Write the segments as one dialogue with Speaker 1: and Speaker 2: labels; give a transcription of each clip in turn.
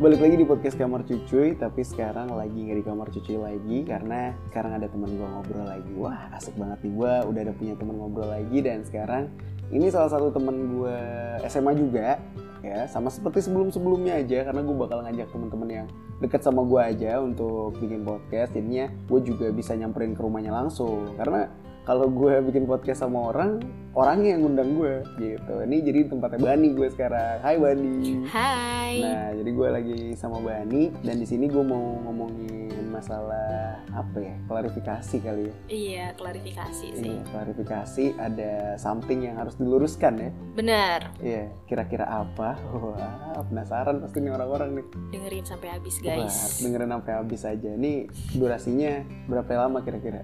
Speaker 1: Balik lagi di podcast Kamar Cucuy, tapi sekarang lagi nggak di Kamar Cucuy lagi karena sekarang ada teman gue ngobrol lagi. Wah, asik banget nih gue, udah ada punya teman ngobrol lagi dan sekarang ini salah satu teman gue SMA juga ya sama seperti sebelum-sebelumnya aja karena gue bakal ngajak teman-teman yang deket sama gue aja untuk bikin podcast jadinya gue juga bisa nyamperin ke rumahnya langsung karena kalau gue bikin podcast sama orang orangnya yang ngundang gue gitu ini jadi tempatnya Bani gue sekarang Hai Bani
Speaker 2: Hai.
Speaker 1: Nah, jadi gue lagi sama Bani dan di sini gue mau ngomongin masalah apa ya? Klarifikasi kali ya.
Speaker 2: Iya, klarifikasi sih.
Speaker 1: Iya, klarifikasi ada something yang harus diluruskan ya.
Speaker 2: Benar.
Speaker 1: Iya, kira-kira apa? Wah, penasaran pasti nih orang-orang nih.
Speaker 2: Dengerin sampai habis,
Speaker 1: Wah,
Speaker 2: guys.
Speaker 1: dengerin sampai habis aja. Ini durasinya berapa lama kira-kira?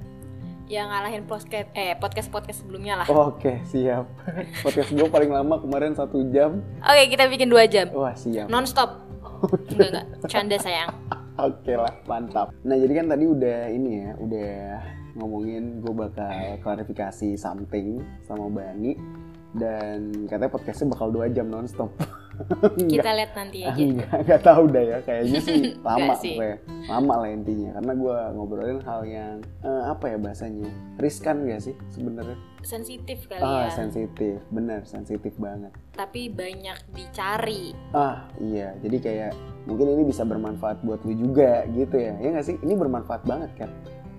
Speaker 2: Yang ngalahin podcast eh podcast-podcast sebelumnya lah.
Speaker 1: Oke, siap. Podcast gue paling lama kemarin satu jam.
Speaker 2: Oke, kita bikin dua jam.
Speaker 1: Wah, siap.
Speaker 2: Non stop. Enggak enggak. Canda sayang.
Speaker 1: Oke lah, mantap. Nah, jadi kan tadi udah ini ya, udah ngomongin gue bakal klarifikasi something sama Bani dan katanya podcastnya bakal dua jam nonstop.
Speaker 2: Kita lihat nanti
Speaker 1: Ah,
Speaker 2: aja.
Speaker 1: Enggak, enggak tahu dah ya. Kayaknya sih lama
Speaker 2: Enggak sih.
Speaker 1: pokoknya. Lama lah intinya. Karena gue ngobrolin hal yang eh, apa ya bahasanya? Riskan gak sih sebenarnya?
Speaker 2: Sensitif kali
Speaker 1: Ah,
Speaker 2: ya.
Speaker 1: sensitif. Bener, sensitif banget.
Speaker 2: Tapi banyak dicari.
Speaker 1: Ah, iya. Jadi kayak mungkin ini bisa bermanfaat buat lu juga gitu ya. Ya nggak sih? Ini bermanfaat banget kan?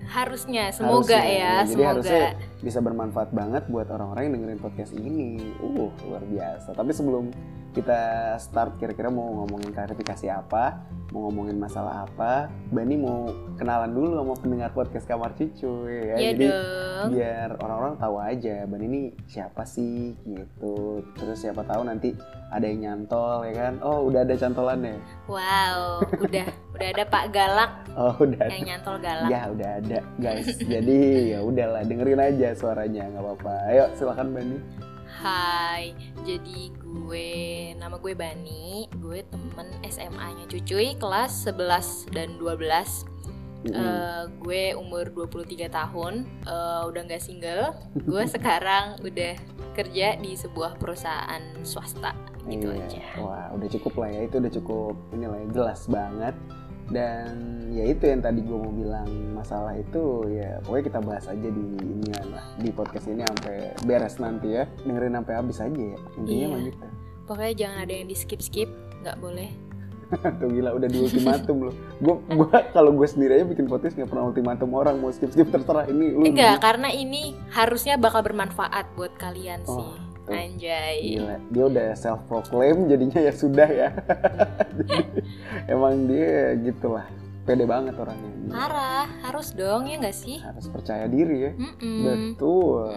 Speaker 2: Harusnya, semoga
Speaker 1: Harusnya,
Speaker 2: ya,
Speaker 1: Jadi
Speaker 2: semoga.
Speaker 1: harusnya bisa bermanfaat banget buat orang-orang yang dengerin podcast ini. Uh, luar biasa. Tapi sebelum kita start kira-kira mau ngomongin klarifikasi apa, mau ngomongin masalah apa, Bani mau kenalan dulu sama pendengar podcast Kamar Cucuy ya.
Speaker 2: ya
Speaker 1: Jadi
Speaker 2: dong.
Speaker 1: biar orang-orang tahu aja Bani ini siapa sih gitu. Terus siapa tahu nanti ada yang nyantol ya kan. Oh, udah ada cantolannya.
Speaker 2: Wow, udah udah ada Pak Galak
Speaker 1: Oh, udah ada.
Speaker 2: yang nyantol galak.
Speaker 1: Ya udah ada guys. Jadi ya udahlah dengerin aja suaranya nggak apa-apa. Ayo silakan Bani.
Speaker 2: Hai, jadi gue nama gue Bani, gue temen SMA-nya Cucuy kelas 11 dan 12.
Speaker 1: Mm-mm.
Speaker 2: Eh, gue umur 23 tahun, eh, udah nggak single. Gue sekarang udah kerja di sebuah perusahaan swasta gitu
Speaker 1: Iya.
Speaker 2: aja.
Speaker 1: Wah udah cukup lah ya itu udah cukup inilah ya, jelas banget. Dan ya itu yang tadi gue mau bilang masalah itu ya pokoknya kita bahas aja di ini lah di podcast ini sampai beres nanti ya dengerin sampai habis aja ya intinya
Speaker 2: Iya.
Speaker 1: mah gitu.
Speaker 2: Pokoknya jangan ada yang di skip-skip, nggak boleh.
Speaker 1: Tuh gila udah di ultimatum loh. Gue gua, kalau gue sendiri aja bikin podcast nggak pernah ultimatum orang mau skip skip terserah ini lu.
Speaker 2: Enggak, Eh, karena ini harusnya bakal bermanfaat buat kalian
Speaker 1: Oh,
Speaker 2: sih.
Speaker 1: tuh.
Speaker 2: Anjay.
Speaker 1: Gila, dia udah self proclaim jadinya ya sudah ya. Jadi, emang dia gitulah, pede banget orangnya.
Speaker 2: Parah, harus dong ya nggak sih?
Speaker 1: Harus percaya diri ya.
Speaker 2: Mm-mm.
Speaker 1: Betul.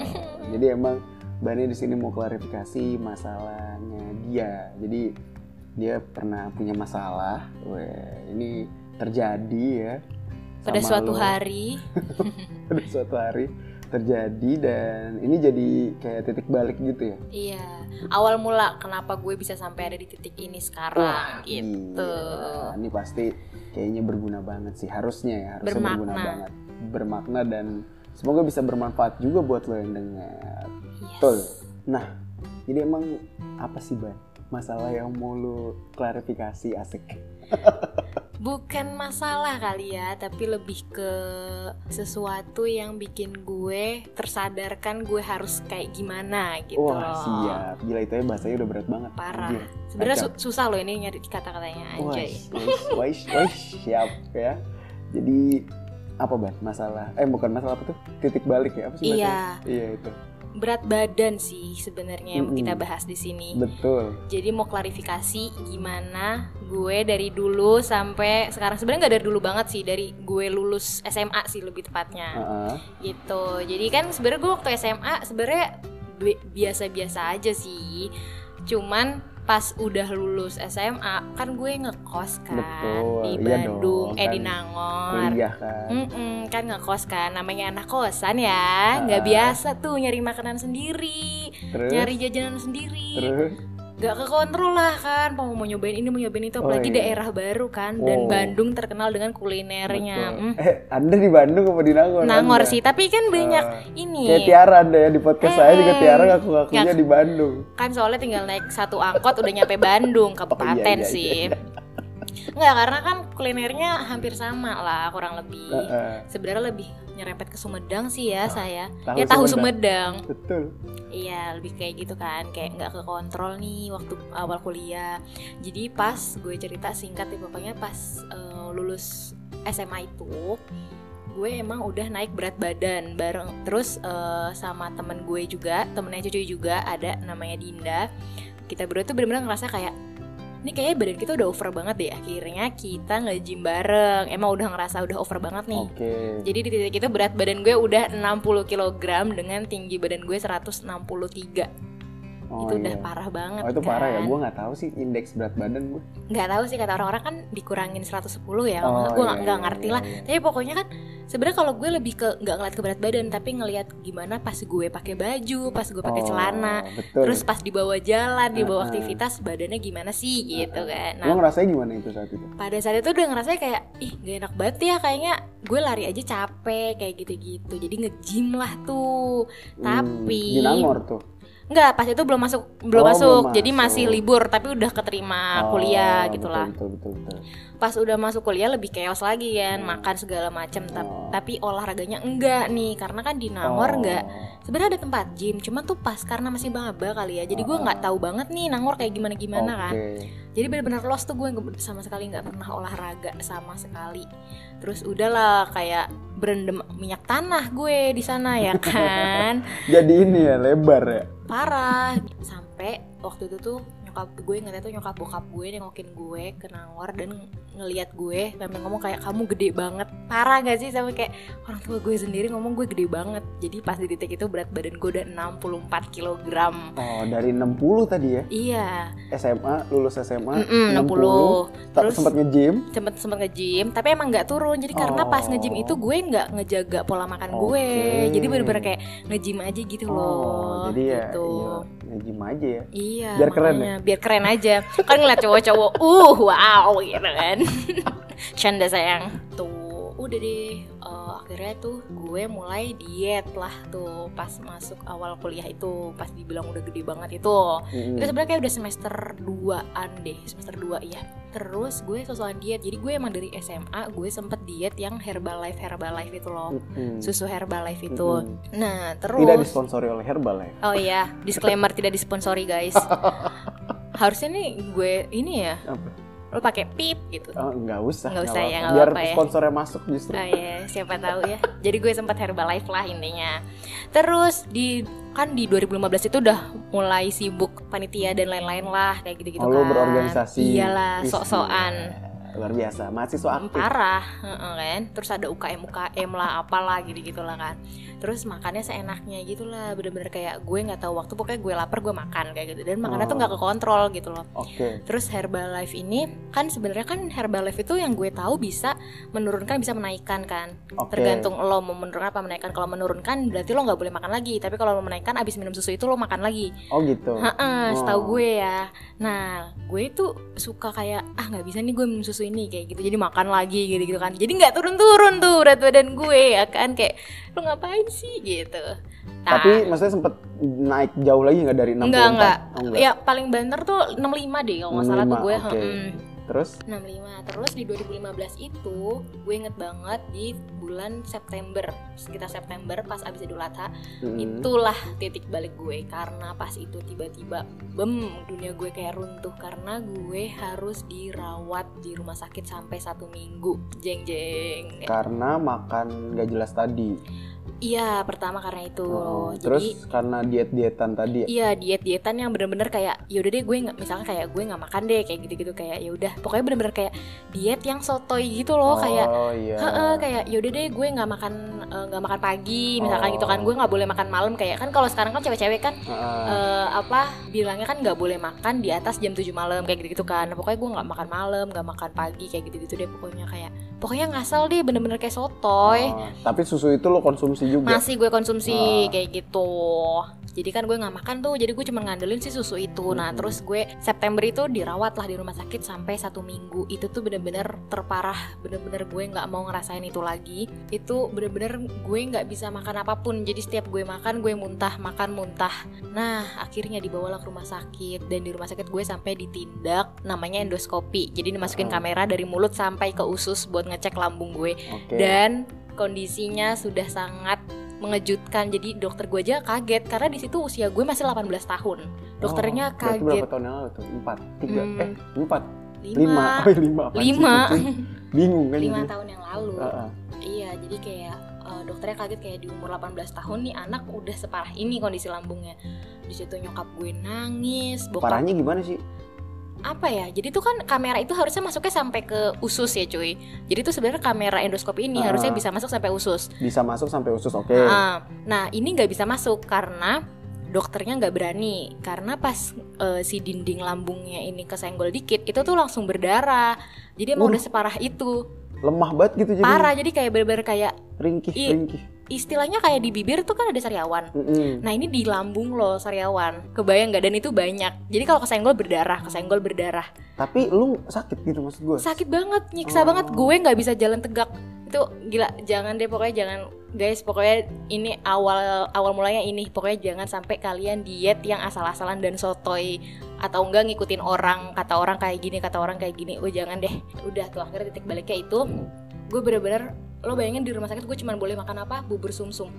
Speaker 1: Jadi emang Bani di sini mau klarifikasi masalahnya dia. Jadi dia pernah punya masalah. Weh, ini terjadi ya.
Speaker 2: pada
Speaker 1: sama
Speaker 2: suatu
Speaker 1: lo.
Speaker 2: hari
Speaker 1: Pada suatu hari terjadi dan ini jadi kayak titik balik gitu ya.
Speaker 2: iya awal mula kenapa gue bisa sampai ada di titik ini sekarang
Speaker 1: mm,
Speaker 2: gitu
Speaker 1: Iya, Ini pasti kayaknya berguna banget sih. Harusnya ya, harusnya
Speaker 2: Bermakna.
Speaker 1: berguna banget. Bermakna dan semoga bisa bermanfaat juga buat lo yang dengar.
Speaker 2: Yes.
Speaker 1: Betul. Nah, jadi emang apa sih, Ban? Masalah yang mau lo klarifikasi asik.
Speaker 2: bukan masalah kali ya tapi lebih ke sesuatu yang bikin gue tersadarkan gue harus kayak gimana gitu
Speaker 1: Wah,
Speaker 2: loh.
Speaker 1: siap. Gila itu ya bahasanya udah berat banget.
Speaker 2: parah
Speaker 1: Anjir.
Speaker 2: sebenarnya
Speaker 1: kacau.
Speaker 2: su- susah loh ini nyari kata-katanya
Speaker 1: Wah,
Speaker 2: anjay
Speaker 1: wah, wah, siap ya. Jadi apa, Ban? Masalah eh bukan masalah apa tuh? Titik balik ya, apa sih bahasanya?
Speaker 2: iya
Speaker 1: Iya, itu.
Speaker 2: berat badan sih sebenarnya yang
Speaker 1: Mm-mm.
Speaker 2: kita bahas di sini
Speaker 1: Betul.
Speaker 2: Jadi mau klarifikasi gimana gue dari dulu sampai sekarang sebenarnya nggak dari dulu banget sih dari gue lulus SMA sih lebih tepatnya
Speaker 1: Heeh.
Speaker 2: gitu. Jadi kan sebenarnya gue waktu SMA sebenarnya bi- biasa-biasa aja sih. Cuman pas udah lulus SMA kan gue ngekos kan
Speaker 1: Betul,
Speaker 2: di
Speaker 1: iya
Speaker 2: Bandung,
Speaker 1: dong,
Speaker 2: eh di
Speaker 1: kan
Speaker 2: Nangor.
Speaker 1: kuliah kan.
Speaker 2: Mm-mm, kan ngekos kan namanya anak kosan ya nggak
Speaker 1: Ah.
Speaker 2: biasa tuh nyari makanan sendiri
Speaker 1: Terus,
Speaker 2: Hmm, nyari jajanan sendiri
Speaker 1: terus
Speaker 2: gak kekontrol lah kan mau mau nyobain ini mau nyobain itu
Speaker 1: Oh,
Speaker 2: apalagi
Speaker 1: iya.
Speaker 2: daerah baru kan dan
Speaker 1: Oh.
Speaker 2: Bandung terkenal dengan kulinernya
Speaker 1: betul.
Speaker 2: Hmm,
Speaker 1: Eh, Anda di Bandung apa di Nangor?
Speaker 2: Nangor
Speaker 1: Anda?
Speaker 2: sih tapi kan banyak
Speaker 1: Eh,
Speaker 2: ini
Speaker 1: Kayak Tiara Anda ya di podcast saya juga
Speaker 2: Eh,
Speaker 1: Tiara ngaku-ngakunya di Bandung.
Speaker 2: kan soalnya tinggal naik satu angkot udah nyampe Bandung kabupaten
Speaker 1: Oh, iya, iya,
Speaker 2: sih Enggak, karena kan kulinernya hampir sama lah kurang lebih.
Speaker 1: Eh, eh,
Speaker 2: Sebenarnya lebih nyerempet ke Sumedang sih ya saya.
Speaker 1: Ah, tahu
Speaker 2: ya tahu
Speaker 1: Sumedang.
Speaker 2: Sumedang.
Speaker 1: Betul.
Speaker 2: Iya lebih kayak gitu kan Kayak nggak ke kontrol nih waktu awal kuliah Jadi pas gue cerita singkat nih Pokoknya pas eh, lulus SMA itu Gue emang udah naik berat badan bareng Terus eh, sama temen gue juga Temennya cucu juga ada namanya Dinda Kita berdua tuh bener-bener ngerasa kayak ini kayaknya badan kita udah over banget deh Akhirnya kita nge-gym bareng Emang udah ngerasa udah over banget nih
Speaker 1: Oke.
Speaker 2: jadi di titik itu berat badan gue udah 60 kg dengan tinggi badan gue 163.
Speaker 1: Oh,
Speaker 2: itu
Speaker 1: iya.
Speaker 2: udah parah banget.
Speaker 1: Oh itu parah ya,
Speaker 2: kan.
Speaker 1: gue nggak tahu sih indeks berat badan gue.
Speaker 2: Nggak tahu sih kata orang-orang kan dikurangin 110 ya.
Speaker 1: Oh, iya,
Speaker 2: gue nggak nggak
Speaker 1: iya,
Speaker 2: ngerti
Speaker 1: iya,
Speaker 2: lah.
Speaker 1: iya.
Speaker 2: Tapi pokoknya kan sebenarnya kalau gue lebih ke nggak ngeliat ke berat badan tapi ngeliat gimana pas gue pakai baju, pas gue pakai
Speaker 1: Oh, iya.
Speaker 2: celana,
Speaker 1: Betul.
Speaker 2: terus pas dibawa jalan, dibawa
Speaker 1: Ah, ah.
Speaker 2: aktivitas badannya gimana sih gitu kan. Nah,
Speaker 1: lo ngerasain gimana itu saat itu?
Speaker 2: pada saat itu udah ngerasa kayak ih gak enak banget ya kayaknya gue lari aja capek kayak gitu-gitu jadi nge-gym lah tuh
Speaker 1: Hmm,
Speaker 2: Tapi-
Speaker 1: di Nangor tuh.
Speaker 2: nggak pas itu belum masuk belum
Speaker 1: Oh, belum
Speaker 2: masuk jadi
Speaker 1: masuk.
Speaker 2: masih libur tapi udah keterima Nah, kuliah
Speaker 1: Oh,
Speaker 2: gitu gitulah
Speaker 1: Betul betul betul. betul.
Speaker 2: pas udah masuk kuliah lebih chaos lagi kan
Speaker 1: Hmm.
Speaker 2: makan segala macem tap-
Speaker 1: Oh.
Speaker 2: tapi olahraganya enggak nih karena kan di
Speaker 1: Oh.
Speaker 2: Nangor enggak sebenarnya ada tempat gym cuma tuh pas karena masih baba kali ya jadi gue
Speaker 1: Oh.
Speaker 2: nggak tahu banget nih Nangor kayak gimana gimana kan
Speaker 1: Oke.
Speaker 2: jadi benar-benar lost tuh gue nggak- sama sekali nggak pernah olahraga sama sekali terus udahlah kayak berendam minyak tanah gue di sana ya kan
Speaker 1: Jadi ini ya lebar ya.
Speaker 2: parah sampai waktu itu tuh nyokap gue ngeliat tuh nyokap bokap gue nengokin gue ke Nangor dan ng- ngeliat gue sampai ngomong kayak kamu gede banget parah gak sih sampai kayak orang tua gue sendiri ngomong gue gede banget jadi pas di titik itu berat badan gue udah 64 kilogram
Speaker 1: Oh dari 60 tadi ya
Speaker 2: iya
Speaker 1: SMA lulus SMA
Speaker 2: Mm-mm, 60
Speaker 1: tak
Speaker 2: Terus-
Speaker 1: sempat nge-gym.
Speaker 2: sempet sempet nge-gym tapi emang nggak turun jadi karena pas
Speaker 1: Oh.
Speaker 2: nge-gym itu gue nggak ngejaga pola makan
Speaker 1: Oke.
Speaker 2: gue jadi bener-bener kayak nge-gym aja gitu loh
Speaker 1: Oh, jadi ya
Speaker 2: gitu.
Speaker 1: iya, nge-gym aja ya.
Speaker 2: iya
Speaker 1: Biar keren ya?
Speaker 2: makanya. biar keren aja kan ngeliat cowok-cowok uh wow gitu kan canda sayang tuh udah deh eh, akhirnya tuh gue mulai diet lah tuh pas masuk awal kuliah itu pas dibilang udah gede banget itu
Speaker 1: Mm-mm.
Speaker 2: itu sebenarnya kayak udah semester 2-an deh, semester 2 ya. Terus gue sosokan diet. Jadi gue emang dari SMA gue sempet diet yang Herbalife Herbalife itu loh.
Speaker 1: Mm-mm.
Speaker 2: Susu Herbalife itu.
Speaker 1: Mm-mm.
Speaker 2: Nah, terus
Speaker 1: Hmm. Tidak disponsori oleh ya? Herbalife.
Speaker 2: Oh iya, disclaimer tidak disponsori, guys. Harusnya nih gue ini ya.
Speaker 1: Apa?
Speaker 2: Lo pakai pip gitu.
Speaker 1: Oh, nggak usah.
Speaker 2: Nggak usah ya,
Speaker 1: apa-apa.
Speaker 2: nggak
Speaker 1: Biar
Speaker 2: apa-apa ya.
Speaker 1: sponsornya masuk justru.
Speaker 2: Oh iya, siapa tahu ya. Jadi gue sempat Herbalife lah intinya. Terus di kan di 2015 itu udah mulai sibuk panitia dan lain-lain lah kayak gitu-gitu
Speaker 1: Oh, lu
Speaker 2: kan.
Speaker 1: berorganisasi.
Speaker 2: Iyalah,
Speaker 1: Ih,
Speaker 2: sok-sokan.
Speaker 1: gila. Luar biasa, mahasiswa aktif.
Speaker 2: parah heeh kan terus ada UKM UKM lah apalah gitu gitulah kan terus makannya seenaknya gitulah bener-bener kayak gue nggak tahu waktu pokoknya gue lapar gue makan kayak gitu dan makannya
Speaker 1: Oh.
Speaker 2: tuh nggak kekontrol gitu loh
Speaker 1: Oke.
Speaker 2: terus Herbalife ini kan sebenarnya kan Herbalife itu yang gue tahu bisa menurunkan bisa menaikkan kan
Speaker 1: Oke.
Speaker 2: tergantung lo mau menurunkan apa menaikkan kalau menurunkan berarti lo nggak boleh makan lagi tapi kalau lo menaikkan abis minum susu itu lo makan lagi
Speaker 1: Oh gitu. Oh.
Speaker 2: Heeh, setahu gue ya. Nah, gue tuh suka kayak ah nggak bisa nih gue minum susu ini kayak gitu. Jadi makan lagi gitu gitu kan. Jadi nggak turun turun tuh berat badan gue ya kan kayak lu ngapain sih gitu. Nah,
Speaker 1: Tapi maksudnya sempet naik jauh lagi nggak dari 64?
Speaker 2: enggak enggak.
Speaker 1: Oh, enggak.
Speaker 2: Ya paling banter tuh 65 deh kalau nggak salah tuh
Speaker 1: 65,
Speaker 2: gue. Hmm.
Speaker 1: oke.
Speaker 2: heeh.
Speaker 1: Terus?
Speaker 2: 65 terus di 2015 itu gue inget banget di bulan September sekitar September pas abis Idul Adha
Speaker 1: Mm.
Speaker 2: itulah titik balik gue karena pas itu tiba-tiba bem dunia gue kayak runtuh karena gue harus dirawat di rumah sakit sampai satu minggu jeng jeng
Speaker 1: Karena makan nggak jelas tadi.
Speaker 2: iya pertama karena itu
Speaker 1: Oh, terus
Speaker 2: jadi
Speaker 1: karena diet-dietan tadi. ya?
Speaker 2: Iya diet dietan yang bener-bener kayak yaudah deh gue nggak misalnya kayak gue nggak makan deh kayak gitu-gitu kayak yaudah pokoknya bener-bener kayak diet yang sotoy gitu loh kayak
Speaker 1: Oh iya.
Speaker 2: Heeh, kayak yaudah deh gue nggak makan eh, nggak makan pagi misalkan
Speaker 1: Oh. Ah.
Speaker 2: gitu kan gue nggak boleh makan malam kayak kan kalau sekarang kan cewek-cewek kan
Speaker 1: Heeh.
Speaker 2: eh, apa bilangnya kan nggak boleh makan di atas jam 7 malam kayak gitu, -gitu kan pokoknya gue nggak makan malam nggak makan pagi kayak gitu gitu deh pokoknya kayak pokoknya ngasal deh bener-bener kayak sotoy
Speaker 1: Oh, tapi susu itu lo konsumsi juga.
Speaker 2: masih gue konsumsi
Speaker 1: Ah.
Speaker 2: kayak gitu jadi kan gue nggak makan tuh jadi gue cuma ngandelin sih susu itu nah
Speaker 1: Mhm.
Speaker 2: terus gue September itu dirawat lah di rumah sakit sampai satu minggu itu tuh bener-bener terparah bener-bener gue nggak mau ngerasain itu lagi itu bener-bener gue nggak bisa makan apapun jadi setiap gue makan gue muntah makan muntah nah akhirnya dibawalah ke rumah sakit dan di rumah sakit gue sampai ditindak namanya endoskopi jadi dimasukin
Speaker 1: Ah.
Speaker 2: kamera dari mulut sampai ke usus buat ngecek lambung gue
Speaker 1: Oke.
Speaker 2: dan kondisinya sudah sangat mengejutkan jadi dokter gue aja kaget karena di situ usia gue masih 18 tahun
Speaker 1: Oh,
Speaker 2: dokternya
Speaker 1: berarti
Speaker 2: kaget
Speaker 1: berapa tahun yang lalu tuh? Empat, tiga,
Speaker 2: Hmm,
Speaker 1: eh empat, lima,
Speaker 2: lima
Speaker 1: oh lima, apaan sih,
Speaker 2: Lima.
Speaker 1: cuy? bingung kan
Speaker 2: lima
Speaker 1: jadi.
Speaker 2: tahun yang lalu
Speaker 1: Heeh.
Speaker 2: iya jadi kayak eh, dokternya kaget kayak di umur 18 tahun nih anak udah separah ini kondisi lambungnya di situ nyokap gue nangis bokap
Speaker 1: Parahnya gimana sih?
Speaker 2: apa ya jadi tuh kan kamera itu harusnya masuknya sampai ke usus ya cuy jadi tuh sebenarnya kamera endoskop ini
Speaker 1: Ah.
Speaker 2: harusnya bisa masuk sampai usus
Speaker 1: Bisa masuk sampai usus, oke.
Speaker 2: Ah, nah ini nggak bisa masuk karena dokternya nggak berani karena pas eh, si dinding lambungnya ini kesenggol dikit itu tuh langsung berdarah jadi emang
Speaker 1: Waduh.
Speaker 2: udah separah itu
Speaker 1: Lemah banget gitu jadi.
Speaker 2: parah Iya. jadi kayak bener-bener kayak
Speaker 1: Ringkih,
Speaker 2: I-
Speaker 1: ringkih.
Speaker 2: istilahnya kayak di bibir tuh kan ada sariawan
Speaker 1: Mm-mm.
Speaker 2: nah ini di lambung loh sariawan kebayang nggak dan itu banyak jadi kalau kesenggol berdarah kesenggol berdarah
Speaker 1: Tapi lu sakit gitu maksud gue.
Speaker 2: sakit banget nyiksa
Speaker 1: Oh.
Speaker 2: banget gue nggak bisa jalan tegak itu gila jangan deh pokoknya jangan guys pokoknya ini awal awal mulanya ini pokoknya jangan sampai kalian diet yang asal-asalan dan sotoy atau enggak ngikutin orang kata orang kayak gini kata orang kayak gini gue jangan deh udah tuh akhirnya titik baliknya itu gue bener-bener lo bayangin di rumah sakit gue cuma boleh makan apa bubur sumsum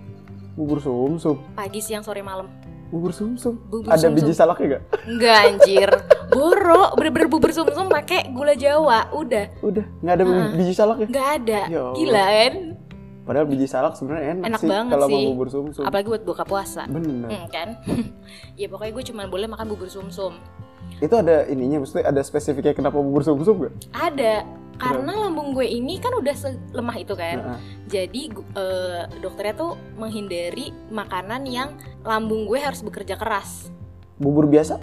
Speaker 1: Bubur sumsum,
Speaker 2: pagi siang sore malam
Speaker 1: bubur sumsum.
Speaker 2: bubur
Speaker 1: Ada
Speaker 2: sumsum
Speaker 1: biji salaknya gak?
Speaker 2: enggak anjir boro bener-bener bubur sumsum pakai gula jawa udah
Speaker 1: Udah, nggak ada
Speaker 2: Ah.
Speaker 1: biji salaknya.
Speaker 2: enggak ada
Speaker 1: Ya Allah.
Speaker 2: gila kan
Speaker 1: Padahal biji salak sebenarnya enak,
Speaker 2: Enak
Speaker 1: sih
Speaker 2: banget
Speaker 1: kalau mau
Speaker 2: sih.
Speaker 1: bubur sumsum.
Speaker 2: apalagi buat buka puasa
Speaker 1: Bener.
Speaker 2: Hmm, kan ya pokoknya gue cuma boleh makan bubur sumsum
Speaker 1: Itu ada ininya, maksudnya ada spesifiknya kenapa bubur sumsum gak? Iya.
Speaker 2: ada karena lambung gue ini kan udah lemah itu kan
Speaker 1: Heeh.
Speaker 2: jadi gu- eh, dokternya tuh menghindari makanan yang lambung gue harus bekerja keras
Speaker 1: Bubur biasa?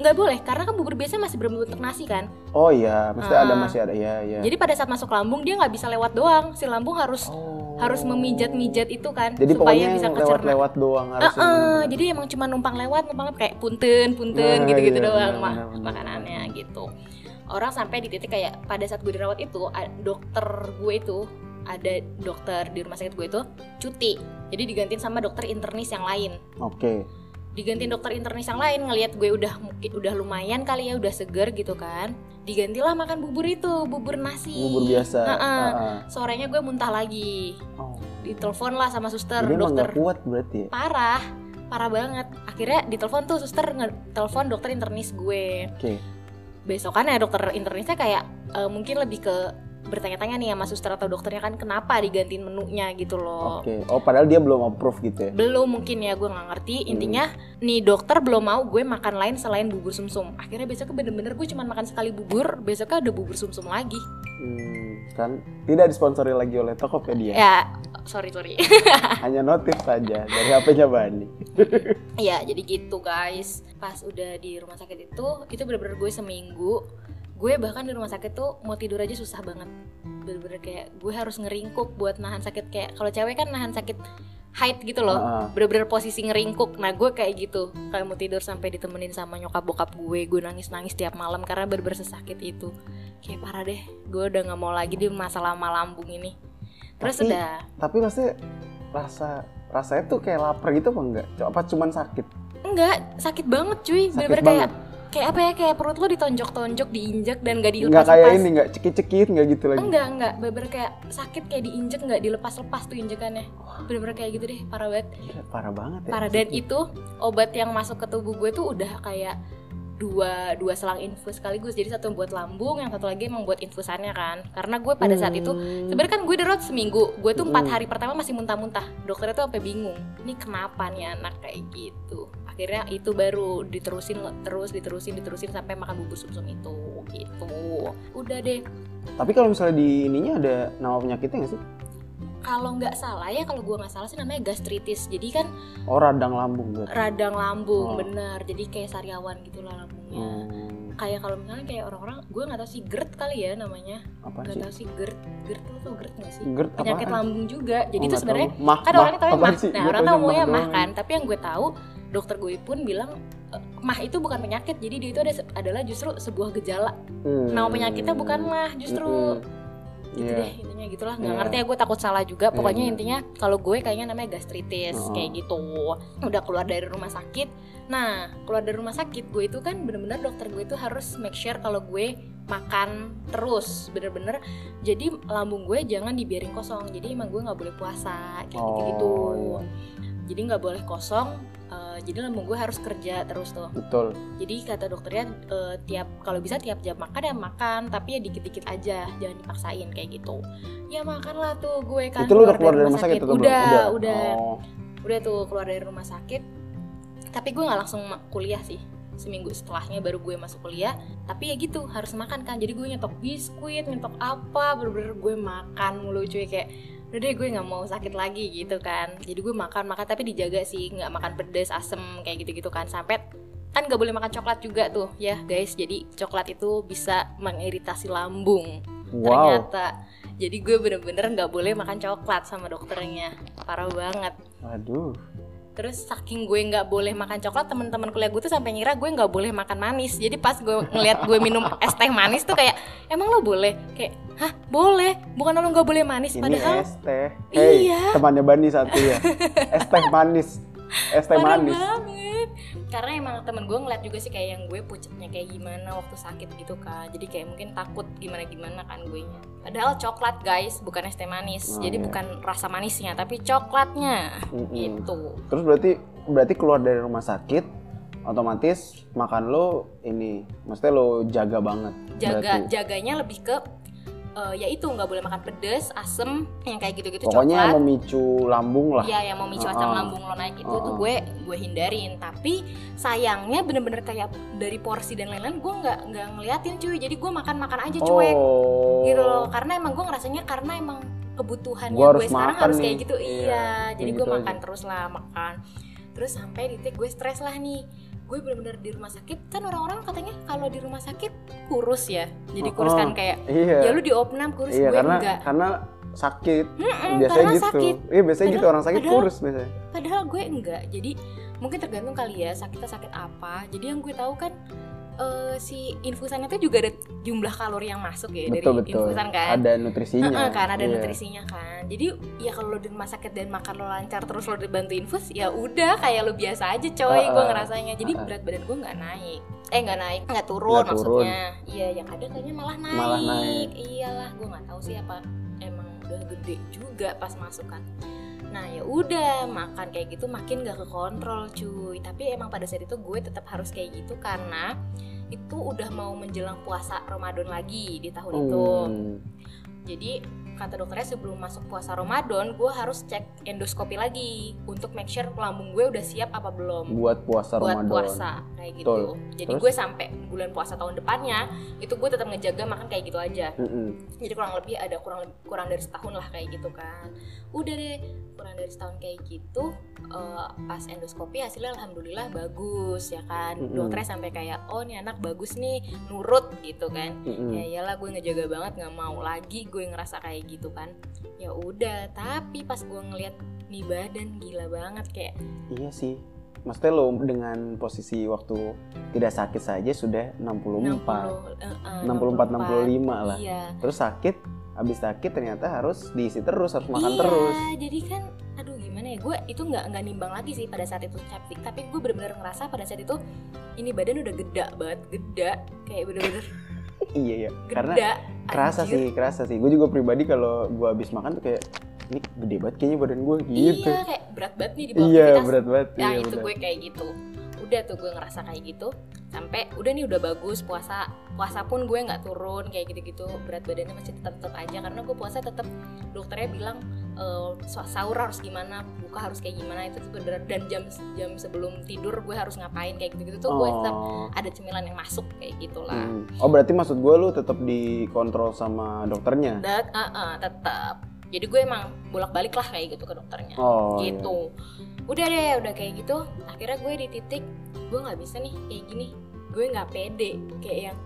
Speaker 2: nggak boleh karena kan bubur biasa masih berbentuk nasi kan
Speaker 1: Oh iya, maksudnya ada
Speaker 2: Ah.
Speaker 1: masih ada ya ya.
Speaker 2: jadi pada saat masuk lambung dia nggak bisa lewat doang si lambung harus
Speaker 1: Oh.
Speaker 2: harus memijat-mijat itu kan
Speaker 1: Jadi
Speaker 2: supaya
Speaker 1: pokoknya
Speaker 2: bisa
Speaker 1: yang
Speaker 2: kecerna
Speaker 1: lewat-lewat doang harus.
Speaker 2: Eh, eh, jadi emang cuma numpang lewat, numpang lewat kayak punten, punten
Speaker 1: Nah,
Speaker 2: gitu-gitu
Speaker 1: iya,
Speaker 2: doang
Speaker 1: benar,
Speaker 2: mah
Speaker 1: benar, benar.
Speaker 2: makanannya gitu. Orang sampai di titik kayak pada saat gue dirawat itu a- dokter gue itu ada dokter di rumah sakit gue itu cuti. Jadi digantiin sama dokter internis yang lain.
Speaker 1: Oke.
Speaker 2: Digantiin dokter internis yang lain ngelihat gue udah mungkin udah lumayan kali ya, udah seger gitu kan. Digantilah makan bubur itu, bubur nasi.
Speaker 1: Bubur biasa. Ah,
Speaker 2: Heeh.
Speaker 1: ah.
Speaker 2: Sorenya gue muntah lagi.
Speaker 1: Oh.
Speaker 2: Ditelepon lah sama suster
Speaker 1: Jadi emang
Speaker 2: dokter
Speaker 1: nggak kuat berarti ya?
Speaker 2: parah parah banget akhirnya ditelepon tuh suster telepon dokter internis gue
Speaker 1: Oke.
Speaker 2: besokan ya dokter internisnya kayak eh, mungkin lebih ke bertanya-tanya nih sama suster atau dokternya kan kenapa digantiin menunya gitu loh
Speaker 1: Oke. Oh padahal dia belum approve gitu ya?
Speaker 2: belum mungkin ya gue nggak ngerti intinya nih dokter belum mau gue makan lain selain bubur sumsum akhirnya besoknya bener-bener gue cuma makan sekali bubur besoknya ada bubur sumsum lagi
Speaker 1: Hmm, kan tidak disponsori lagi oleh Tokopedia.
Speaker 2: ya sorry sorry
Speaker 1: Hanya notif saja dari HP-nya Bani.
Speaker 2: Iya jadi gitu guys Pas udah di rumah sakit itu Itu bener-bener gue seminggu Gue bahkan di rumah sakit tuh Mau tidur aja susah banget Bener-bener kayak Gue harus ngeringkuk buat nahan sakit Kayak kalau cewek kan nahan sakit Height gitu loh
Speaker 1: Ah, ah.
Speaker 2: Bener-bener posisi ngeringkuk Nah gue kayak gitu Kayak mau tidur sampai ditemenin sama nyokap bokap gue Gue nangis-nangis tiap malam Karena bener-bener sesakit itu Kayak parah deh Gue udah gak mau lagi di masalah sama lambung ini Terus
Speaker 1: Tapi-
Speaker 2: udah
Speaker 1: Tapi maksudnya rasa rasanya tuh kayak lapar gitu apa enggak? Co- Apa cuman sakit?
Speaker 2: Enggak sakit banget cuy
Speaker 1: Sakit
Speaker 2: Bener-bener kayak
Speaker 1: banget.
Speaker 2: kayak apa ya kayak perut lo ditonjok-tonjok diinjek dan gak
Speaker 1: Enggak
Speaker 2: dilepas
Speaker 1: kayak
Speaker 2: lepas
Speaker 1: ini enggak cekit-cekit enggak gitu lagi.
Speaker 2: enggak enggak bener kayak sakit kayak diinjek nggak dilepas-lepas tuh injekannya bener-bener kayak gitu deh parah banget
Speaker 1: Gila, Parah banget ya.
Speaker 2: parah dan itu obat yang masuk ke tubuh gue tuh udah kayak dua dua selang infus sekaligus jadi satu buat lambung yang satu lagi emang buat infusannya kan karena gue pada saat itu
Speaker 1: Hmm.
Speaker 2: sebenarnya kan gue dirawat seminggu gue tuh empat
Speaker 1: Hmm.
Speaker 2: hari pertama masih muntah-muntah dokternya tuh sampai bingung ini kenapa nih anak kayak gitu akhirnya itu baru diterusin terus diterusin diterusin sampai makan bubur sumsum itu gitu udah deh
Speaker 1: Tapi kalau misalnya di ininya ada nama penyakitnya nggak sih?
Speaker 2: kalau nggak salah ya kalau gue nggak salah sih namanya gastritis jadi kan
Speaker 1: Oh radang lambung berarti.
Speaker 2: radang
Speaker 1: Oh.
Speaker 2: lambung bener jadi kayak sariawan gitu lah lambungnya
Speaker 1: Hmm,
Speaker 2: kayak kalau misalnya kayak orang-orang gue nggak tahu sih GERD kali ya namanya
Speaker 1: apa
Speaker 2: nggak
Speaker 1: sih?
Speaker 2: tahu sih GERD GERD tuh tau GERD nggak sih
Speaker 1: Gerd apa? Oh,
Speaker 2: penyakit lambung juga jadi itu sebenarnya
Speaker 1: mah,
Speaker 2: kan
Speaker 1: mah,
Speaker 2: orangnya tau
Speaker 1: apaan
Speaker 2: mah
Speaker 1: sih?
Speaker 2: nah
Speaker 1: Gua
Speaker 2: orang
Speaker 1: taunya
Speaker 2: tau maunya mah
Speaker 1: doang.
Speaker 2: kan tapi yang gue tahu dokter gue pun bilang "Eh, mah itu bukan penyakit jadi dia itu ada adalah justru sebuah gejala
Speaker 1: Hmm.
Speaker 2: nama penyakitnya bukan mah justru
Speaker 1: Mm-mm.
Speaker 2: gitu
Speaker 1: Iya.
Speaker 2: deh intinya gitulah nggak
Speaker 1: Iya.
Speaker 2: ngerti ya gue takut salah juga pokoknya
Speaker 1: Iya.
Speaker 2: intinya kalau gue kayaknya namanya gastritis
Speaker 1: Oh.
Speaker 2: kayak gitu udah keluar dari rumah sakit nah keluar dari rumah sakit gue itu kan bener-bener dokter gue itu harus make sure kalau gue makan terus bener-bener jadi lambung gue jangan dibiarin kosong jadi emang gue nggak boleh puasa kayak gitu gitu
Speaker 1: Oh, iya.
Speaker 2: jadi nggak boleh kosong eh, jadi lambung gue harus kerja terus tuh
Speaker 1: Betul.
Speaker 2: jadi kata dokternya eh, tiap kalau bisa tiap jam makan ya makan, tapi ya dikit-dikit aja, jangan dipaksain kayak gitu. Ya makanlah tuh gue kan.
Speaker 1: itu lu udah keluar dari rumah sakit atau belum?
Speaker 2: Udah, udah, udah,
Speaker 1: Oh,
Speaker 2: tuh keluar dari rumah sakit. Tapi gue nggak langsung ma- kuliah sih. Seminggu setelahnya baru gue masuk kuliah. Tapi ya gitu harus makan kan. Jadi gue nyetok biskuit, nyetok apa, bener-bener gue makan mulu cuy kayak udah deh gue nggak mau sakit lagi gitu kan jadi gue makan makan tapi dijaga sih nggak makan pedes asem kayak gitu gitu kan sampai kan nggak boleh makan coklat juga tuh ya guys jadi coklat itu bisa mengiritasi lambung
Speaker 1: wow.
Speaker 2: ternyata jadi gue bener-bener nggak boleh makan coklat sama dokternya parah banget
Speaker 1: Waduh.
Speaker 2: terus saking gue nggak boleh makan coklat teman-teman kuliah gue tuh sampai ngira gue nggak boleh makan manis jadi pas gue ngeliat gue minum es teh manis tuh kayak emang lo boleh kayak hah boleh bukan lo nggak boleh manis
Speaker 1: Ini
Speaker 2: padahal
Speaker 1: es teh. Hey,
Speaker 2: Iya.
Speaker 1: temannya Bani satu ya. es teh manis. Es teh
Speaker 2: Parah
Speaker 1: manis.
Speaker 2: banget karena emang temen gue ngeliat juga sih kayak yang gue pucetnya kayak gimana waktu sakit gitu kan jadi kayak mungkin takut gimana gimana kan gue nya padahal coklat guys bukan es teh manis
Speaker 1: Oh, iya.
Speaker 2: jadi
Speaker 1: Hmm.
Speaker 2: bukan rasa manisnya tapi coklatnya
Speaker 1: Mm-mm.
Speaker 2: gitu
Speaker 1: Terus berarti berarti keluar dari rumah sakit otomatis makan lo ini mesti lo jaga banget.
Speaker 2: jaga
Speaker 1: berarti.
Speaker 2: jaganya lebih ke eh, ya itu nggak boleh makan pedes asem yang kayak gitu gitu
Speaker 1: Pokoknya yang Ah,
Speaker 2: coklat
Speaker 1: memicu lambung lah.
Speaker 2: Iya yang memicu asam
Speaker 1: Heeh.
Speaker 2: lambung lo naik itu tuh
Speaker 1: Heeh.
Speaker 2: gue gue hindarin tapi sayangnya bener-bener kayak dari porsi dan lain-lain gue nggak nggak ngeliatin cuy jadi gue makan makan aja Iya, cuek
Speaker 1: Oh.
Speaker 2: gitu loh karena emang gue ngerasanya karena emang kebutuhannya
Speaker 1: Gua
Speaker 2: gue,
Speaker 1: harus
Speaker 2: sekarang
Speaker 1: makan
Speaker 2: harus
Speaker 1: nih.
Speaker 2: kayak gitu
Speaker 1: Iya,
Speaker 2: iya jadi
Speaker 1: kayak
Speaker 2: gue
Speaker 1: gitu
Speaker 2: makan
Speaker 1: aja.
Speaker 2: terus lah makan terus sampai di titik gue stres lah nih gue bener-bener di rumah sakit kan orang-orang katanya kalau di rumah sakit kurus ya jadi kurus kan
Speaker 1: Heeh.
Speaker 2: kayak
Speaker 1: Iya.
Speaker 2: ya lu di opnam kurus
Speaker 1: iya
Speaker 2: gue
Speaker 1: karena
Speaker 2: enggak
Speaker 1: karena sakit.
Speaker 2: Mm-mm,
Speaker 1: biasanya
Speaker 2: karena
Speaker 1: gitu.
Speaker 2: sakit
Speaker 1: Iya biasanya gitu
Speaker 2: Padahal-
Speaker 1: orang sakit
Speaker 2: padahal-
Speaker 1: kurus biasanya.
Speaker 2: padahal gue enggak jadi mungkin tergantung kali ya sakitnya sakit apa jadi yang gue tahu kan eh, si infusannya tuh juga ada jumlah kalori yang masuk ya
Speaker 1: betul
Speaker 2: dari
Speaker 1: betul.
Speaker 2: infusan kan
Speaker 1: Ada nutrisinya.
Speaker 2: Heeh, karena ada
Speaker 1: Iya.
Speaker 2: nutrisinya kan jadi ya kalau lo di rumah sakit dan makan lo lancar terus lo dibantu infus ya udah kayak lo biasa aja coy
Speaker 1: Heeh.
Speaker 2: gue ngerasanya jadi
Speaker 1: Heeh.
Speaker 2: berat badan gue nggak naik eh nggak naik nggak turun
Speaker 1: Nggak turun.
Speaker 2: maksudnya iya yang ada kayaknya malah naik,
Speaker 1: Malah naik.
Speaker 2: iyalah gue nggak tahu sih apa emang udah gede juga pas masuk kan nah ya udah makan kayak gitu makin gak kekontrol cuy tapi emang pada saat itu gue tetap harus kayak gitu karena itu udah mau menjelang puasa Ramadan lagi di tahun itu
Speaker 1: Hmm.
Speaker 2: jadi kata dokternya sebelum masuk puasa Ramadan, gue harus cek endoskopi lagi untuk make sure lambung gue udah siap apa belum
Speaker 1: buat puasa
Speaker 2: buat
Speaker 1: Ramadan.
Speaker 2: puasa kayak gitu.
Speaker 1: Betul.
Speaker 2: Jadi
Speaker 1: Terus?
Speaker 2: gue sampai bulan puasa tahun depannya itu gue tetap ngejaga makan kayak gitu aja.
Speaker 1: Mm-mm.
Speaker 2: Jadi kurang lebih ada kurang kurang dari setahun lah kayak gitu kan. Udah deh kurang dari setahun kayak gitu eh, pas endoskopi hasilnya alhamdulillah bagus ya kan.
Speaker 1: Mm-mm.
Speaker 2: Dokternya sampai kayak oh nih anak bagus nih nurut gitu kan
Speaker 1: Mm-mm.
Speaker 2: ya iyalah gue ngejaga banget nggak mau lagi gue ngerasa kayak gitu kan ya udah tapi pas gue ngeliat nih badan gila banget kayak
Speaker 1: Iya sih. Maksudnya lo dengan posisi waktu tidak sakit saja sudah 64,
Speaker 2: 60, eh, eh,
Speaker 1: 64, 65 lah.
Speaker 2: iya
Speaker 1: Terus sakit, habis sakit ternyata harus diisi terus, harus makan
Speaker 2: iya,
Speaker 1: terus.
Speaker 2: jadi kan aduh gimana ya gue itu nggak nggak nimbang lagi sih pada saat itu tapi tapi gue bener-bener ngerasa pada saat itu ini badan udah geda banget geda kayak bener-bener
Speaker 1: Iya ya.
Speaker 2: geda
Speaker 1: Karena kerasa
Speaker 2: anjir.
Speaker 1: sih, kerasa sih. Gue juga pribadi kalau gue habis makan tuh kayak ini gede banget kayaknya badan gue gitu.
Speaker 2: iya kayak berat banget nih di bawah
Speaker 1: Iya,
Speaker 2: aktivitas.
Speaker 1: berat banget.
Speaker 2: Nah
Speaker 1: iya,
Speaker 2: itu
Speaker 1: berat.
Speaker 2: gue kayak gitu Udah tuh gue ngerasa kayak gitu Sampai udah nih udah bagus puasa Puasa pun gue nggak turun kayak gitu-gitu Berat badannya masih tetap-tetap aja Karena gue puasa tetap dokternya bilang eh, sa- sahur harus gimana buka harus kayak gimana itu tuh beneran dan jam jam sebelum tidur gue harus ngapain kayak gitu gitu tuh gue tetap
Speaker 1: Oh.
Speaker 2: ada cemilan yang masuk kayak gitulah
Speaker 1: Hmm. Oh berarti maksud gue lu tetap dikontrol sama dokternya?
Speaker 2: dan eh, eh, tetap jadi gue emang bolak balik lah kayak gitu ke dokternya
Speaker 1: Oh. iya.
Speaker 2: gitu udah deh udah kayak gitu akhirnya gue di titik gue nggak bisa nih kayak gini gue nggak pede kayak yang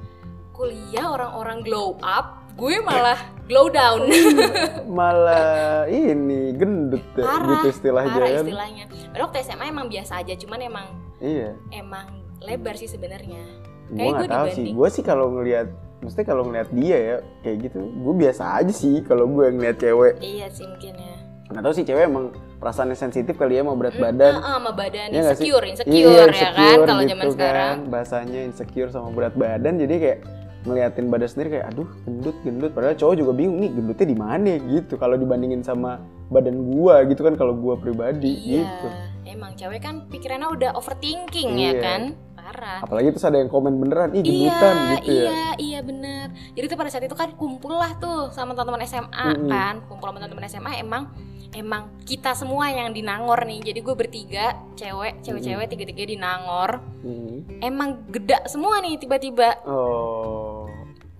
Speaker 2: kuliah orang-orang glow up gue malah glow down
Speaker 1: malah ini gendut ya,
Speaker 2: Parah,
Speaker 1: gitu istilahnya
Speaker 2: parah
Speaker 1: kan
Speaker 2: istilahnya padahal waktu SMA emang biasa aja cuman emang
Speaker 1: iya
Speaker 2: emang lebar sih sebenarnya
Speaker 1: gue
Speaker 2: Kayak
Speaker 1: nggak
Speaker 2: gua
Speaker 1: tahu sih
Speaker 2: dibanding-
Speaker 1: gue sih kalau ngelihat mesti kalau ngelihat dia ya kayak gitu gue biasa aja sih kalau gue ngelihat cewek
Speaker 2: iya sih mungkin ya
Speaker 1: nggak tahu sih cewek emang perasaannya sensitif kali ya mau berat
Speaker 2: Mm,
Speaker 1: badan
Speaker 2: ah, ah, sama badan
Speaker 1: Iya nggak sih?
Speaker 2: insecure
Speaker 1: Iya,
Speaker 2: insecure ya kan
Speaker 1: insecure
Speaker 2: kalau
Speaker 1: gitu
Speaker 2: zaman sekarang
Speaker 1: kan. bahasanya insecure sama berat badan jadi kayak ngeliatin badan sendiri kayak aduh gendut gendut padahal cowok juga bingung nih gendutnya di mana ya?" gitu kalau dibandingin sama badan gua gitu kan kalau gua pribadi
Speaker 2: iya
Speaker 1: gitu
Speaker 2: emang cewek kan pikirannya udah overthinking ya
Speaker 1: Iya.
Speaker 2: kan parah
Speaker 1: apalagi terus ada yang komen beneran ih gendutan
Speaker 2: iya,
Speaker 1: gitu
Speaker 2: iya,
Speaker 1: ya
Speaker 2: iya bener. Jadi tuh pada saat itu kan kumpul lah tuh sama teman-teman SMA
Speaker 1: Mm-mm.
Speaker 2: kan, kumpul sama teman-teman SMA emang emang kita semua yang di Nangor nih. Jadi gue bertiga cewek, cewek-cewek tiga-tiga di Nangor.
Speaker 1: Hmm.
Speaker 2: Emang geda semua nih tiba-tiba.
Speaker 1: oh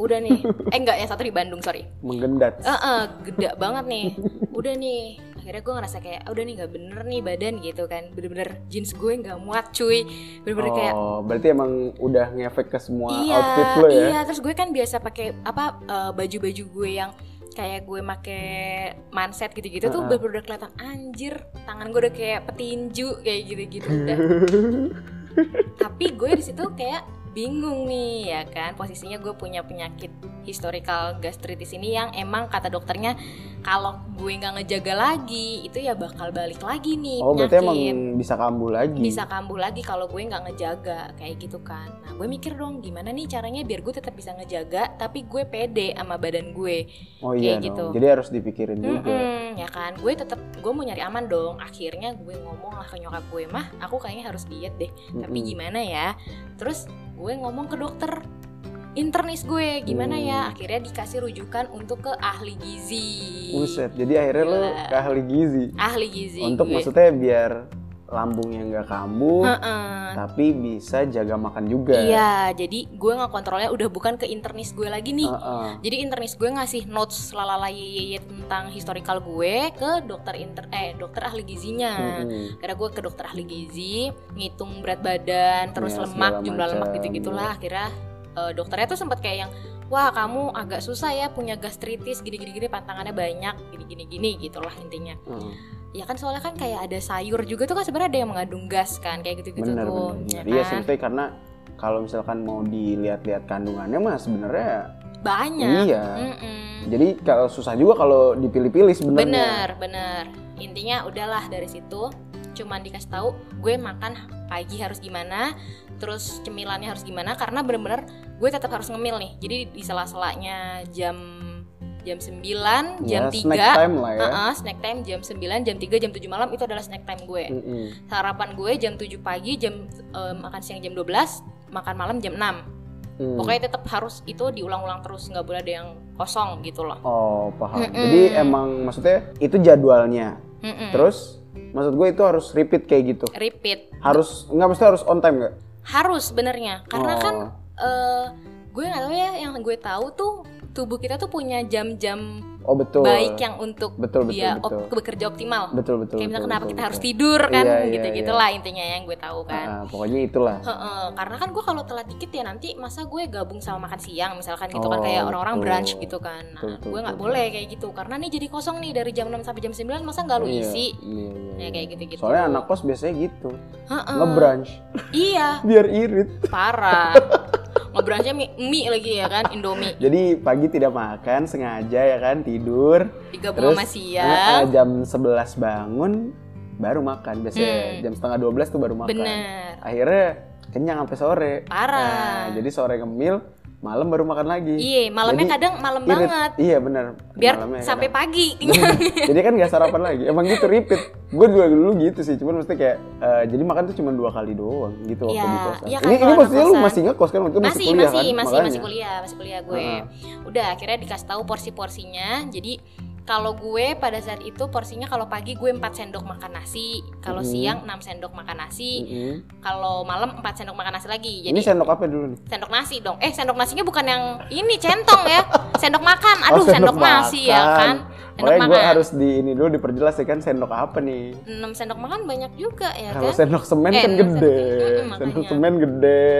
Speaker 2: Udah nih, eh enggak yang satu di Bandung sorry.
Speaker 1: menggendat
Speaker 2: Eh, eh, geda banget nih. Udah nih, akhirnya gue ngerasa kayak "Ah, udah nih nggak bener nih badan gitu kan. Bener-bener jeans gue nggak muat cuy. Bener-bener kayak
Speaker 1: oh berarti emang udah ngefek ke semua
Speaker 2: iya,
Speaker 1: outfit lo ya
Speaker 2: Iya, terus gue kan biasa pakai apa eh, baju-baju gue yang kayak gue make manset gitu-gitu tuh
Speaker 1: Heeh.
Speaker 2: baru udah kelihatan anjir, tangan gue udah kayak petinju kayak gitu-gitu udah. Tapi gue di situ kayak bingung nih ya kan posisinya gue punya penyakit historical gastritis ini yang emang kata dokternya kalau gue nggak ngejaga lagi itu ya bakal balik lagi nih
Speaker 1: oh berarti emang
Speaker 2: penyakit
Speaker 1: bisa kambuh lagi
Speaker 2: bisa kambuh lagi kalau gue nggak ngejaga kayak gitu kan nah gue mikir dong gimana nih caranya biar gue tetap bisa ngejaga tapi gue pede sama badan gue
Speaker 1: oh iya dong.
Speaker 2: kayak gitu.
Speaker 1: jadi harus dipikirin juga
Speaker 2: Mm-mm, ya kan gue tetap gue mau nyari aman dong akhirnya gue ngomong lah ke nyokap gue mah aku kayaknya harus diet deh tapi
Speaker 1: Mm-mm.
Speaker 2: gimana ya terus gue ngomong ke dokter internis gue gimana ya
Speaker 1: Hmm.
Speaker 2: akhirnya dikasih rujukan untuk ke ahli gizi
Speaker 1: Buset, jadi akhirnya lo
Speaker 2: Gila.
Speaker 1: ke ahli gizi.
Speaker 2: ahli gizi
Speaker 1: Untuk
Speaker 2: gue.
Speaker 1: maksudnya biar lambungnya nggak kambuh,
Speaker 2: Heeh.
Speaker 1: tapi bisa jaga makan juga.
Speaker 2: Iya, jadi gue ngekontrolnya udah bukan ke internis gue lagi nih.
Speaker 1: Heeh.
Speaker 2: Jadi internis gue ngasih notes lalala yeyeye tentang historical gue ke dokter inter eh dokter ahli gizinya.
Speaker 1: Mm-mm.
Speaker 2: Karena gue ke dokter ahli gizi, ngitung berat badan, terus
Speaker 1: Iya, segala
Speaker 2: lemak, jumlah lemak
Speaker 1: macam,
Speaker 2: gitu-gitulah. Akhirnya eh, dokternya tuh sempat kayak yang wah kamu agak susah ya punya gastritis gini-gini pantangannya banyak gini-gini gini gitulah intinya.
Speaker 1: Heeh.
Speaker 2: Ya kan soalnya kan kayak ada sayur juga tuh kan sebenarnya ada yang mengandung gas kan kayak gitu-gitu
Speaker 1: Bener
Speaker 2: tuh.
Speaker 1: bener. bener.
Speaker 2: ya
Speaker 1: Iya sih,
Speaker 2: kan?
Speaker 1: maksudnya karena kalau misalkan mau dilihat-lihat kandungannya mah sebenarnya
Speaker 2: Banyak.
Speaker 1: iya.
Speaker 2: Mm-mm.
Speaker 1: Jadi kalau susah juga kalau dipilih-pilih sebenarnya.
Speaker 2: Bener, bener. Intinya udahlah dari situ. Cuman dikasih tahu gue makan pagi harus gimana, terus cemilannya harus gimana karena bener-bener gue tetap harus ngemil nih. Jadi di sela-selanya jam jam 9,
Speaker 1: Ya,
Speaker 2: jam 3
Speaker 1: snack time lah ya.
Speaker 2: Heeh, snack time jam 9, jam 3, jam 7 malam itu adalah snack time gue.
Speaker 1: Mm-mm.
Speaker 2: Sarapan gue jam 7 pagi, jam eh, makan siang jam 12, makan malam jam 6.
Speaker 1: Mm.
Speaker 2: Pokoknya tetap harus itu diulang-ulang terus, nggak boleh ada yang kosong gitu loh.
Speaker 1: Oh paham.
Speaker 2: Mm-mm.
Speaker 1: Jadi emang maksudnya itu jadwalnya.
Speaker 2: Mm-mm.
Speaker 1: Terus maksud gue itu harus repeat kayak gitu.
Speaker 2: repeat.
Speaker 1: Harus nggak maksudnya harus on time nggak?
Speaker 2: harus sebenarnya karena
Speaker 1: Oh.
Speaker 2: kan eh, gue nggak tahu ya yang gue tahu tuh tubuh kita tuh punya jam-jam
Speaker 1: Oh betul.
Speaker 2: baik yang untuk
Speaker 1: betul betul
Speaker 2: dia
Speaker 1: betul.
Speaker 2: op- bekerja optimal
Speaker 1: betul betul.
Speaker 2: kayak
Speaker 1: betul,
Speaker 2: misalnya kenapa
Speaker 1: betul,
Speaker 2: kita harus
Speaker 1: betul.
Speaker 2: tidur kan
Speaker 1: Iya, iya,
Speaker 2: gitu gitulah intinya yang gue tahu kan
Speaker 1: Ah, ah, pokoknya itulah.
Speaker 2: Heeh, karena kan gue kalau telat dikit ya nanti masa gue gabung sama makan siang misalkan gitu kan
Speaker 1: Oh,
Speaker 2: kayak orang-orang
Speaker 1: betul.
Speaker 2: brunch gitu kan nah,
Speaker 1: Betul, betul,
Speaker 2: gue nggak
Speaker 1: betul.
Speaker 2: boleh kayak gitu karena nih jadi kosong nih dari jam 6 sampai jam 9 masa nggak lu
Speaker 1: Iya,
Speaker 2: isi
Speaker 1: Iya, iya,
Speaker 2: Ya,
Speaker 1: iya.
Speaker 2: kayak gitu-gitu.
Speaker 1: Soalnya anak kos biasanya gitu,
Speaker 2: Heeh.
Speaker 1: ngebrunch
Speaker 2: iya
Speaker 1: biar irit.
Speaker 2: parah ngebrunchnya mie, mie lagi ya kan indomie
Speaker 1: Jadi pagi tidak makan sengaja ya kan tidur.
Speaker 2: digabung
Speaker 1: Terus,
Speaker 2: sama
Speaker 1: Eh, eh,
Speaker 2: siang
Speaker 1: jam 11 bangun baru makan biasanya
Speaker 2: Hmm.
Speaker 1: jam setengah 12 tuh baru makan.
Speaker 2: bener
Speaker 1: Akhirnya kenyang sampai sore. Nah,
Speaker 2: parah
Speaker 1: jadi sore ngemil, malam baru makan lagi.
Speaker 2: iya malamnya
Speaker 1: jadi
Speaker 2: kadang malam
Speaker 1: irit.
Speaker 2: banget
Speaker 1: Iya benar.
Speaker 2: biar
Speaker 1: Malamnya
Speaker 2: sampai pagi
Speaker 1: jadi kan nggak sarapan lagi emang gitu repeat gue juga dulu gitu sih cuman mesti kayak eh, jadi makan tuh cuma dua kali doang gitu waktu
Speaker 2: Iya,
Speaker 1: di kosan
Speaker 2: iya kan
Speaker 1: ini ini
Speaker 2: kalau anak
Speaker 1: maksudnya lu
Speaker 2: kosan.
Speaker 1: masih ngekos kan waktu itu masih,
Speaker 2: masih
Speaker 1: kuliah kan
Speaker 2: masih masih
Speaker 1: Makanya.
Speaker 2: masih kuliah masih kuliah gue
Speaker 1: Heeh.
Speaker 2: udah akhirnya dikasih tahu porsi-porsinya jadi kalau gue pada saat itu porsinya kalau pagi gue 4 sendok makan nasi kalau
Speaker 1: Mhm.
Speaker 2: siang 6 sendok makan nasi
Speaker 1: Mm-mm.
Speaker 2: kalau malam 4 sendok makan nasi lagi jadi
Speaker 1: Mm-hmm. ini sendok apa dulu nih
Speaker 2: sendok nasi dong. Eh sendok nasinya bukan yang ini centong ya. Sendok makan. Aduh
Speaker 1: Oh,
Speaker 2: sendok,
Speaker 1: sendok
Speaker 2: nasi ya
Speaker 1: makan.
Speaker 2: kan. Sendok
Speaker 1: makanya gue
Speaker 2: makan.
Speaker 1: harus di ini dulu diperjelas ya kan sendok apa nih
Speaker 2: 6 sendok makan banyak juga ya
Speaker 1: kalau
Speaker 2: kan.
Speaker 1: sendok semen
Speaker 2: Eh,
Speaker 1: kan
Speaker 2: sendok
Speaker 1: gede
Speaker 2: semen. Mm-mm,
Speaker 1: sendok
Speaker 2: makanya.
Speaker 1: semen gede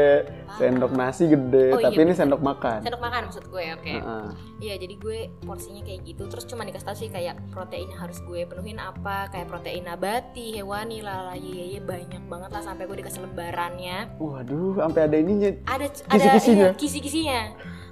Speaker 1: Sendok nasi gede,
Speaker 2: Oh, iya,
Speaker 1: tapi ini
Speaker 2: bener.
Speaker 1: sendok makan.
Speaker 2: sendok makan maksud gue oke
Speaker 1: Heeh.
Speaker 2: Iya jadi gue porsinya kayak gitu terus cuma dikasih tau sih kayak protein yang harus gue penuhin apa kayak protein nabati hewani lala ye banyak banget lah sampai gue dikasih lembarannya
Speaker 1: Waduh, sampai ada ininya.
Speaker 2: ada ada
Speaker 1: Kisi-kisinya.
Speaker 2: iya, kisi-kisinya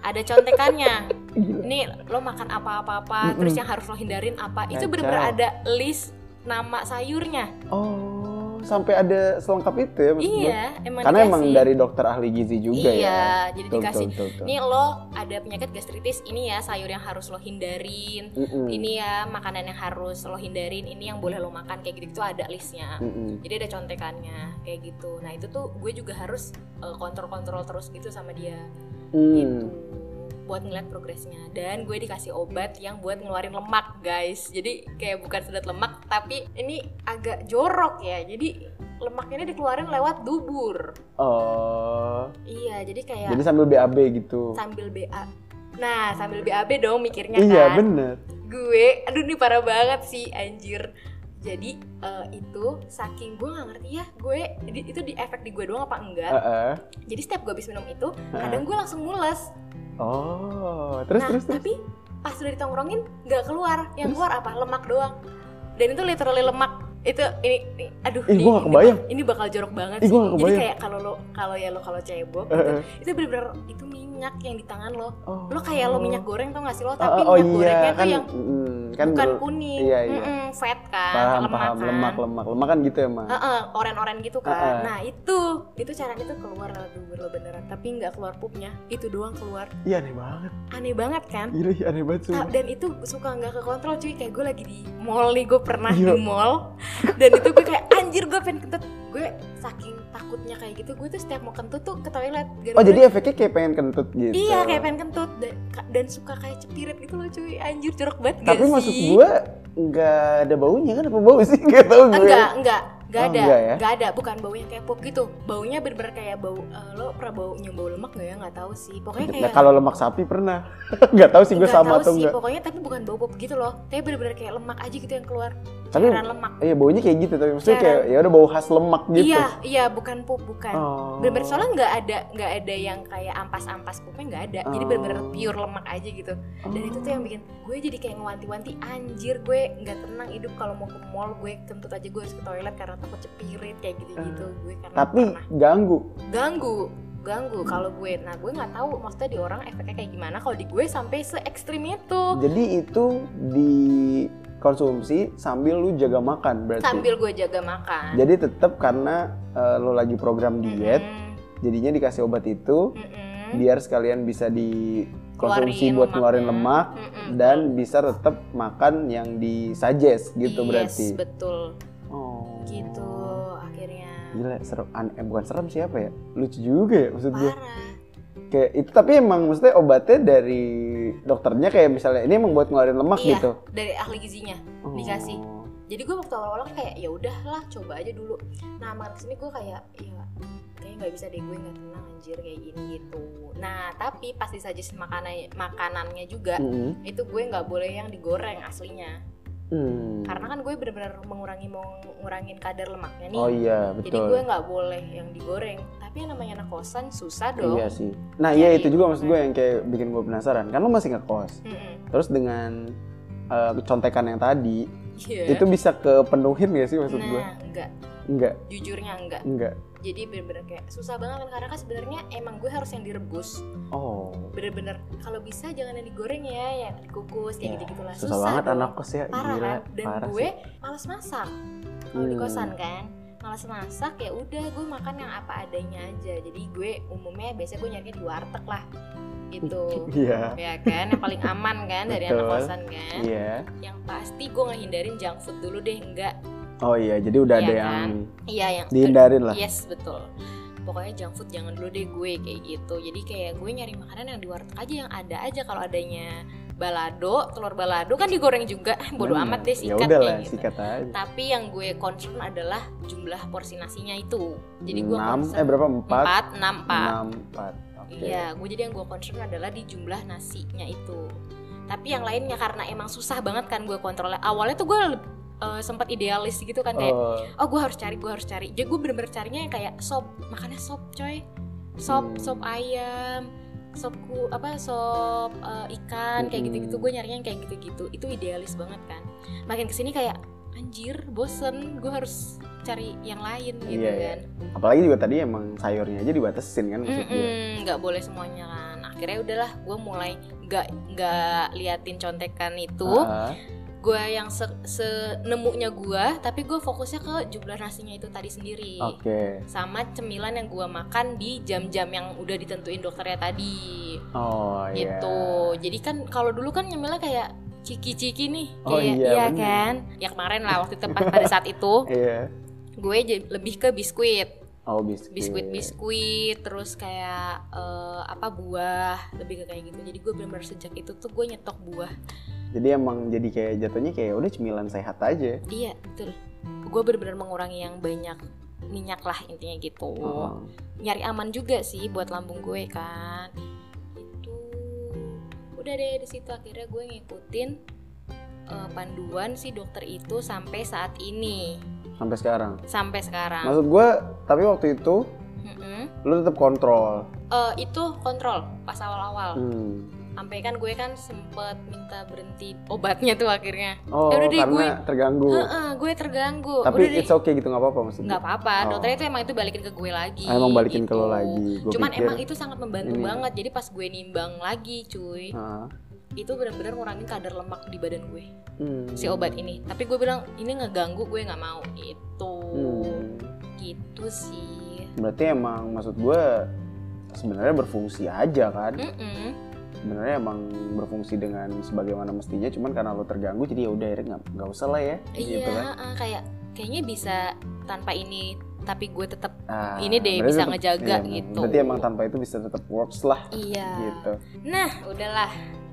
Speaker 2: ada contekannya
Speaker 1: Gila.
Speaker 2: nih lo makan apa-apa apa
Speaker 1: Mm-mm.
Speaker 2: terus yang harus lo hindarin apa itu
Speaker 1: Kacau.
Speaker 2: bener-bener ada list nama sayurnya
Speaker 1: Oh, sampai ada selengkap itu ya maksud gue.
Speaker 2: iya emang
Speaker 1: Karena emang
Speaker 2: dikasih.
Speaker 1: dari dokter ahli gizi juga
Speaker 2: iya
Speaker 1: ya.
Speaker 2: jadi
Speaker 1: Betul,
Speaker 2: dikasih
Speaker 1: betul, betul, betul.
Speaker 2: nih lo ada penyakit gastritis ini ya sayur yang harus lo hindarin
Speaker 1: Mm-mm.
Speaker 2: ini ya makanan yang harus lo hindarin ini yang boleh lo makan kayak gitu itu ada listnya
Speaker 1: Mm-mm.
Speaker 2: jadi ada contekannya kayak gitu nah itu tuh gue juga harus eh, kontrol-kontrol terus gitu sama dia
Speaker 1: Hmm.
Speaker 2: gitu buat ngeliat progresnya dan gue dikasih obat yang buat ngeluarin lemak guys jadi kayak bukan sedot lemak tapi ini agak jorok ya jadi lemaknya ini dikeluarin lewat dubur
Speaker 1: Oh,
Speaker 2: iya jadi kayak
Speaker 1: jadi sambil BAB gitu.
Speaker 2: sambil BA nah sambil BAB dong mikirnya
Speaker 1: Iya,
Speaker 2: kan
Speaker 1: bener.
Speaker 2: gue aduh ini parah banget sih anjir jadi eh, itu saking gue gak ngerti ya gue di- itu di efek di gue doang apa enggak
Speaker 1: Heeh.
Speaker 2: jadi setiap gue habis minum itu kadang gue langsung mules
Speaker 1: Oh, Ah. terus
Speaker 2: nah
Speaker 1: terus terus.
Speaker 2: tapi pas udah ditongkrongin nggak keluar yang
Speaker 1: Terus?
Speaker 2: keluar apa lemak doang dan itu literally lemak itu ini, ini- aduh
Speaker 1: Ih,
Speaker 2: ini-
Speaker 1: gua gak
Speaker 2: ini-
Speaker 1: kebayang.
Speaker 2: ini bakal jorok banget
Speaker 1: Ih,
Speaker 2: sih
Speaker 1: gua gak
Speaker 2: jadi
Speaker 1: kebayang.
Speaker 2: kayak kalau lo kalau ya lo kalau cebok
Speaker 1: Eh,
Speaker 2: gitu,
Speaker 1: eh.
Speaker 2: itu bener-bener itu minyak yang di tangan lo
Speaker 1: Oh.
Speaker 2: lo kayak lo minyak goreng tau gak sih lo
Speaker 1: Oh,
Speaker 2: tapi
Speaker 1: oh,
Speaker 2: minyak gorengnya
Speaker 1: iya,
Speaker 2: tuh
Speaker 1: kan,
Speaker 2: yang
Speaker 1: mm, kan
Speaker 2: bukan
Speaker 1: ber-
Speaker 2: kuning,
Speaker 1: iya, iya.
Speaker 2: Mm-mm, fat kan,
Speaker 1: paham
Speaker 2: lemak
Speaker 1: paham
Speaker 2: kan.
Speaker 1: lemak lemak lemak kan gitu emang.
Speaker 2: Heeh, oren-oren gitu kan.
Speaker 1: Heeh.
Speaker 2: Nah itu, itu caranya tuh keluar lewat dubur lo beneran, tapi nggak keluar pupnya, itu doang keluar.
Speaker 1: Iya aneh banget.
Speaker 2: Aneh banget kan?
Speaker 1: Gila, iya, aneh banget
Speaker 2: Ta-
Speaker 1: sumpah.
Speaker 2: Dan itu suka nggak kekontrol cuy, kayak gue lagi di mall nih, gue pernah
Speaker 1: Iya.
Speaker 2: di mall, dan itu gue kayak anjir gue pengen kentut, gue saking takutnya kayak gitu, gue tuh setiap mau kentut tuh ke toilet.
Speaker 1: Oh,
Speaker 2: Gara-gara-
Speaker 1: jadi efeknya kayak pengen kentut gitu.
Speaker 2: Iya kayak pengen kentut dan, dan suka kayak cepirit gitu loh cuy, anjir jorok banget gak
Speaker 1: Tapi
Speaker 2: sih?
Speaker 1: maksud gua nggak ada baunya kan apa bau sih? Gak tau gue.
Speaker 2: enggak enggak enggak
Speaker 1: Oh,
Speaker 2: ada
Speaker 1: enggak ya?
Speaker 2: enggak ada bukan baunya kayak pop gitu baunya bener-bener kayak bau eh, lo pernah bau nyium bau lemak nggak ya nggak tahu sih pokoknya
Speaker 1: Nah,
Speaker 2: kayak
Speaker 1: kalau lemak sapi pernah. nggak tahu sih gue
Speaker 2: nggak
Speaker 1: sama
Speaker 2: tahu
Speaker 1: atau
Speaker 2: sih
Speaker 1: enggak.
Speaker 2: pokoknya tapi bukan bau pop gitu loh tapi bener-bener kayak lemak aja gitu yang keluar
Speaker 1: Tapi
Speaker 2: cairan lemak
Speaker 1: iya baunya kayak gitu tapi maksudnya
Speaker 2: Cairan.
Speaker 1: kayak ya udah bau khas lemak gitu.
Speaker 2: iya iya bukan pop bukan
Speaker 1: Oh.
Speaker 2: bener-bener soalnya nggak ada nggak ada yang kayak ampas-ampas popnya nggak ada jadi
Speaker 1: Oh.
Speaker 2: bener-bener pure lemak aja gitu
Speaker 1: Oh.
Speaker 2: dan itu tuh yang bikin gue jadi kayak ngewanti-wanti anjir gue nggak tenang hidup kalau mau ke mall gue kentut aja gue harus ke toilet karena takut cepirit kayak gitu-gitu gue karena
Speaker 1: Eh, tapi
Speaker 2: pernah
Speaker 1: ganggu.
Speaker 2: ganggu ganggu kalau gue nah gue nggak tahu maksudnya di orang efeknya kayak gimana kalau di gue sampai se ekstrim itu
Speaker 1: Jadi itu dikonsumsi sambil lu jaga makan berarti.
Speaker 2: sambil gue jaga makan
Speaker 1: Jadi tetap karena eh, lu lagi program diet, jadinya dikasih obat itu
Speaker 2: Hmm?
Speaker 1: biar sekalian bisa dikonsumsi buat ngeluarin lemak
Speaker 2: Hmm.
Speaker 1: dan bisa tetap makan yang disuggest gitu berarti.
Speaker 2: betul
Speaker 1: Oh.
Speaker 2: gitu akhirnya
Speaker 1: Gila, serem. An- eh, bukan serem siapa ya? Lucu juga ya maksud gue.
Speaker 2: parah
Speaker 1: Kayak itu tapi emang maksudnya obatnya dari dokternya kayak misalnya ini emang buat ngeluarin lemak
Speaker 2: Iya.
Speaker 1: gitu.
Speaker 2: dari ahli gizinya
Speaker 1: Oh.
Speaker 2: Dikasih. jadi gue waktu awal-awal kayak ya udahlah coba aja dulu nah makin kesini gue kayak ya kayak nggak bisa deh gue nggak tenang anjir kayak gini gitu nah tapi pas disajis makanan makanannya juga
Speaker 1: Mm-mm.
Speaker 2: itu gue nggak boleh yang digoreng aslinya
Speaker 1: Hmm.
Speaker 2: karena kan gue bener-bener mengurangi mau ngurangin kadar lemaknya nih
Speaker 1: Oh iya,
Speaker 2: jadi
Speaker 1: betul.
Speaker 2: gue nggak boleh yang digoreng tapi yang namanya anak kosan susah dong
Speaker 1: Iya sih. Nah, iya
Speaker 2: Jadi-
Speaker 1: itu juga maksud gue yang kayak bikin gue penasaran. Kan lo masih ngekos.
Speaker 2: Mm-mm.
Speaker 1: Terus dengan eh, contekan yang tadi,
Speaker 2: Iya.
Speaker 1: itu bisa kepenuhin gak sih maksud
Speaker 2: nah
Speaker 1: gue?
Speaker 2: enggak
Speaker 1: Enggak,
Speaker 2: jujurnya enggak
Speaker 1: enggak.
Speaker 2: jadi bener-bener kayak susah banget kan karena kan sebenarnya emang gue harus yang direbus
Speaker 1: Oh.
Speaker 2: bener-bener kalau bisa jangan yang digoreng ya yang dikukus
Speaker 1: Ya,
Speaker 2: kayak gitu gitulah
Speaker 1: Susah, banget
Speaker 2: dong.
Speaker 1: anak kos ya.
Speaker 2: parah
Speaker 1: Gila,
Speaker 2: kan dan
Speaker 1: parah
Speaker 2: gue
Speaker 1: sih.
Speaker 2: malas masak kalau di
Speaker 1: Hmm.
Speaker 2: kosan kan malas masak ya udah gue makan yang apa adanya aja jadi gue umumnya biasanya gue nyarinya di warteg lah gitu
Speaker 1: Iya.
Speaker 2: ya kan yang paling aman kan dari anak
Speaker 1: Betul.
Speaker 2: kosan kan
Speaker 1: Iya.
Speaker 2: yang pasti gue ngehindarin junk food dulu deh enggak
Speaker 1: Oh iya, jadi udah
Speaker 2: Iya
Speaker 1: ada
Speaker 2: kan?
Speaker 1: yang
Speaker 2: iya yang
Speaker 1: dihindarin lah.
Speaker 2: yes betul pokoknya junk food jangan dulu deh gue kayak gitu jadi kayak gue nyari makanan yang di warteg aja yang ada aja kalau adanya balado telur balado kan digoreng juga bodo
Speaker 1: Bener.
Speaker 2: amat deh
Speaker 1: Ya
Speaker 2: sikat
Speaker 1: udah
Speaker 2: kayak
Speaker 1: lah,
Speaker 2: gitu.
Speaker 1: sikat aja.
Speaker 2: tapi yang gue concern adalah jumlah porsi nasinya itu jadi gue
Speaker 1: Enam,
Speaker 2: concern
Speaker 1: eh berapa? Empat.
Speaker 2: empat enam pak
Speaker 1: Enam, empat. Oke.
Speaker 2: iya gue jadi yang gue concern adalah di jumlah nasinya itu tapi yang lainnya karena emang susah banget kan gue kontrolnya awalnya tuh gue sempat idealis gitu kan kayak
Speaker 1: Oh,
Speaker 2: oh gue harus cari gue harus cari jadi gue bener-bener carinya yang kayak sop makannya sop coy sop
Speaker 1: Hmm.
Speaker 2: sop ayam sop ku apa sop eh, ikan
Speaker 1: Mm-mm.
Speaker 2: kayak gitu-gitu gue nyarinya yang kayak gitu-gitu itu idealis banget kan makin kesini kayak anjir bosen gue harus cari yang lain
Speaker 1: Iya,
Speaker 2: gitu
Speaker 1: iya.
Speaker 2: kan
Speaker 1: apalagi juga tadi emang sayurnya aja dibatasin kan maksud gue
Speaker 2: Mm-mm, nggak boleh semuanya kan akhirnya udahlah gue mulai nggak nggak liatin contekan itu
Speaker 1: Ah,
Speaker 2: gue yang se, senemunya gue tapi gue fokusnya ke jumlah nasinya itu tadi sendiri
Speaker 1: oke
Speaker 2: sama cemilan yang gue makan di jam-jam yang udah ditentuin dokternya tadi
Speaker 1: oh iya
Speaker 2: gitu jadi kan kalau dulu kan nyemilnya kayak ciki-ciki nih
Speaker 1: Oh,
Speaker 2: kayak
Speaker 1: iya, bener.
Speaker 2: kan ya kemarin lah waktu tepat pada saat itu
Speaker 1: iya
Speaker 2: gue jadi lebih ke biskuit
Speaker 1: oh biskuit
Speaker 2: biskuit biskuit terus kayak eh, apa buah lebih ke kayak gitu jadi gue benar-benar sejak itu tuh gue nyetok buah
Speaker 1: jadi emang jadi kayak jatuhnya kayak udah cemilan sehat aja
Speaker 2: iya betul gue benar-benar mengurangi yang banyak minyak lah intinya gitu
Speaker 1: Oh.
Speaker 2: nyari aman juga sih buat lambung gue kan itu udah deh di situ akhirnya gue ngikutin eh, panduan si dokter itu sampai saat ini
Speaker 1: sampai sekarang
Speaker 2: sampai sekarang
Speaker 1: maksud gue tapi waktu itu
Speaker 2: Mm-mm.
Speaker 1: lu tetap kontrol
Speaker 2: Eh, itu kontrol pas awal-awal
Speaker 1: Hmm.
Speaker 2: sampai kan gue kan sempet minta berhenti obatnya tuh akhirnya
Speaker 1: oh
Speaker 2: Ya udah deh,
Speaker 1: karena
Speaker 2: gue-
Speaker 1: terganggu
Speaker 2: Heeh, gue terganggu
Speaker 1: tapi
Speaker 2: udah deh
Speaker 1: it's okay gitu nggak apa-apa maksudnya
Speaker 2: nggak apa-apa
Speaker 1: Oh.
Speaker 2: dokternya itu emang itu balikin ke gue lagi
Speaker 1: Ah, emang balikin ke
Speaker 2: gitu.
Speaker 1: lo lagi Gua
Speaker 2: cuman
Speaker 1: pikir,
Speaker 2: emang itu sangat membantu
Speaker 1: ini. ya.
Speaker 2: banget jadi pas gue nimbang lagi cuy
Speaker 1: ah,
Speaker 2: itu benar-benar ngurangin kadar lemak di badan gue
Speaker 1: hmm.
Speaker 2: si obat ini tapi gue bilang ini ngeganggu gue nggak mau itu
Speaker 1: Hmm.
Speaker 2: gitu sih
Speaker 1: berarti emang maksud gue sebenarnya berfungsi aja kan
Speaker 2: Hmm. Mm-mm.
Speaker 1: sebenarnya emang berfungsi dengan sebagaimana mestinya cuman karena lo terganggu jadi ya udah akhirnya nggak nggak usah lah ya
Speaker 2: iya
Speaker 1: gitu kan
Speaker 2: ah, kayak kayaknya bisa tanpa ini tapi gue tetap
Speaker 1: Ah,
Speaker 2: ini deh
Speaker 1: berarti
Speaker 2: bisa
Speaker 1: tetep-
Speaker 2: ngejaga
Speaker 1: iya,
Speaker 2: gitu
Speaker 1: berarti emang tanpa itu bisa tetap works lah
Speaker 2: iya
Speaker 1: gitu
Speaker 2: nah udahlah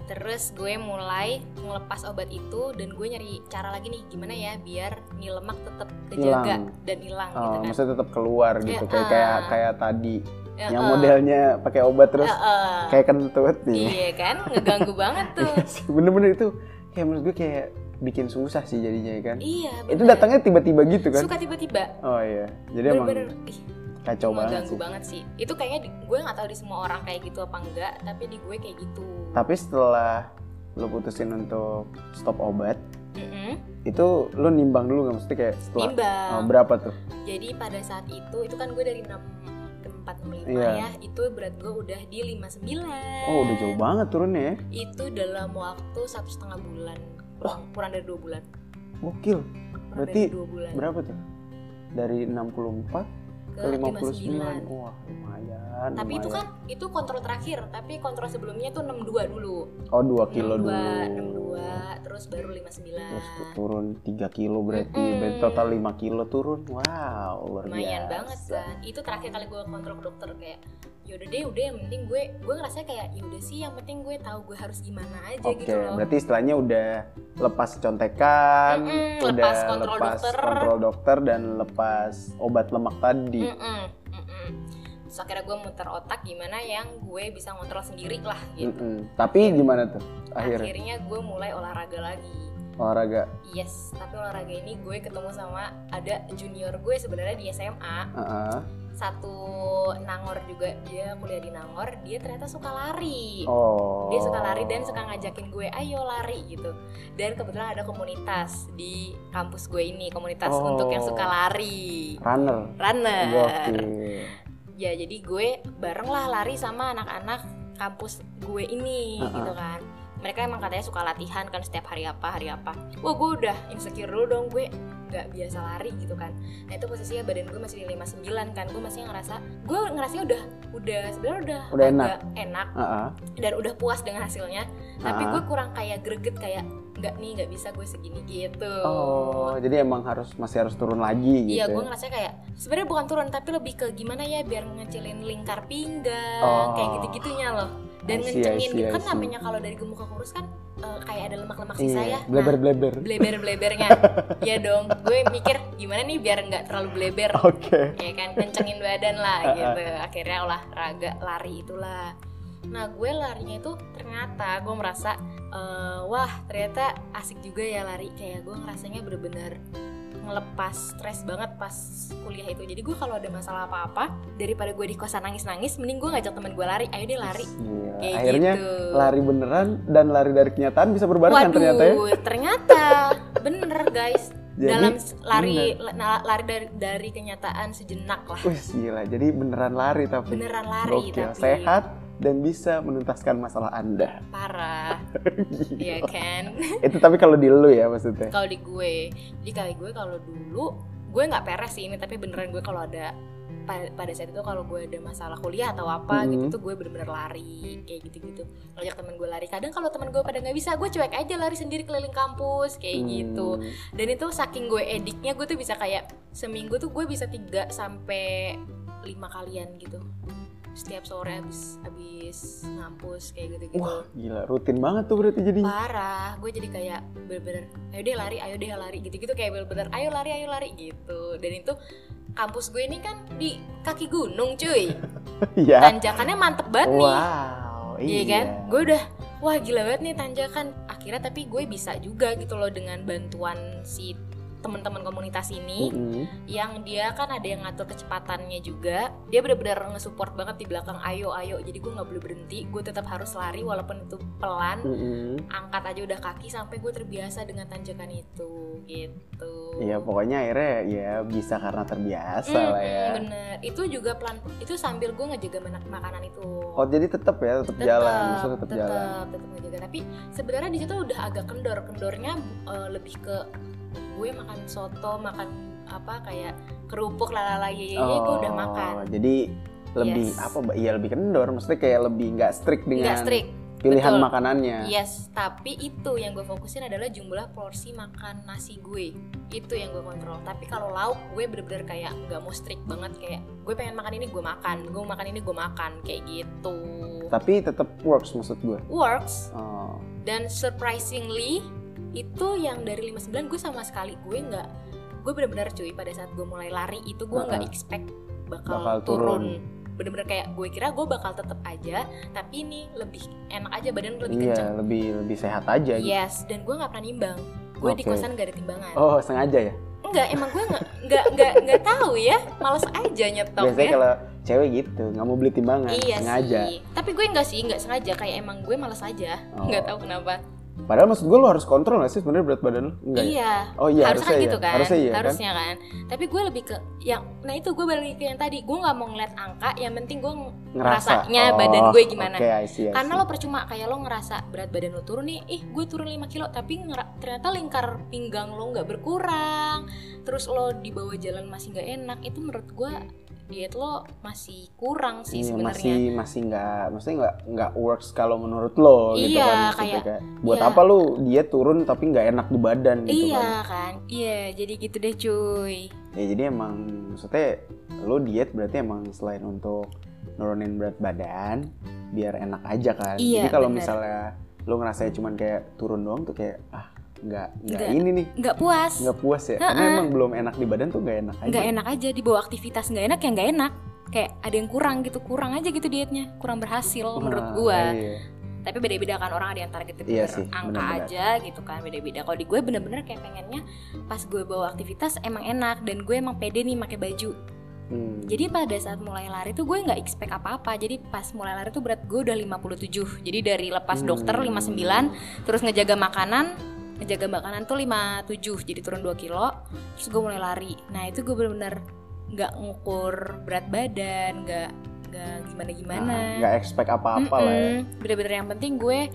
Speaker 2: terus gue mulai ngelepas obat itu dan gue nyari cara lagi nih gimana ya biar nih lemak tetap terjaga
Speaker 1: Hilang.
Speaker 2: dan hilang
Speaker 1: Oh,
Speaker 2: gitu kan
Speaker 1: maksudnya tetap keluar gitu
Speaker 2: Ya,
Speaker 1: kayak
Speaker 2: ah.
Speaker 1: kayak kayak tadi
Speaker 2: Ya,
Speaker 1: yang
Speaker 2: eh,
Speaker 1: modelnya pakai obat terus
Speaker 2: eh, eh.
Speaker 1: kayak kentut nih
Speaker 2: iya kan ngeganggu banget tuh
Speaker 1: bener-bener itu kayak menurut gue kayak bikin susah sih jadinya ya kan
Speaker 2: iya
Speaker 1: itu
Speaker 2: bener.
Speaker 1: datangnya tiba-tiba gitu kan
Speaker 2: suka tiba-tiba
Speaker 1: oh iya jadi emang
Speaker 2: bener-bener ih,
Speaker 1: kacau banget
Speaker 2: ngeganggu
Speaker 1: sih
Speaker 2: banget sih. Itu kayaknya di- gue nggak tahu di semua orang kayak gitu apa enggak, tapi di gue kayak gitu.
Speaker 1: tapi setelah lo putusin untuk stop obat
Speaker 2: Mm-mm.
Speaker 1: itu lo nimbang dulu nggak mesti kayak setelah
Speaker 2: Nimbang.
Speaker 1: oh, berapa tuh
Speaker 2: Jadi pada saat itu itu kan gue dari 6 465
Speaker 1: Iya.
Speaker 2: ya, itu berat gue udah di 59.
Speaker 1: oh udah jauh banget turunnya ya
Speaker 2: Itu dalam waktu satu setengah bulan, kurang, kurang dari dua bulan.
Speaker 1: gokil
Speaker 2: Kurang
Speaker 1: Berarti
Speaker 2: dari dua bulan
Speaker 1: berapa tuh dari 64
Speaker 2: ke
Speaker 1: ke 59
Speaker 2: 59.
Speaker 1: wah lumayan
Speaker 2: Tapi itu
Speaker 1: Oh, lumayan.
Speaker 2: kan itu kontrol terakhir, tapi kontrol sebelumnya tuh 62 dulu.
Speaker 1: oh 2 kilo
Speaker 2: 62,
Speaker 1: dulu
Speaker 2: 62, terus baru 59.
Speaker 1: Terus turun 3 kilo berarti,
Speaker 2: Mm-mm.
Speaker 1: berarti total 5 kilo turun. Wow, luar
Speaker 2: lumayan
Speaker 1: biasa.
Speaker 2: banget kan itu terakhir kali gue kontrol ke dokter kayak yaudah deh udah yang penting gue gue ngerasa kayak yaudah sih yang penting gue tahu gue harus gimana aja
Speaker 1: Oke,
Speaker 2: gitu loh
Speaker 1: berarti istilahnya udah lepas contekan,
Speaker 2: Mm-mm,
Speaker 1: udah
Speaker 2: lepas kontrol
Speaker 1: lepas
Speaker 2: dokter.
Speaker 1: kontrol dokter dan lepas obat lemak tadi.
Speaker 2: Mm-mm, mm-mm. terus akhirnya gue muter otak gimana yang gue bisa ngontrol sendiri lah gitu
Speaker 1: Mm-mm. Tapi gimana tuh akhirnya?
Speaker 2: akhirnya gue mulai olahraga lagi
Speaker 1: Olahraga.
Speaker 2: yes tapi olahraga ini gue ketemu sama ada junior gue sebenarnya di SMA
Speaker 1: Heeh.
Speaker 2: satu Nangor juga dia kuliah di Nangor dia ternyata suka lari
Speaker 1: Oh.
Speaker 2: dia suka lari dan suka ngajakin gue ayo lari gitu dan kebetulan ada komunitas di kampus gue ini komunitas
Speaker 1: Oh.
Speaker 2: untuk yang suka lari
Speaker 1: runner.
Speaker 2: Iya. runner
Speaker 1: Gokil.
Speaker 2: ya jadi gue bareng lah lari sama anak-anak kampus gue ini
Speaker 1: Uh-uh.
Speaker 2: gitu kan mereka emang katanya suka latihan kan setiap hari apa hari apa wah gue udah insecure dulu dong gue nggak biasa lari gitu kan nah itu posisinya badan gue masih di 59 kan gue masih ngerasa gue ngerasanya udah udah sebenarnya udah
Speaker 1: Udah enak.
Speaker 2: agak enak
Speaker 1: Heeh.
Speaker 2: dan udah puas dengan hasilnya tapi
Speaker 1: Ah.
Speaker 2: gue kurang kayak greget kayak nggak nih nggak bisa gue segini gitu
Speaker 1: Oh, jadi emang harus masih harus turun lagi gitu.
Speaker 2: Iya,
Speaker 1: ya?
Speaker 2: gue ngerasa kayak sebenarnya bukan turun tapi lebih ke gimana ya biar ngecilin lingkar pinggang
Speaker 1: Oh.
Speaker 2: kayak gitu-gitunya loh. Dan
Speaker 1: I see, I
Speaker 2: ngencengin
Speaker 1: see, I
Speaker 2: kan
Speaker 1: see.
Speaker 2: namanya kalau dari gemuk ke kurus kan eh, kayak ada lemak-lemak sisa
Speaker 1: Iya,
Speaker 2: ya. Nah,
Speaker 1: bleber-bleber.
Speaker 2: bleber-blebernya. ya dong, gue mikir gimana nih biar nggak terlalu bleber.
Speaker 1: Oke.
Speaker 2: ya kan kencengin badan
Speaker 1: Ah,
Speaker 2: lah
Speaker 1: ah.
Speaker 2: gitu akhirnya olahraga lari itulah nah gue larinya itu ternyata gue merasa eh, wah ternyata asik juga ya lari kayak gue ngerasanya bener-bener ngelepas stres banget pas kuliah itu jadi gue kalau ada masalah apa-apa daripada gue di kosan nangis-nangis mending gue ngajak temen gue lari ayo deh lari
Speaker 1: Gila.
Speaker 2: kayak
Speaker 1: Akhirnya
Speaker 2: gitu
Speaker 1: lari beneran dan lari dari kenyataan bisa berbarengan
Speaker 2: waduh
Speaker 1: ternyata ya.
Speaker 2: ternyata bener guys
Speaker 1: Jadi,
Speaker 2: dalam s- lari la- lari dari, dari kenyataan sejenak lah
Speaker 1: Wih gila, jadi beneran lari tapi.
Speaker 2: beneran lari
Speaker 1: Gokil,
Speaker 2: tapi
Speaker 1: ya, sehat dan bisa menuntaskan masalah Anda.
Speaker 2: parah ya
Speaker 1: Gila.
Speaker 2: kan
Speaker 1: Itu tapi kalau di lu ya maksudnya.
Speaker 2: kalau di gue jadi kali gue kalau dulu gue nggak peres sih ini tapi beneran gue kalau ada pa- pada saat itu kalau gue ada masalah kuliah atau apa
Speaker 1: Mhm.
Speaker 2: gitu tuh gue bener-bener lari kayak gitu-gitu ngajak temen gue lari kadang kalau temen gue pada nggak bisa gue cuek aja lari sendiri keliling kampus kayak
Speaker 1: Hmm.
Speaker 2: gitu dan itu saking gue ediknya gue tuh bisa kayak seminggu tuh gue bisa 3 sampai lima kalian gitu setiap sore habis habis ngampus kayak gitu-gitu
Speaker 1: Wah, gila rutin banget tuh berarti jadinya.
Speaker 2: parah gue jadi kayak bener-bener ayo deh lari ayo deh lari gitu-gitu kayak bener-bener ayo lari ayo lari gitu dan itu kampus gue ini kan di kaki gunung cuy
Speaker 1: Iya.
Speaker 2: tanjakannya mantep banget nih
Speaker 1: Wow.
Speaker 2: iya kan gue udah wah gila banget nih tanjakan akhirnya tapi gue bisa juga gitu loh dengan bantuan si teman-teman komunitas ini
Speaker 1: Mm-mm.
Speaker 2: yang dia kan ada yang ngatur kecepatannya juga dia bener-bener nge-support banget di belakang ayo ayo jadi gue nggak boleh berhenti gue tetap harus lari walaupun itu pelan
Speaker 1: Mm-mm.
Speaker 2: angkat aja udah kaki sampai gue terbiasa dengan tanjakan itu gitu.
Speaker 1: Iya, pokoknya akhirnya ya bisa karena terbiasa
Speaker 2: Mm,
Speaker 1: lah ya.
Speaker 2: mm, Bener. Itu juga pelan. Itu sambil gue ngejaga menak makanan itu.
Speaker 1: Oh, jadi tetap ya, tetap jalan, maksudnya tetap
Speaker 2: tetep,
Speaker 1: jalan.
Speaker 2: tetep ngejaga. Tapi sebenarnya di situ udah agak kendor. Kendornya eh, lebih ke gue makan soto, makan apa kayak kerupuk lalala ye iya, gue udah makan.
Speaker 1: Oh, Jadi lebih
Speaker 2: Yes.
Speaker 1: apa? Mbak? Iya, lebih kendor. Maksudnya kayak lebih nggak strict dengan
Speaker 2: Enggak strict.
Speaker 1: pilihan
Speaker 2: betul. Iya.
Speaker 1: makanannya.
Speaker 2: Yes, tapi itu yang gue fokusin adalah jumlah porsi makan nasi gue Itu yang gue kontrol Tapi kalau lauk gue bener-bener kayak nggak mau strict banget Kayak gue pengen makan ini gue makan Gue makan ini gue makan Kayak gitu
Speaker 1: Tapi tetap works maksud gue.
Speaker 2: Works
Speaker 1: Oh,
Speaker 2: Dan surprisingly Itu yang dari 59 gue sama sekali Gue nggak Gue bener-bener cuy pada saat gue mulai lari Itu gue nggak
Speaker 1: Uh-uh.
Speaker 2: expect bakal,
Speaker 1: Bakal turun.
Speaker 2: turun bener-bener kayak gue kira gue bakal tetep aja tapi ini lebih enak aja badan lebih kenceng Iya.
Speaker 1: iya, lebih lebih sehat aja gitu.
Speaker 2: Yes, dan gue nggak pernah nimbang. Gue di
Speaker 1: Oke.
Speaker 2: kosan gak ada timbangan.
Speaker 1: Oh, sengaja ya.
Speaker 2: Enggak, emang gue nggak nggak nggak nggak tahu ya. Males aja nyetok
Speaker 1: Biasanya
Speaker 2: ya.
Speaker 1: kalau cewek gitu, nggak mau beli timbangan,
Speaker 2: Iya
Speaker 1: sengaja.
Speaker 2: sih. Tapi gue nggak sih, nggak sengaja. Kayak emang gue males aja.
Speaker 1: Oh.
Speaker 2: Nggak tahu kenapa.
Speaker 1: Padahal maksud gue lo harus kontrol nggak sih sebenarnya berat badan lo? Enggak ya?
Speaker 2: Iya.
Speaker 1: Oh iya,
Speaker 2: harusnya kan
Speaker 1: harusnya
Speaker 2: gitu
Speaker 1: iya.
Speaker 2: kan.
Speaker 1: Harusnya iya kan?
Speaker 2: Harusnya kan. Tapi gue lebih ke yang nah itu gue balik ke yang tadi. Gue nggak mau ngeliat angka, yang penting gue ng- rasanya badan gue gimana.
Speaker 1: Oh, Oke, I see, I see.
Speaker 2: karena lo percuma kayak lo ngerasa berat badan lo turun nih, ih gue turun 5 kilo tapi ngera- ternyata lingkar pinggang lo nggak berkurang, terus lo dibawa jalan masih nggak enak, itu menurut gue diet lo masih kurang sih
Speaker 1: Iya, masih
Speaker 2: sebenarnya.
Speaker 1: masih nggak maksudnya nggak nggak works kalau menurut lo gitu
Speaker 2: Iya,
Speaker 1: kan maksudnya
Speaker 2: kayak-
Speaker 1: buat
Speaker 2: iya.
Speaker 1: apa lo dia turun tapi nggak enak di badan gitu
Speaker 2: Iya
Speaker 1: kan
Speaker 2: kan, iya jadi gitu deh cuy.
Speaker 1: ya jadi emang maksudnya lo diet berarti emang selain untuk nurunin berat badan biar enak aja kan jadi
Speaker 2: Iya,
Speaker 1: kalau
Speaker 2: benar.
Speaker 1: misalnya lo ngerasa cuman kayak turun doang tuh kayak ah nggak nggak
Speaker 2: Nggak.
Speaker 1: ini nih
Speaker 2: Nggak puas,
Speaker 1: nggak puas ya karena
Speaker 2: Ha-ha.
Speaker 1: emang belum enak di badan tuh nggak enak aja
Speaker 2: nggak enak aja dibawa aktivitas nggak enak ya nggak enak. Kayak ada yang kurang gitu, kurang aja gitu dietnya, kurang berhasil
Speaker 1: Nah,
Speaker 2: menurut gue.
Speaker 1: iya.
Speaker 2: tapi beda-beda kan orang ada yang targetnya
Speaker 1: Iya
Speaker 2: bener
Speaker 1: sih,
Speaker 2: angka
Speaker 1: benar-benar.
Speaker 2: aja gitu kan beda-beda kalau di gue bener-bener kayak pengennya pas gue bawa aktivitas emang enak dan gue emang pede nih pakai baju
Speaker 1: Hmm.
Speaker 2: jadi pada saat mulai lari tuh gue nggak expect apa-apa jadi pas mulai lari tuh berat gue udah 57 jadi dari lepas dokter
Speaker 1: Hmm.
Speaker 2: 59 terus ngejaga makanan ngejaga makanan tuh 57 jadi turun 2 kilo terus gue mulai lari nah itu gue bener-bener nggak ngukur berat badan nggak nggak
Speaker 1: Nah,
Speaker 2: gimana-gimana
Speaker 1: nggak expect apa-apa lah ya
Speaker 2: Mm-mm. Bener-bener yang penting gue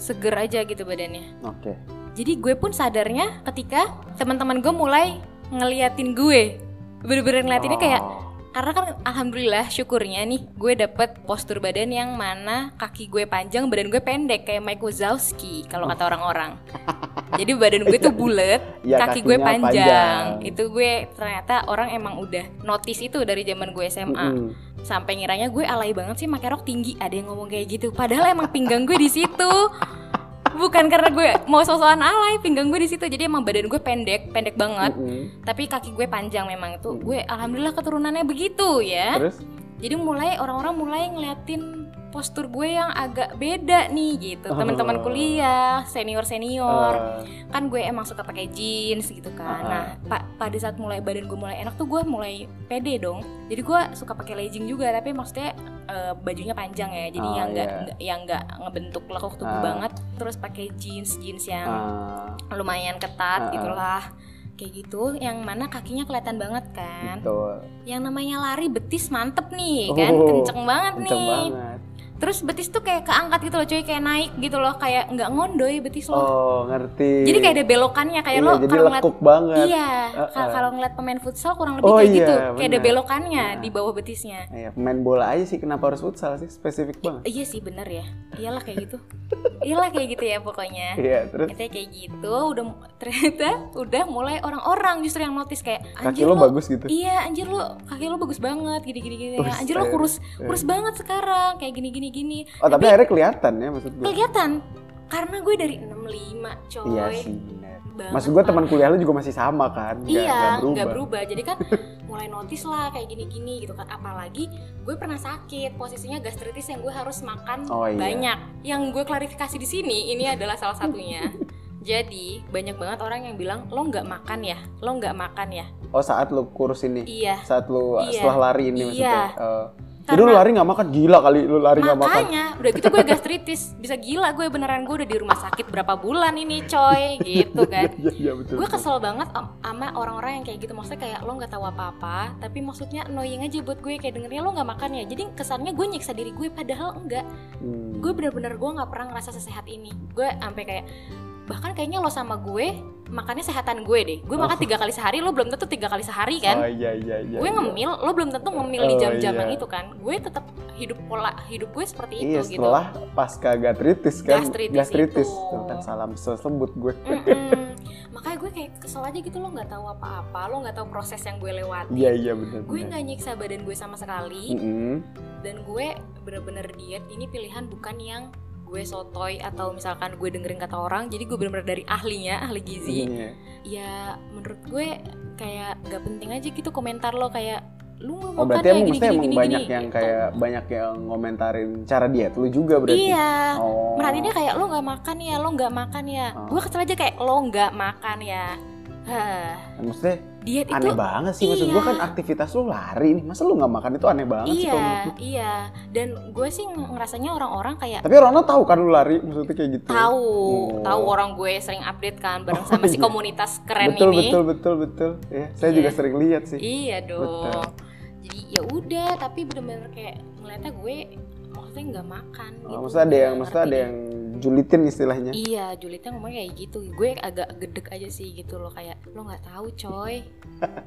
Speaker 2: seger aja gitu badannya.
Speaker 1: oke
Speaker 2: Jadi gue pun sadarnya ketika teman-teman gue mulai ngeliatin gue. Bener-bener ngeliatinnya kayak
Speaker 1: Oh.
Speaker 2: karena kan alhamdulillah syukurnya nih gue dapet postur badan yang mana kaki gue panjang badan gue pendek kayak Mike Wazowski kalau kata orang-orang. Jadi badan gue tuh bulat,
Speaker 1: Iya,
Speaker 2: kaki gue
Speaker 1: kakinya
Speaker 2: panjang. gitu. Itu gue ternyata orang emang udah notice itu dari zaman gue SMA
Speaker 1: Mm-mm.
Speaker 2: sampai ngiranya gue alay banget sih pakai rok tinggi ada yang ngomong kayak gitu padahal emang pinggang gue di situ bukan karena gue mau sosokan alay pinggang gue di situ jadi emang badan gue pendek pendek banget
Speaker 1: Mm-mm.
Speaker 2: tapi kaki gue panjang memang itu gue alhamdulillah keturunannya begitu ya
Speaker 1: terus
Speaker 2: jadi mulai orang-orang mulai ngeliatin postur gue yang agak beda nih gitu teman-teman
Speaker 1: Oh.
Speaker 2: kuliah senior senior
Speaker 1: Eh,
Speaker 2: kan gue emang suka pakai jeans gitu
Speaker 1: Ah.
Speaker 2: kan. Nah, pa- pada saat mulai badan gue mulai enak tuh gue mulai pede dong. Jadi gue suka pakai legging juga tapi maksudnya eh, bajunya panjang ya. Jadi
Speaker 1: Ah,
Speaker 2: yang enggak
Speaker 1: iya.
Speaker 2: yang nggak ngebentuk lekuk tubuh
Speaker 1: Ah.
Speaker 2: banget. Terus pakai jeans jeans yang kan.
Speaker 1: ah,
Speaker 2: lumayan ketat
Speaker 1: Ah, ah.
Speaker 2: gitulah. Kayak gitu yang mana kakinya kelihatan banget kan.
Speaker 1: betul.
Speaker 2: Yang namanya lari betis mantep nih kan.
Speaker 1: Oh,
Speaker 2: Kenceng banget
Speaker 1: Kenceng
Speaker 2: nih.
Speaker 1: banget.
Speaker 2: Terus betis tuh kayak keangkat gitu loh cuy, kayak naik gitu loh, kayak nggak ngondoy betis lo.
Speaker 1: Oh, ngerti.
Speaker 2: Jadi kayak ada belokannya kayak
Speaker 1: Iya,
Speaker 2: lo
Speaker 1: jadi
Speaker 2: kalau ngeliat
Speaker 1: lekuk banget.
Speaker 2: Iya,
Speaker 1: Uh-uh.
Speaker 2: ka- kalau ngeliat pemain futsal kurang lebih
Speaker 1: Oh
Speaker 2: kayak
Speaker 1: iya,
Speaker 2: gitu, kayak ada
Speaker 1: benar.
Speaker 2: belokannya
Speaker 1: Nah.
Speaker 2: di bawah betisnya.
Speaker 1: Iya, pemain bola aja sih kenapa harus futsal sih spesifik banget.
Speaker 2: Iya sih bener ya, iyalah kayak gitu, iyalah kayak gitu ya pokoknya.
Speaker 1: Iya, terus
Speaker 2: Ternyata kayak gitu, udah mu- ternyata udah mulai orang-orang justru yang notice kayak
Speaker 1: kaki lo bagus gitu.
Speaker 2: Iya, anjir lu kaki lu bagus banget, gini-gini gini.
Speaker 1: Wih,
Speaker 2: Anjir lu
Speaker 1: sayang.
Speaker 2: kurus
Speaker 1: gitu.
Speaker 2: kurus banget sekarang, kayak gini-gini gini.
Speaker 1: Oh, tapi, akhirnya kelihatan ya maksud
Speaker 2: Iya,
Speaker 1: gue.
Speaker 2: Kelihatan karena gue dari 65, coy.
Speaker 1: Iya sih, bener.
Speaker 2: Banget,
Speaker 1: Maksud gue
Speaker 2: Pak.
Speaker 1: teman kuliah lu juga masih sama kan? Nggak-
Speaker 2: iya,
Speaker 1: nggak
Speaker 2: nggak berubah. Jadi kan mulai notice lah kayak gini-gini gitu kan. Apalagi gue pernah sakit, posisinya gastritis yang gue harus makan
Speaker 1: Oh, iya.
Speaker 2: banyak. Yang gue klarifikasi di sini ini adalah salah satunya. Jadi banyak banget orang yang bilang lo nggak makan ya, lo nggak makan ya.
Speaker 1: Oh, saat lu kurus ini.
Speaker 2: Iya,
Speaker 1: Saat lu
Speaker 2: Iya.
Speaker 1: setelah lari ini
Speaker 2: Iya.
Speaker 1: maksudnya. Eh, jadi lu
Speaker 2: karena
Speaker 1: lari nggak makan gila kali lu lari nggak makan.
Speaker 2: makanya udah gitu gue gastritis bisa gila gue beneran gue udah di rumah sakit berapa bulan ini coy gitu kan
Speaker 1: Iya, iya betul.
Speaker 2: gue kesel banget am- sama orang-orang yang kayak gitu maksudnya kayak lo nggak tahu apa-apa tapi maksudnya annoying aja buat gue kayak dengernya lo nggak makan ya jadi kesannya gue nyiksa diri gue padahal enggak
Speaker 1: Hmm.
Speaker 2: gue bener-bener gue nggak pernah ngerasa sesehat ini gue sampai kayak bahkan kayaknya lo sama gue makannya sehatan gue deh gue makan tiga kali sehari lo belum tentu tiga kali sehari
Speaker 1: Oh
Speaker 2: kan
Speaker 1: iya iya iya.
Speaker 2: gue
Speaker 1: iya.
Speaker 2: ngemil lo belum tentu ngemil di
Speaker 1: Oh,
Speaker 2: jam-jam
Speaker 1: iya.
Speaker 2: yang itu kan gue tetap hidup pola hidup gue seperti itu
Speaker 1: Iya
Speaker 2: gitu
Speaker 1: setelah pasca gastritis kan
Speaker 2: Gastritis itu. Mm.
Speaker 1: Tuh kan salam sesebut gue
Speaker 2: Mm-mm. makanya gue kayak kesel aja gitu lo nggak tahu apa-apa lo nggak tahu proses yang gue lewati
Speaker 1: Iya iya Mm. benar
Speaker 2: gue nggak nyiksa badan gue sama sekali dan gue bener-bener diet ini pilihan bukan yang gue sotoy atau misalkan gue dengerin kata orang jadi gue bener-bener dari ahlinya ahli gizi
Speaker 1: Mm.
Speaker 2: ya menurut gue kayak gak penting aja gitu komentar lo kayak lu nggak
Speaker 1: Oh
Speaker 2: makan
Speaker 1: berarti
Speaker 2: ya gitu.
Speaker 1: emang
Speaker 2: gini
Speaker 1: mesti
Speaker 2: gini
Speaker 1: emang
Speaker 2: gini
Speaker 1: banyak
Speaker 2: gini."
Speaker 1: yang kayak banyak yang ngomentarin cara diet lu juga berarti.
Speaker 2: iya
Speaker 1: Oh.
Speaker 2: merhatiinnya kayak lo nggak makan ya lo nggak makan ya
Speaker 1: Oh.
Speaker 2: gue kesel aja kayak lo nggak makan ya Hah,
Speaker 1: Maksudnya
Speaker 2: diet itu
Speaker 1: aneh banget sih maksud gue
Speaker 2: iya.
Speaker 1: kan aktivitas lu lari nih. Masa lu nggak makan itu aneh banget sih kalau menurut
Speaker 2: iya
Speaker 1: gue.
Speaker 2: iya dan gue sih ngerasanya orang-orang kayak
Speaker 1: Tapi orang tahu kan lu lari maksudnya kayak gitu.
Speaker 2: tahu
Speaker 1: Oh.
Speaker 2: tahu orang gue sering update kan bareng sama si
Speaker 1: iya.
Speaker 2: komunitas keren
Speaker 1: betul,
Speaker 2: ini
Speaker 1: Betul betul betul Iya, Saya
Speaker 2: Iya.
Speaker 1: juga sering lihat sih.
Speaker 2: iya dong
Speaker 1: Betul.
Speaker 2: jadi ya udah tapi bener-bener kayak ngeliatnya gue maksudnya nggak makan gitu
Speaker 1: Oh, maksudnya ada yang
Speaker 2: Nggak
Speaker 1: maksudnya ada
Speaker 2: ngerti
Speaker 1: yang julitin istilahnya.
Speaker 2: iya julitnya ngomong kayak gitu gue agak gedek aja sih gitu loh kayak lo nggak tahu coy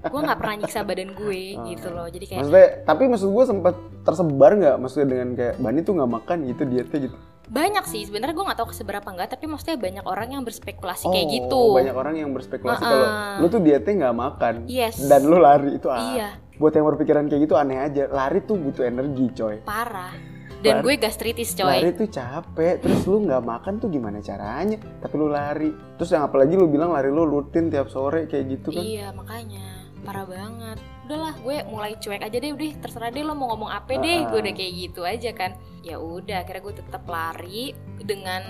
Speaker 2: gue nggak pernah nyiksa badan gue
Speaker 1: Oh.
Speaker 2: gitu loh jadi kayak
Speaker 1: Maksudnya, tapi maksud gue sempat tersebar nggak? Maksudnya dengan kayak Bani tuh nggak makan gitu dietnya gitu.
Speaker 2: banyak sih sebenarnya gue nggak tahu seberapa nggak tapi maksudnya banyak orang yang berspekulasi kayak gitu
Speaker 1: Oh, Banyak orang yang berspekulasi
Speaker 2: Ah,
Speaker 1: kalau
Speaker 2: ah.
Speaker 1: lu tuh dietnya nggak makan
Speaker 2: yes
Speaker 1: dan lu lari itu ah.
Speaker 2: iya
Speaker 1: Buat yang berpikiran kayak gitu aneh aja. Lari tuh butuh energi, coy.
Speaker 2: parah dan
Speaker 1: Lari-
Speaker 2: gue gastritis coy
Speaker 1: Lari tuh capek, terus lu nggak makan tuh gimana caranya? Tapi lu lari. Terus yang apalagi lu bilang lari lu rutin tiap sore kayak gitu kan.
Speaker 2: Iya makanya parah banget. Udahlah gue mulai cuek aja deh udah terserah deh lo mau ngomong apa deh
Speaker 1: Ah.
Speaker 2: gue udah kayak gitu aja kan. Ya udah akhirnya gue tetap lari dengan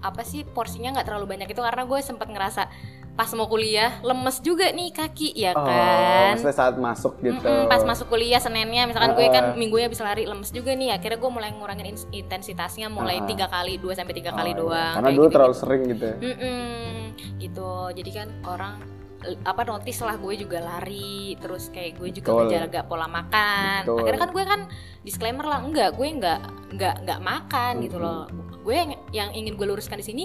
Speaker 2: apa sih porsinya nggak terlalu banyak itu karena gue sempat ngerasa pas mau kuliah lemes juga nih kaki ya
Speaker 1: Oh,
Speaker 2: kan.
Speaker 1: maksudnya saat masuk gitu.
Speaker 2: Mm-mm, pas masuk kuliah Seninnya misalkan gue
Speaker 1: Ah.
Speaker 2: kan minggunya bisa lari lemes juga nih akhirnya gue mulai ngurangin ins- intensitasnya
Speaker 1: Ah.
Speaker 2: mulai tiga kali dua sampai
Speaker 1: Oh,
Speaker 2: tiga kali
Speaker 1: iya.
Speaker 2: doang
Speaker 1: Karena
Speaker 2: kayak
Speaker 1: dulu
Speaker 2: gitu-gitu.
Speaker 1: terlalu sering gitu. ya.
Speaker 2: Mm-mm, gitu jadi kan orang eh, apa notice lah gue juga lari terus kayak gue juga
Speaker 1: Betul.
Speaker 2: menjaga pola makan
Speaker 1: Betul.
Speaker 2: akhirnya kan gue kan disclaimer lah enggak gue enggak enggak enggak makan gitu
Speaker 1: Mm-mm.
Speaker 2: loh gue yang, yang ingin gue luruskan di sini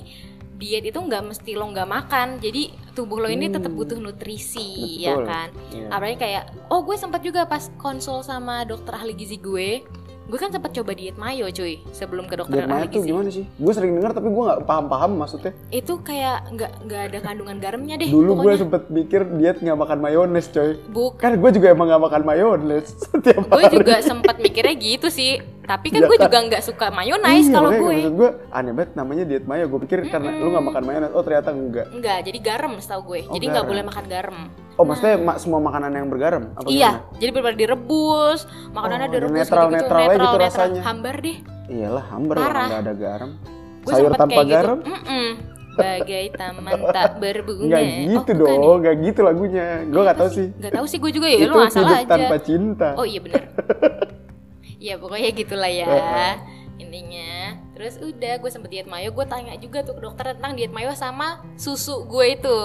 Speaker 2: diet itu enggak mesti lo enggak makan jadi tubuh lo ini tetap
Speaker 1: Hmm.
Speaker 2: butuh nutrisi ya
Speaker 1: Betul.
Speaker 2: kan
Speaker 1: Iya.
Speaker 2: apalagi kayak oh gue sempat juga pas konsul sama dokter ahli gizi gue gue kan sempat coba diet mayo cuy sebelum ke dokter
Speaker 1: Diet
Speaker 2: ahli
Speaker 1: maya tuh
Speaker 2: gizi
Speaker 1: gimana sih? Gue sering dengar tapi gue nggak paham-paham maksudnya.
Speaker 2: itu kayak nggak nggak ada kandungan garamnya deh
Speaker 1: Dulu gue
Speaker 2: pokoknya
Speaker 1: sempet mikir diet nggak makan mayones coy.
Speaker 2: Buk-
Speaker 1: Kan gue juga emang nggak makan mayones setiap
Speaker 2: gue
Speaker 1: hari.
Speaker 2: juga sempat mikirnya gitu sih Tapi kan
Speaker 1: Iya
Speaker 2: gue
Speaker 1: kan?
Speaker 2: juga nggak suka mayonnaise
Speaker 1: Iya,
Speaker 2: kalau
Speaker 1: makanya
Speaker 2: gue.
Speaker 1: Maksud gue aneh banget namanya diet mayo. Gue pikir karena
Speaker 2: Mm-mm.
Speaker 1: lu nggak makan mayonnaise, oh ternyata enggak.
Speaker 2: Enggak, jadi garam setahu gue.
Speaker 1: Oh,
Speaker 2: jadi nggak
Speaker 1: garam.
Speaker 2: boleh makan garam.
Speaker 1: Oh maksudnya ma- semua makanan yang bergaram? Apa
Speaker 2: Nah. iya,
Speaker 1: gimana?
Speaker 2: jadi benar direbus, makanannya
Speaker 1: Oh,
Speaker 2: direbus
Speaker 1: netral-
Speaker 2: gitu-gitu,
Speaker 1: netral aja gitu rasanya.
Speaker 2: Hambar deh.
Speaker 1: Iyalah hambar
Speaker 2: Parah.
Speaker 1: orang nggak ada garam.
Speaker 2: Gue
Speaker 1: Sayur
Speaker 2: sempet
Speaker 1: tanpa
Speaker 2: kayak
Speaker 1: garam?
Speaker 2: gitu. Mm-mm. Bagai taman tak berbunga. Oh,
Speaker 1: Nggak gitu dong, nggak gitu lagunya. Gue nggak tahu sih.
Speaker 2: Gak tahu ya? sih gue juga ya,
Speaker 1: Itu
Speaker 2: lu asal
Speaker 1: hidup
Speaker 2: aja.
Speaker 1: tanpa cinta.
Speaker 2: Oh iya benar. ya pokoknya gitulah ya
Speaker 1: Heeh.
Speaker 2: intinya. Terus udah gue sempet diet mayo, gue tanya juga tuh ke dokter tentang diet mayo sama susu gue itu.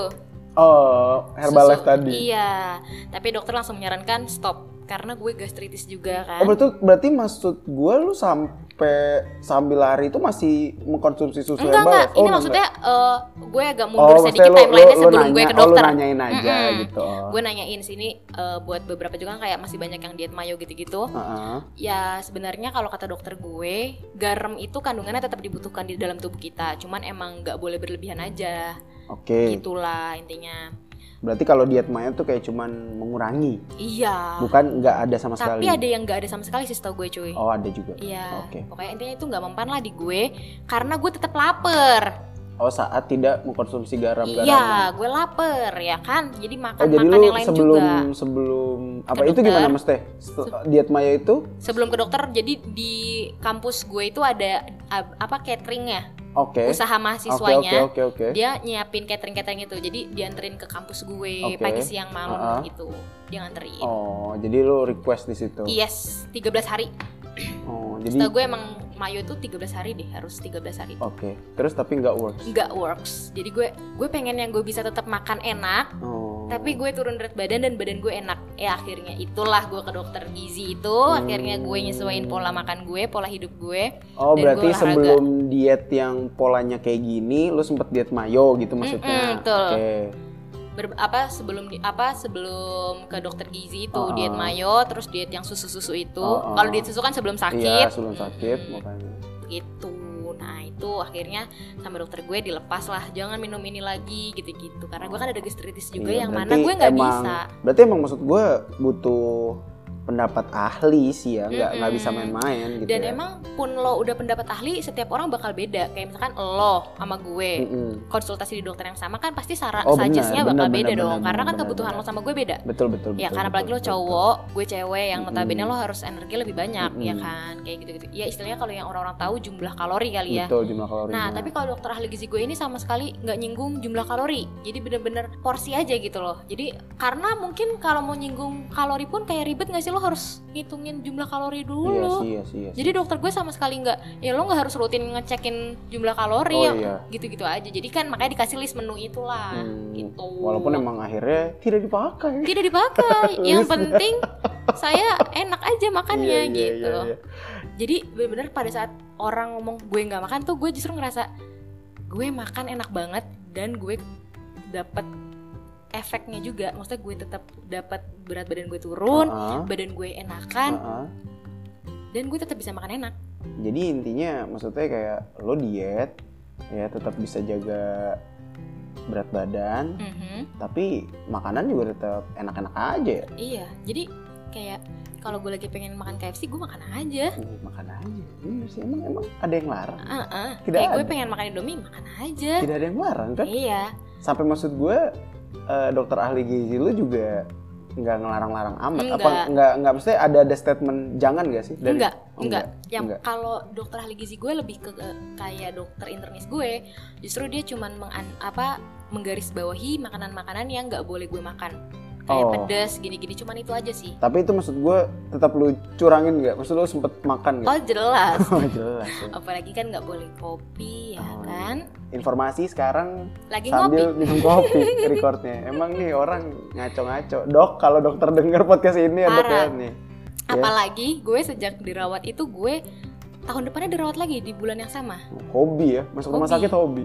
Speaker 1: Oh, Herbalife
Speaker 2: Susu-
Speaker 1: tadi.
Speaker 2: Iya, tapi dokter langsung menyarankan stop karena gue gastritis juga
Speaker 1: Oh
Speaker 2: kan.
Speaker 1: berarti berarti maksud gue lu sampai sambil lari itu masih mengkonsumsi susu
Speaker 2: enggak enggak,
Speaker 1: Herbalife? Oh,
Speaker 2: ini
Speaker 1: enggak,
Speaker 2: maksudnya eh, gue agak
Speaker 1: enggak.
Speaker 2: mundur sedikit
Speaker 1: Oh, maksudnya lu-
Speaker 2: timelinenya
Speaker 1: lu- lu
Speaker 2: sebelum gue
Speaker 1: nanya-
Speaker 2: ke dokter.
Speaker 1: Oh, lu nanyain aja
Speaker 2: Mm-mm.
Speaker 1: gitu. Oh.
Speaker 2: Gue nanyain sini eh, buat beberapa juga kan kayak masih banyak yang diet mayo gitu-gitu.
Speaker 1: Heeh.
Speaker 2: Ya sebenarnya kalau kata dokter gue, garam itu kandungannya tetap dibutuhkan di dalam tubuh kita. Cuman emang nggak boleh berlebihan aja.
Speaker 1: Oke.
Speaker 2: Gitulah intinya.
Speaker 1: Berarti kalau diet maya tuh kayak cuman mengurangi,
Speaker 2: Iya.
Speaker 1: bukan nggak ada sama sekali.
Speaker 2: Tapi ada yang nggak ada sama sekali sih setahu gue cuy.
Speaker 1: Oh ada juga.
Speaker 2: Iya.
Speaker 1: Oke.
Speaker 2: Pokoknya intinya itu nggak mempan lah di gue karena gue tetap lapar.
Speaker 1: Oh saat tidak mengkonsumsi garam garam.
Speaker 2: Iya, gue lapar ya kan. Jadi makan
Speaker 1: Oh jadi
Speaker 2: makan
Speaker 1: lu
Speaker 2: yang lain
Speaker 1: sebelum
Speaker 2: juga.
Speaker 1: sebelum apa
Speaker 2: Ke
Speaker 1: itu
Speaker 2: dokter.
Speaker 1: gimana mas teh? Setel- Diet maya itu?
Speaker 2: Sebelum ke dokter, jadi di kampus gue itu ada ab- apa cateringnya,
Speaker 1: Oke.
Speaker 2: usaha
Speaker 1: Oke
Speaker 2: mahasiswanya.
Speaker 1: oke oke oke.
Speaker 2: dia nyiapin catering catering itu jadi dianterin ke kampus gue
Speaker 1: Oke.
Speaker 2: pagi siang malam
Speaker 1: Ah-ah.
Speaker 2: gitu dia nganterin
Speaker 1: Oh jadi lu request di situ.
Speaker 2: yes 13 hari
Speaker 1: Oh jadi
Speaker 2: Iya. Setahu gue emang mayo itu 13 hari deh harus 13 hari
Speaker 1: Oke, terus tapi nggak works.
Speaker 2: nggak works jadi gue gue pengen yang gue bisa tetap makan enak
Speaker 1: Oh.
Speaker 2: tapi gue turun berat badan dan badan gue enak ya akhirnya itulah gue ke dokter gizi itu
Speaker 1: Hmm.
Speaker 2: akhirnya gue nyesuaiin pola makan gue pola hidup gue
Speaker 1: oh
Speaker 2: dan
Speaker 1: berarti
Speaker 2: gue olahraga.
Speaker 1: sebelum diet yang polanya kayak gini, lu sempet diet mayo gitu maksudnya?
Speaker 2: Mm-mm, betul.
Speaker 1: Oke.
Speaker 2: Ber- apa sebelum di- apa sebelum ke dokter gizi itu
Speaker 1: Ah.
Speaker 2: diet mayo terus diet yang susu susu itu
Speaker 1: Ah, ah.
Speaker 2: kalau diet susu kan sebelum
Speaker 1: Iya
Speaker 2: sakit Hmm,
Speaker 1: sebelum sakit makanya.
Speaker 2: gitu nah itu akhirnya sama dokter gue dilepas lah jangan minum ini lagi gitu-gitu karena gue kan ada gastritis juga
Speaker 1: Iya,
Speaker 2: yang mana
Speaker 1: berarti
Speaker 2: gue nggak
Speaker 1: emang- gitu
Speaker 2: bisa
Speaker 1: Berarti emang maksud gue butuh pendapat ahli sih ya, nggak nggak
Speaker 2: Mm-mm.
Speaker 1: bisa main-main gitu.
Speaker 2: dan
Speaker 1: ya.
Speaker 2: emang pun lo udah pendapat ahli setiap orang bakal beda kayak misalkan lo sama gue
Speaker 1: Mm-mm.
Speaker 2: konsultasi di dokter yang sama kan pasti saran
Speaker 1: Oh, benar,
Speaker 2: suggestnya bakal
Speaker 1: benar,
Speaker 2: beda
Speaker 1: benar,
Speaker 2: dong
Speaker 1: benar,
Speaker 2: karena kan
Speaker 1: benar,
Speaker 2: kebutuhan
Speaker 1: benar.
Speaker 2: lo sama gue beda
Speaker 1: betul betul.
Speaker 2: Ya
Speaker 1: betul,
Speaker 2: karena apalagi
Speaker 1: betul,
Speaker 2: lo
Speaker 1: betul.
Speaker 2: cowok, gue cewek yang notabene
Speaker 1: Mm-mm.
Speaker 2: lo harus energi lebih banyak ya
Speaker 1: Mm-mm.
Speaker 2: kan kayak gitu-gitu. Ya istilahnya kalau yang orang-orang tahu jumlah kalori kali ya.
Speaker 1: Betul jumlah kalori.
Speaker 2: Nah tapi kalau dokter ahli gizi gue ini sama sekali nggak nyinggung jumlah kalori, jadi bener-bener porsi aja gitu loh. Jadi karena mungkin kalau mau nyinggung kalori pun kayak ribet nggak sih lo harus ngitungin jumlah kalori
Speaker 1: Iya
Speaker 2: dulu.
Speaker 1: sih, iya sih, iya sih.
Speaker 2: Jadi dokter gue sama sekali nggak, ya lo nggak harus rutin ngecekin jumlah kalori
Speaker 1: Oh
Speaker 2: ya,
Speaker 1: iya.
Speaker 2: gitu-gitu aja. Jadi kan makanya dikasih list menu itulah,
Speaker 1: Hmm,
Speaker 2: gitu. Iya,
Speaker 1: Walaupun emang akhirnya tidak dipakai.
Speaker 2: tidak dipakai yang
Speaker 1: List.
Speaker 2: penting saya enak aja
Speaker 1: Iya,
Speaker 2: makannya
Speaker 1: iya,
Speaker 2: gitu
Speaker 1: iya, iya.
Speaker 2: jadi bener-bener pada saat orang ngomong gue nggak makan tuh gue justru ngerasa gue makan enak banget dan gue dapat efeknya juga maksudnya gue tetap dapat berat badan gue turun
Speaker 1: Ah,
Speaker 2: badan gue enakan
Speaker 1: ah, ah.
Speaker 2: dan gue tetap bisa makan enak
Speaker 1: jadi intinya maksudnya kayak lo diet ya tetap bisa jaga berat badan
Speaker 2: Mhm.
Speaker 1: tapi makanan juga tetap enak-enak aja ya
Speaker 2: iya jadi kayak kalau gue lagi pengen makan KFC gue makan aja
Speaker 1: Hmm, makan aja Bener sih emang emang ada yang larang
Speaker 2: Ah, ah.
Speaker 1: Tidak
Speaker 2: kayak gue
Speaker 1: ada.
Speaker 2: pengen makan Indomie makan aja
Speaker 1: tidak ada yang larang kan
Speaker 2: iya
Speaker 1: sampai maksud gue eh, dokter ahli gizi lo juga nggak ngelarang-larang amat apa
Speaker 2: Enggak.
Speaker 1: nggak nggak mesti ada ada statement jangan gak sih dari
Speaker 2: enggak,
Speaker 1: Oh,
Speaker 2: enggak. Yang
Speaker 1: enggak.
Speaker 2: kalau dokter ahli gizi gue lebih ke ke- kayak dokter internis gue, justru dia cuman mengan, apa menggarisbawahi makanan-makanan yang nggak boleh gue makan. Kayak
Speaker 1: Oh.
Speaker 2: pedes gini-gini cuman itu aja sih.
Speaker 1: tapi itu maksud gue tetap lu curangin nggak maksud lu sempet makan nggak
Speaker 2: Oh, jelas.
Speaker 1: oh. jelas ya.
Speaker 2: Apalagi kan nggak boleh kopi ya
Speaker 1: Oh,
Speaker 2: kan.
Speaker 1: informasi sekarang
Speaker 2: Lagi
Speaker 1: sambil ya.
Speaker 2: ngopi.
Speaker 1: minum kopi recordnya emang nih orang ngaco-ngaco dok kalau dokter denger podcast ini ya dok ya
Speaker 2: Parah.
Speaker 1: nih
Speaker 2: Apalagi gue sejak dirawat itu gue tahun depannya dirawat lagi di bulan yang sama.
Speaker 1: hobi ya masuk rumah
Speaker 2: Hobi.
Speaker 1: sakit hobi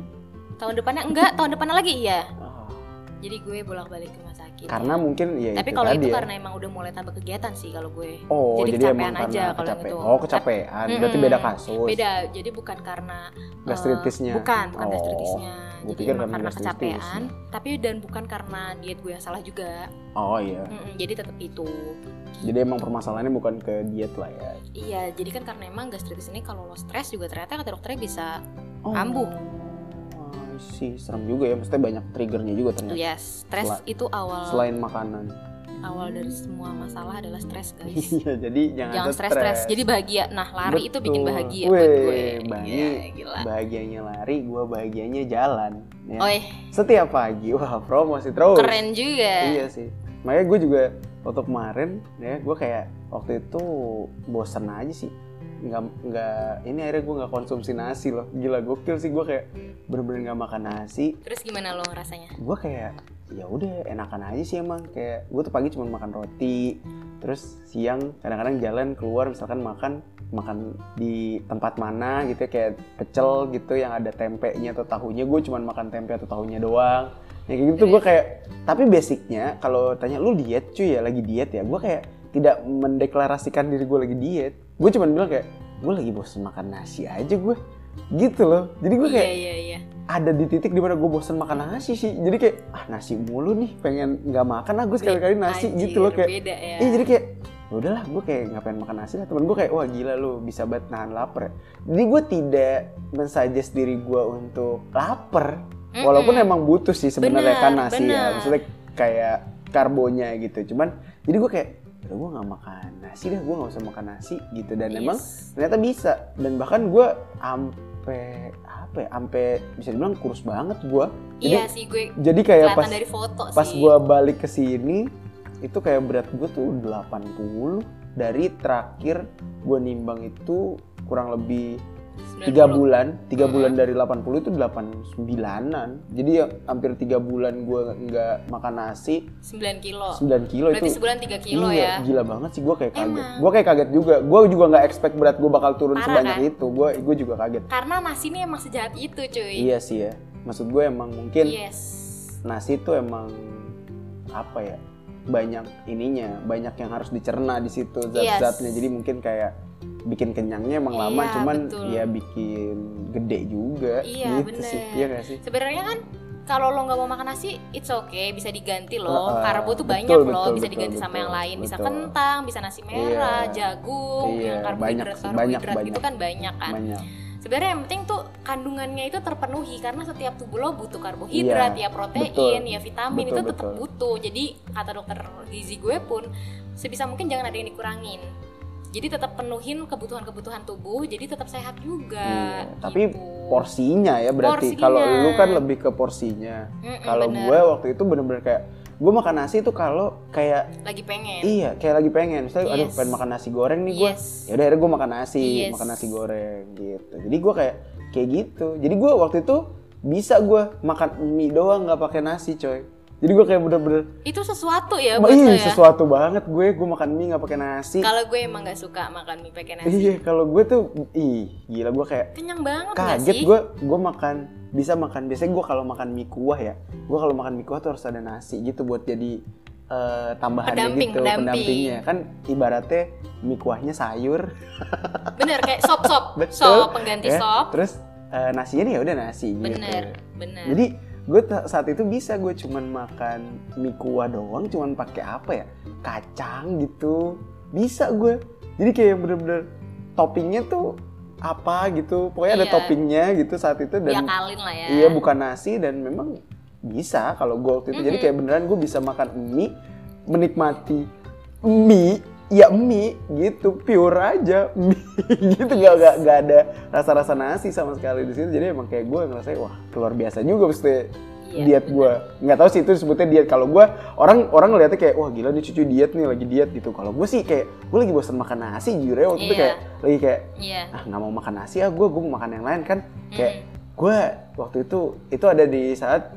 Speaker 2: Tahun depannya enggak, tahun depannya lagi iya.
Speaker 1: Ah,
Speaker 2: Jadi gue bolak-balik ke rumah sakit. gitu.
Speaker 1: Karena mungkin ya
Speaker 2: tapi
Speaker 1: itu
Speaker 2: kalau
Speaker 1: tadi
Speaker 2: itu
Speaker 1: ya.
Speaker 2: karena emang udah mulai tambah kegiatan sih kalau gue
Speaker 1: Oh,
Speaker 2: jadi
Speaker 1: jadi,
Speaker 2: kecapean
Speaker 1: emang karena
Speaker 2: aja kalau yang
Speaker 1: kecapean.
Speaker 2: itu.
Speaker 1: Oh, kecapean. Berarti
Speaker 2: Mm-mm.
Speaker 1: beda kasus.
Speaker 2: beda jadi bukan karena eh,
Speaker 1: Gastritisnya.
Speaker 2: bukan bukan
Speaker 1: Oh,
Speaker 2: gastritisnya
Speaker 1: gue
Speaker 2: jadi
Speaker 1: pikir
Speaker 2: emang
Speaker 1: karena
Speaker 2: karena
Speaker 1: gastritis.
Speaker 2: kecapean tapi dan bukan karena diet gue yang salah juga
Speaker 1: Oh iya.
Speaker 2: Mm-mm, jadi tetap itu
Speaker 1: Jadi emang permasalahannya bukan ke diet lah ya.
Speaker 2: iya jadi kan karena emang gastritis ini kalau lo stres juga ternyata kata dokternya bisa
Speaker 1: Oh.
Speaker 2: Kambuh.
Speaker 1: sih serem juga ya. Maksudnya banyak triggernya juga ternyata.
Speaker 2: yes ya, stres
Speaker 1: Selain-
Speaker 2: itu awal
Speaker 1: Iya. Selain makanan.
Speaker 2: awal dari semua masalah adalah stres guys
Speaker 1: Iya, jadi jangan,
Speaker 2: jangan
Speaker 1: stres.
Speaker 2: stres-stres jadi bahagia nah lari itu bikin
Speaker 1: Betul.
Speaker 2: bahagia buat
Speaker 1: Weh,
Speaker 2: gue
Speaker 1: Bani.
Speaker 2: Iya, gila
Speaker 1: bahagianya lari, gua bahagianya jalan. Ya.
Speaker 2: Oi,
Speaker 1: Setiap pagi, wah promosi terus.
Speaker 2: Oh, iya. keren ya. juga
Speaker 1: Iya sih. Makanya gue juga waktu kemarin ya gue kayak waktu itu bosen aja sih. Nggak, nggak ini akhirnya gue nggak konsumsi nasi loh. Gila gokil sih gue kayak bener-bener nggak makan nasi.
Speaker 2: terus gimana lo rasanya
Speaker 1: Gue kayak ya udah enakan aja sih emang kayak gue tuh pagi cuma makan roti terus siang kadang-kadang jalan keluar misalkan makan makan di tempat mana gitu ya, kayak pecel gitu yang ada tempenya atau tahunya gue cuma makan tempe atau tahunya doang ya kayak gitu gue kayak tapi basicnya kalau tanya lu diet cuy ya lagi diet ya gue kayak tidak mendeklarasikan diri gue lagi diet gue cuma bilang kayak gue lagi bosen makan nasi aja gue gitu loh jadi gue kayak
Speaker 2: iya iya iya
Speaker 1: ada di titik dimana gue bosen makan nasi sih jadi kayak ah nasi mulu nih pengen nggak makan ah gue sekali-kali nasi
Speaker 2: Iya, Anjir,
Speaker 1: gitu loh kayak
Speaker 2: beda ya
Speaker 1: Iya jadi kayak "Ya udahlah gue kayak nggak pengen makan nasi lah temen gue kayak wah gila lu bisa banget nahan lapar ya." jadi gue tidak mensuggest diri gue untuk lapar
Speaker 2: Mm-mm.
Speaker 1: walaupun emang butuh sih sebenarnya
Speaker 2: Benar,
Speaker 1: kan nasi ya
Speaker 2: benar.
Speaker 1: maksudnya kayak karbonya gitu cuman jadi gue kayak udah gue nggak makan nasi deh gue nggak usah makan nasi gitu dan
Speaker 2: Yes.
Speaker 1: emang ternyata bisa dan bahkan gue ampe apa ya ampe bisa dibilang kurus banget gue jadi
Speaker 2: iya sih gue
Speaker 1: jadi kayak
Speaker 2: kelihatan
Speaker 1: pas
Speaker 2: dari foto
Speaker 1: pas
Speaker 2: sih
Speaker 1: gue balik ke sini itu kayak berat gue tuh 80 dari terakhir gue nimbang itu kurang lebih tiga
Speaker 2: 90.
Speaker 1: bulan tiga
Speaker 2: Hmm.
Speaker 1: bulan dari 80 itu 89an jadi ya hampir tiga bulan gue nggak makan nasi
Speaker 2: 9 kilo
Speaker 1: 9 kilo
Speaker 2: Oh. berarti
Speaker 1: itu
Speaker 2: sebulan 3 kilo
Speaker 1: iya,
Speaker 2: ya
Speaker 1: gila banget sih gue kayak kaget.
Speaker 2: Emang.
Speaker 1: Gue kayak kaget juga. Gue juga nggak expect berat gue bakal turun
Speaker 2: Parah,
Speaker 1: sebanyak
Speaker 2: kan?
Speaker 1: itu. Gue gue juga kaget.
Speaker 2: karena nasi ini emang sejahat itu cuy
Speaker 1: Iya sih ya. Maksud gue emang mungkin
Speaker 2: yes
Speaker 1: nasi itu emang apa ya? Banyak ininya, banyak yang harus dicerna di situ zat-zatnya.
Speaker 2: Yes.
Speaker 1: Jadi mungkin kayak bikin kenyangnya emang lama,
Speaker 2: Iya,
Speaker 1: cuman
Speaker 2: betul.
Speaker 1: ya bikin gede juga.
Speaker 2: Iya,
Speaker 1: gitu sih.
Speaker 2: bener.
Speaker 1: Iya nggak sih?
Speaker 2: sebenarnya kan kalau lo nggak mau makan nasi, it's okay, bisa diganti loh.
Speaker 1: Heeh,
Speaker 2: karbo tuh
Speaker 1: Ah, betul,
Speaker 2: banyak loh,
Speaker 1: betul,
Speaker 2: bisa
Speaker 1: betul,
Speaker 2: diganti sama
Speaker 1: betul,
Speaker 2: yang lain. Bisa
Speaker 1: betul.
Speaker 2: kentang, bisa nasi merah,
Speaker 1: Iya.
Speaker 2: jagung,
Speaker 1: Iya,
Speaker 2: yang
Speaker 1: banyak
Speaker 2: karbohidrat,
Speaker 1: sih, banyak,
Speaker 2: karbohidrat gitu
Speaker 1: banyak.
Speaker 2: kan banyak kan.
Speaker 1: Banyak.
Speaker 2: Sebenarnya yang penting tuh kandungannya itu terpenuhi karena setiap tubuh lo butuh karbohidrat, ya protein,
Speaker 1: Iya, betul.
Speaker 2: ya vitamin itu
Speaker 1: Betul,
Speaker 2: tetap
Speaker 1: betul.
Speaker 2: butuh. Jadi kata dokter gizi gue pun sebisa mungkin jangan ada yang dikurangin. Jadi tetap penuhin kebutuhan-kebutuhan tubuh, jadi tetap sehat juga.
Speaker 1: Iya, tapi
Speaker 2: gitu.
Speaker 1: Porsinya ya berarti.
Speaker 2: Porsinya.
Speaker 1: Kalau lu kan lebih ke porsinya.
Speaker 2: Mm-mm,
Speaker 1: Kalau
Speaker 2: bener.
Speaker 1: gue waktu itu bener-bener kayak gue makan nasi itu kalau kayak
Speaker 2: lagi pengen.
Speaker 1: Iya, kayak lagi pengen. Misalnya, aduh
Speaker 2: Yes.
Speaker 1: pengen makan nasi goreng nih gue.
Speaker 2: Yes.
Speaker 1: Ya udah akhirnya gue makan nasi,
Speaker 2: Yes.
Speaker 1: makan nasi goreng gitu. Jadi gue kayak kayak gitu. Jadi gue waktu itu bisa gue makan mie doang nggak pakai nasi, coy. Jadi gue kayak bener-bener,
Speaker 2: Itu sesuatu ya
Speaker 1: "Wah,
Speaker 2: buat lo
Speaker 1: ih,
Speaker 2: ya.
Speaker 1: iya, sesuatu banget gue, gue makan mie nggak pakai nasi.
Speaker 2: Kalau gue emang nggak suka makan mie pakai nasi.
Speaker 1: Iya, kalau gue tuh, ih, gila gue kayak
Speaker 2: Kenyang banget nggak
Speaker 1: kaget
Speaker 2: sih?
Speaker 1: gue gue makan bisa makan biasanya gue kalau makan mie kuah ya gue kalau makan mie kuah tuh harus ada nasi gitu buat jadi eh, tambahannya
Speaker 2: Pendamping,
Speaker 1: gitu
Speaker 2: pendamping.
Speaker 1: pendampingnya kan ibaratnya mie kuahnya sayur
Speaker 2: Bener kayak sop sop,
Speaker 1: Betul,
Speaker 2: sop pengganti
Speaker 1: ya
Speaker 2: sop.
Speaker 1: terus eh, nasinya nih ya udah nasi
Speaker 2: Bener, Nah.
Speaker 1: gitu
Speaker 2: bener.
Speaker 1: jadi gue ta- saat itu bisa gue cuman makan mie kuah doang cuman pakai apa ya kacang gitu bisa gue jadi kayak bener-bener toppingnya tuh apa gitu pokoknya ada
Speaker 2: Iya.
Speaker 1: toppingnya gitu saat itu dan
Speaker 2: Diakalin lah ya.
Speaker 1: Iya bukan nasi dan memang bisa kalau gue waktu itu jadi
Speaker 2: Mhm.
Speaker 1: kayak beneran gue bisa makan mie menikmati mie ya mie gitu pure aja mie gitu nggak nggak nggak ada rasa-rasa nasi sama sekali di situ jadi emang kayak gue ngerasain wah luar biasa juga mesti
Speaker 2: Iya,
Speaker 1: diet gue nggak tahu sih itu disebutnya diet kalau gue orang orang ngeliatnya kayak wah gila nih cucu diet nih lagi diet gitu kalau gue sih kayak gue lagi bosan makan nasi jujur ya waktu itu
Speaker 2: Iya.
Speaker 1: kayak lagi kayak
Speaker 2: Iya.
Speaker 1: ah nggak mau makan nasi ah gue gue mau makan yang lain kan kayak
Speaker 2: Mm.
Speaker 1: gue waktu itu itu ada di saat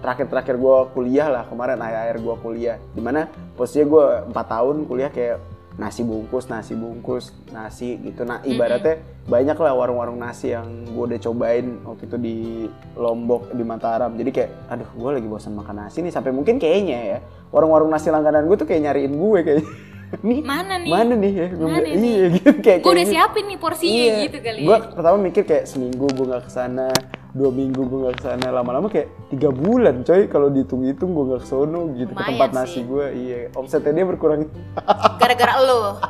Speaker 1: terakhir-terakhir gue kuliah lah kemarin akhir-akhir gue kuliah dimana posisinya gue 4 tahun kuliah kayak nasi bungkus nasi bungkus nasi gitu nah ibaratnya banyak lah warung-warung nasi yang gue udah cobain waktu itu di Lombok di Mataram jadi kayak aduh gue lagi bosan makan nasi nih sampai mungkin kayaknya ya warung-warung nasi langganan gue tuh kayak nyariin gue kayak nih
Speaker 2: hmm. Mana nih?
Speaker 1: mana nih ya Gua
Speaker 2: Mana
Speaker 1: bilang,
Speaker 2: nih?
Speaker 1: iya gitu kayak
Speaker 2: Gue udah
Speaker 1: kayak
Speaker 2: siapin nih porsinya
Speaker 1: Iya.
Speaker 2: gitu kali
Speaker 1: gue
Speaker 2: ya.
Speaker 1: pertama mikir kayak seminggu gue nggak kesana dua minggu gue nggak kesana lama-lama kayak tiga bulan coy kalau dihitung-hitung gue nggak kesono gitu ke
Speaker 2: Lumayan
Speaker 1: tempat nasi
Speaker 2: sih.
Speaker 1: gue iya omsetnya dia berkurang
Speaker 2: Gara-gara lo.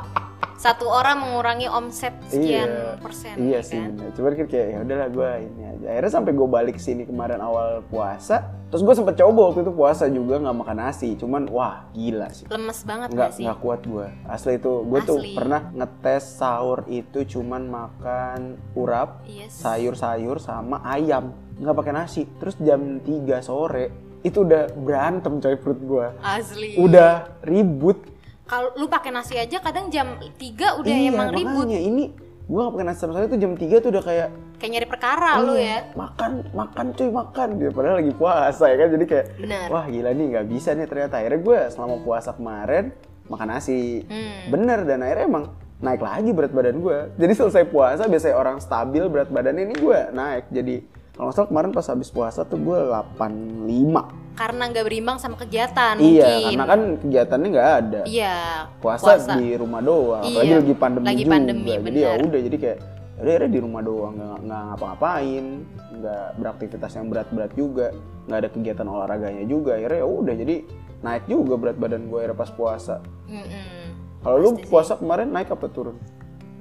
Speaker 2: Satu orang mengurangi omset sekian
Speaker 1: Iya.
Speaker 2: persen.
Speaker 1: iya
Speaker 2: ya
Speaker 1: sih
Speaker 2: kan?
Speaker 1: bener. cuman kan kayak ya udahlah gue ini aja akhirnya sampai gue balik sini kemarin awal puasa terus gue sempet coba waktu itu puasa juga nggak makan nasi cuman wah gila sih
Speaker 2: Lemes banget gak
Speaker 1: nggak
Speaker 2: sih?
Speaker 1: nggak kuat gue asli itu gue tuh
Speaker 2: Asli.
Speaker 1: pernah ngetes sahur itu cuman makan urap
Speaker 2: Yes.
Speaker 1: sayur-sayur sama ayam nggak pakai nasi terus jam 3 sore itu udah berantem coy perut gua
Speaker 2: Asli.
Speaker 1: udah ribut
Speaker 2: Kalau lu pakai nasi aja kadang jam 3 udah
Speaker 1: iya
Speaker 2: emang ribut.
Speaker 1: makanya ini gua nggak pakai nasi sama sayur tuh jam 3 tuh udah kayak
Speaker 2: Kayak nyari perkara lu
Speaker 1: "Eh,
Speaker 2: ya.
Speaker 1: makan makan cuy makan dia padahal lagi puasa ya kan jadi kayak
Speaker 2: Benar.
Speaker 1: wah gila nih nggak bisa nih ternyata akhirnya gua selama puasa kemarin makan nasi
Speaker 2: Hmm.
Speaker 1: bener dan akhirnya emang naik lagi berat badan gua jadi selesai puasa biasanya orang stabil berat badannya ini gua naik jadi kalau nggak salah kemarin pas habis puasa tuh gue 85
Speaker 2: Karena nggak berimbang sama kegiatan
Speaker 1: iya
Speaker 2: mungkin.
Speaker 1: karena kan kegiatannya nggak ada
Speaker 2: Iya.
Speaker 1: puasa,
Speaker 2: puasa.
Speaker 1: di rumah doang
Speaker 2: Iya,
Speaker 1: apalagi lagi pandemi
Speaker 2: lagi
Speaker 1: juga
Speaker 2: pandemi,
Speaker 1: jadi ya
Speaker 2: bener.
Speaker 1: udah jadi kayak yaudah akhirnya di rumah doang nggak nggak ngapa-ngapain nggak beraktivitas yang berat-berat juga nggak ada kegiatan olahraganya juga akhirnya ya udah jadi naik juga berat badan gue akhirnya pas puasa
Speaker 2: Mm-mm.
Speaker 1: kalau lu
Speaker 2: Pasti sih.
Speaker 1: puasa kemarin naik apa turun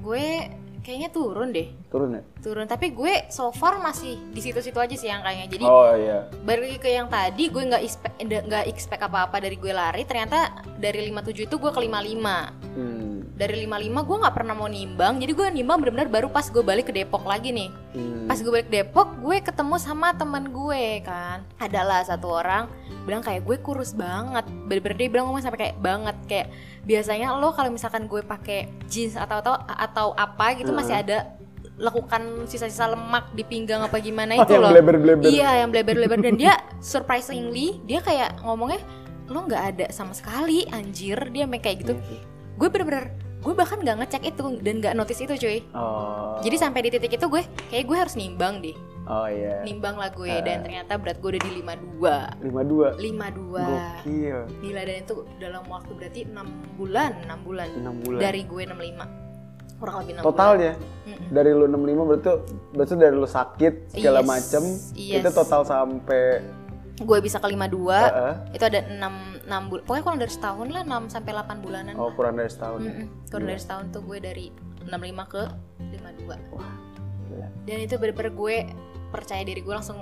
Speaker 2: Gue kayaknya turun deh.
Speaker 1: turun ya
Speaker 2: Turun tapi gue so far masih di situ-situ aja sih yang kayaknya. Jadi
Speaker 1: oh iya
Speaker 2: balik lagi ke yang tadi gue nggak expect nggak expect apa-apa dari gue lari ternyata dari 57 itu gue ke 55
Speaker 1: Hmm.
Speaker 2: dari 55 gue nggak pernah mau nimbang jadi gue nimbang benar-benar baru pas gue balik ke Depok lagi nih
Speaker 1: Hmm.
Speaker 2: pas gue balik Depok gue ketemu sama teman gue kan adalah satu orang bilang kayak gue kurus banget bener-bener dia bilang ngomong sampai kayak banget kayak biasanya lo kalau misalkan gue pakai jeans atau atau atau apa gitu masih ada lekukan sisa-sisa lemak di pinggang apa gimana
Speaker 1: Oh,
Speaker 2: itu
Speaker 1: yang
Speaker 2: loh
Speaker 1: bleber-bleber.
Speaker 2: Iya yang bleber-bleber dan dia surprisingly dia kayak ngomongnya lo nggak ada sama sekali anjir dia sampai kayak gitu. Gue bener-bener gue bahkan nggak ngecek itu dan nggak notice itu cuy.
Speaker 1: Oh.
Speaker 2: Jadi sampai di titik itu gue kayak gue harus nimbang deh.
Speaker 1: Oh iya.
Speaker 2: Nimbang lah gue
Speaker 1: Eh.
Speaker 2: dan ternyata berat gue udah di
Speaker 1: 52.
Speaker 2: 52. 52.
Speaker 1: Gokil.
Speaker 2: Gila dan itu dalam waktu berarti 6 bulan, 6 bulan.
Speaker 1: 6 bulan.
Speaker 2: Dari gue 65. Kurang lebih 6 bulan.
Speaker 1: Totalnya
Speaker 2: Mm-mm.
Speaker 1: dari lu 65 berarti berarti dari lu sakit segala
Speaker 2: Yes,
Speaker 1: macem
Speaker 2: yes.
Speaker 1: itu total sampai eh,
Speaker 2: Gue bisa ke 52.
Speaker 1: Heeh.
Speaker 2: itu ada 6 6 bulan pokoknya kurang dari setahun lah 6 sampai 8 bulanan
Speaker 1: oh kurang dari setahun.
Speaker 2: Mm-mm. kurang
Speaker 1: Gila.
Speaker 2: dari setahun tuh gue dari 65 ke 52
Speaker 1: Wah, gila.
Speaker 2: dan itu bener-bener gue percaya diri gue langsung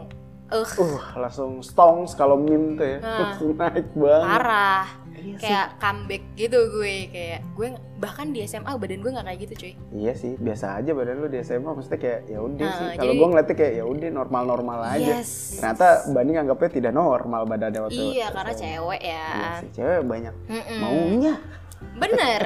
Speaker 2: eh
Speaker 1: Uh, langsung stongs kalau meme tuh ya.
Speaker 2: Nah.
Speaker 1: Langsung naik banget.
Speaker 2: parah
Speaker 1: Iya sih.
Speaker 2: kayak comeback gitu gue kayak gue bahkan di SMA badan gue nggak kayak gitu cuy
Speaker 1: Iya sih, biasa aja badan lu di SMA maksudnya kayak ya udah
Speaker 2: Nah,
Speaker 1: sih. Kalau
Speaker 2: jadi- Iya.
Speaker 1: gua ngeliatnya kayak ya udah normal-normal aja.
Speaker 2: yes
Speaker 1: Ternyata Bani anggapnya tidak normal badannya waktu
Speaker 2: iya karena
Speaker 1: SMA.
Speaker 2: cewek Hmm. ya
Speaker 1: Iya sih, cewek banyak
Speaker 2: Mm-mm.
Speaker 1: maunya
Speaker 2: bener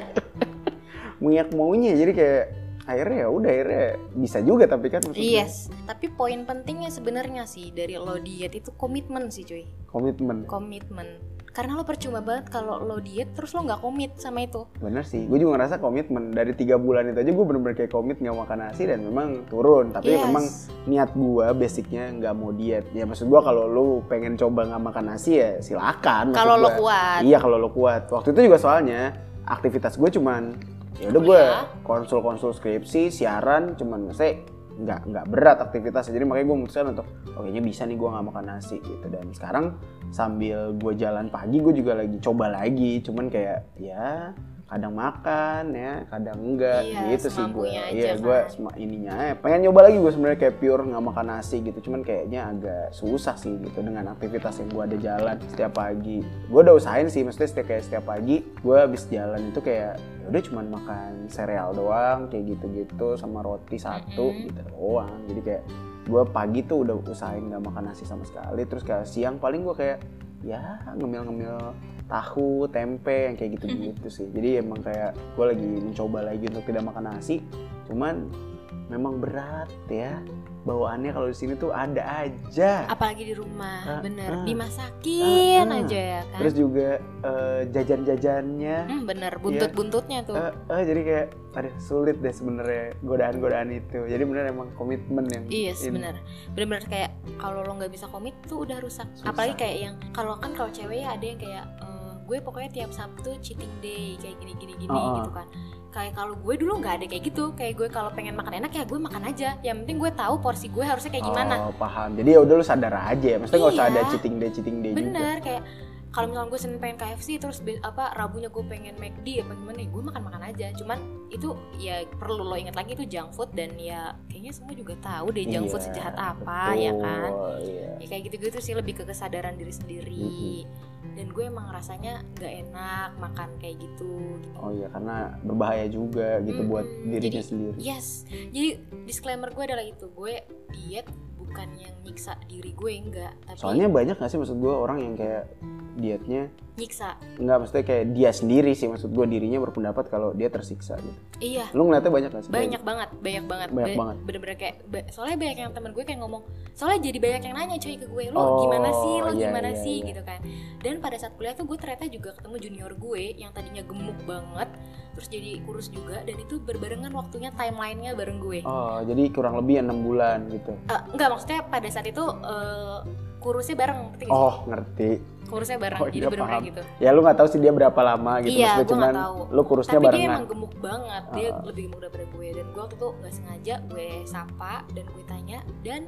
Speaker 1: banyak maunya jadi kayak akhirnya ya udah akhirnya bisa juga tapi kan maksudnya
Speaker 2: yes tapi poin pentingnya sebenarnya sih dari lo diet itu komitmen sih cuy
Speaker 1: komitmen
Speaker 2: komitmen karena lo percuma banget kalau lo diet terus lo nggak komit sama itu
Speaker 1: bener sih gue juga ngerasa komitmen dari tiga bulan itu aja gue bener-bener kayak komit nggak makan nasi dan memang turun tapi
Speaker 2: Yes.
Speaker 1: memang niat gue basicnya nggak mau diet ya maksud gue kalau lu pengen coba nggak makan nasi ya silakan maksud
Speaker 2: kalau lo
Speaker 1: gua.
Speaker 2: kuat
Speaker 1: Iya kalau lo kuat. Waktu itu juga soalnya aktivitas gue cuman ya udah gue
Speaker 2: Kuliah.
Speaker 1: konsul-konsul skripsi, siaran, cuman saya nggak nggak berat aktivitasnya. Jadi makanya gue memutuskan untuk oh kayaknya bisa nih gue nggak makan nasi gitu. Dan sekarang sambil gue jalan pagi gue juga lagi coba lagi. Cuman kayak ya kadang makan ya kadang enggak
Speaker 2: Iya,
Speaker 1: gitu sih gue
Speaker 2: semampunya aja
Speaker 1: iya
Speaker 2: kan.
Speaker 1: gue sem- ininya aja. pengen nyoba lagi gue sebenarnya kayak pure nggak makan nasi gitu cuman kayaknya agak susah sih gitu dengan aktivitas yang gue ada jalan setiap pagi gue udah usahain sih maksudnya setiap kayak setiap pagi gue habis jalan itu kayak "Ya udah cuman makan sereal doang kayak gitu-gitu sama roti satu
Speaker 2: Mm-mm.
Speaker 1: gitu doang jadi kayak gue pagi tuh udah usahain nggak makan nasi sama sekali terus kayak siang paling gue kayak ya ngemil-ngemil tahu, tempe yang kayak gitu-gitu sih. Jadi emang kayak gue lagi mencoba lagi untuk tidak makan nasi, cuman memang berat ya bawaannya kalau di sini tuh ada aja
Speaker 2: apalagi di rumah
Speaker 1: Ah,
Speaker 2: bener
Speaker 1: ah.
Speaker 2: dimasakin
Speaker 1: Ah, ah.
Speaker 2: aja ya kan
Speaker 1: terus iya. juga eh, jajan-jajannya
Speaker 2: Hmm, bener buntut-buntutnya tuh
Speaker 1: eh, eh, jadi kayak aduh sulit deh sebenarnya godaan-godaan itu jadi bener emang komitmen yang
Speaker 2: Iya yes,
Speaker 1: ini.
Speaker 2: bener Bener-bener kayak kalau lo nggak bisa komit tuh udah rusak
Speaker 1: Susah.
Speaker 2: Apalagi kayak yang kalau kan kalau cewek ya ada yang kayak eh, Gue pokoknya tiap Sabtu cheating day Kayak gini-gini gini
Speaker 1: Ah, ah.
Speaker 2: gitu kan Kayak kalau gue dulu nggak ada kayak gitu Kayak gue kalau pengen makan enak ya gue makan aja Yang penting gue tahu porsi gue harusnya kayak gimana
Speaker 1: oh paham jadi ya udah lu sadar aja ya maksudnya nggak usah
Speaker 2: Iya.
Speaker 1: ada cheating day cheating day juga
Speaker 2: Bener kayak kalau misalnya gue senin pengen KFC terus be- apa rabunya gue pengen McD apa gimana ya gue makan makan aja cuman itu ya perlu lo ingat lagi itu junk food dan ya kayaknya semua juga tahu deh junk food
Speaker 1: Iya,
Speaker 2: sejahat apa ya kan
Speaker 1: betul, iya.
Speaker 2: ya kayak gitu-gitu sih lebih ke kesadaran diri sendiri dan gue emang rasanya nggak enak makan kayak gitu
Speaker 1: oh iya karena berbahaya juga gitu
Speaker 2: Mm-mm.
Speaker 1: buat dirinya
Speaker 2: Jadi- Iya.
Speaker 1: sendiri
Speaker 2: yes jadi disclaimer gue adalah itu gue diet bukan yang nyiksa diri gue enggak tapi
Speaker 1: soalnya banyak gak sih maksud gue orang yang kayak dietnya
Speaker 2: nyiksa
Speaker 1: nggak maksudnya kayak dia sendiri sih maksud gue dirinya berpendapat kalau dia tersiksa gitu
Speaker 2: iya
Speaker 1: lu ngeliatnya banyak gak sih
Speaker 2: banyak banget banyak banget
Speaker 1: Iya. Banyak
Speaker 2: Ba-
Speaker 1: banget.
Speaker 2: bener-bener kayak ba- soalnya banyak yang temen gue kayak ngomong soalnya jadi banyak yang nanya cuy ke gue lo
Speaker 1: Oh,
Speaker 2: gimana sih lo
Speaker 1: iya,
Speaker 2: gimana
Speaker 1: iya,
Speaker 2: sih
Speaker 1: iya.
Speaker 2: gitu kan dan pada saat kuliah tuh gue ternyata juga ketemu junior gue yang tadinya gemuk banget terus jadi kurus juga dan itu berbarengan waktunya timelinenya bareng gue
Speaker 1: oh jadi kurang lebih enam bulan gitu
Speaker 2: Eh, enggak maksudnya pada saat itu eh, kurusnya bareng ngerti nggak sih?
Speaker 1: oh ngerti
Speaker 2: kurusnya bareng
Speaker 1: Oh,
Speaker 2: jadi
Speaker 1: iya,
Speaker 2: bener-bener
Speaker 1: paham.
Speaker 2: gitu
Speaker 1: ya lu nggak tahu sih dia berapa lama gitu
Speaker 2: Iya,
Speaker 1: maksudnya
Speaker 2: gua
Speaker 1: cuman
Speaker 2: nggak tahu.
Speaker 1: lu kurusnya
Speaker 2: tapi dia
Speaker 1: barengan
Speaker 2: emang gemuk banget dia
Speaker 1: Ah.
Speaker 2: lebih gemuk daripada gue dan gue waktu itu nggak sengaja gue sapa dan gue tanya dan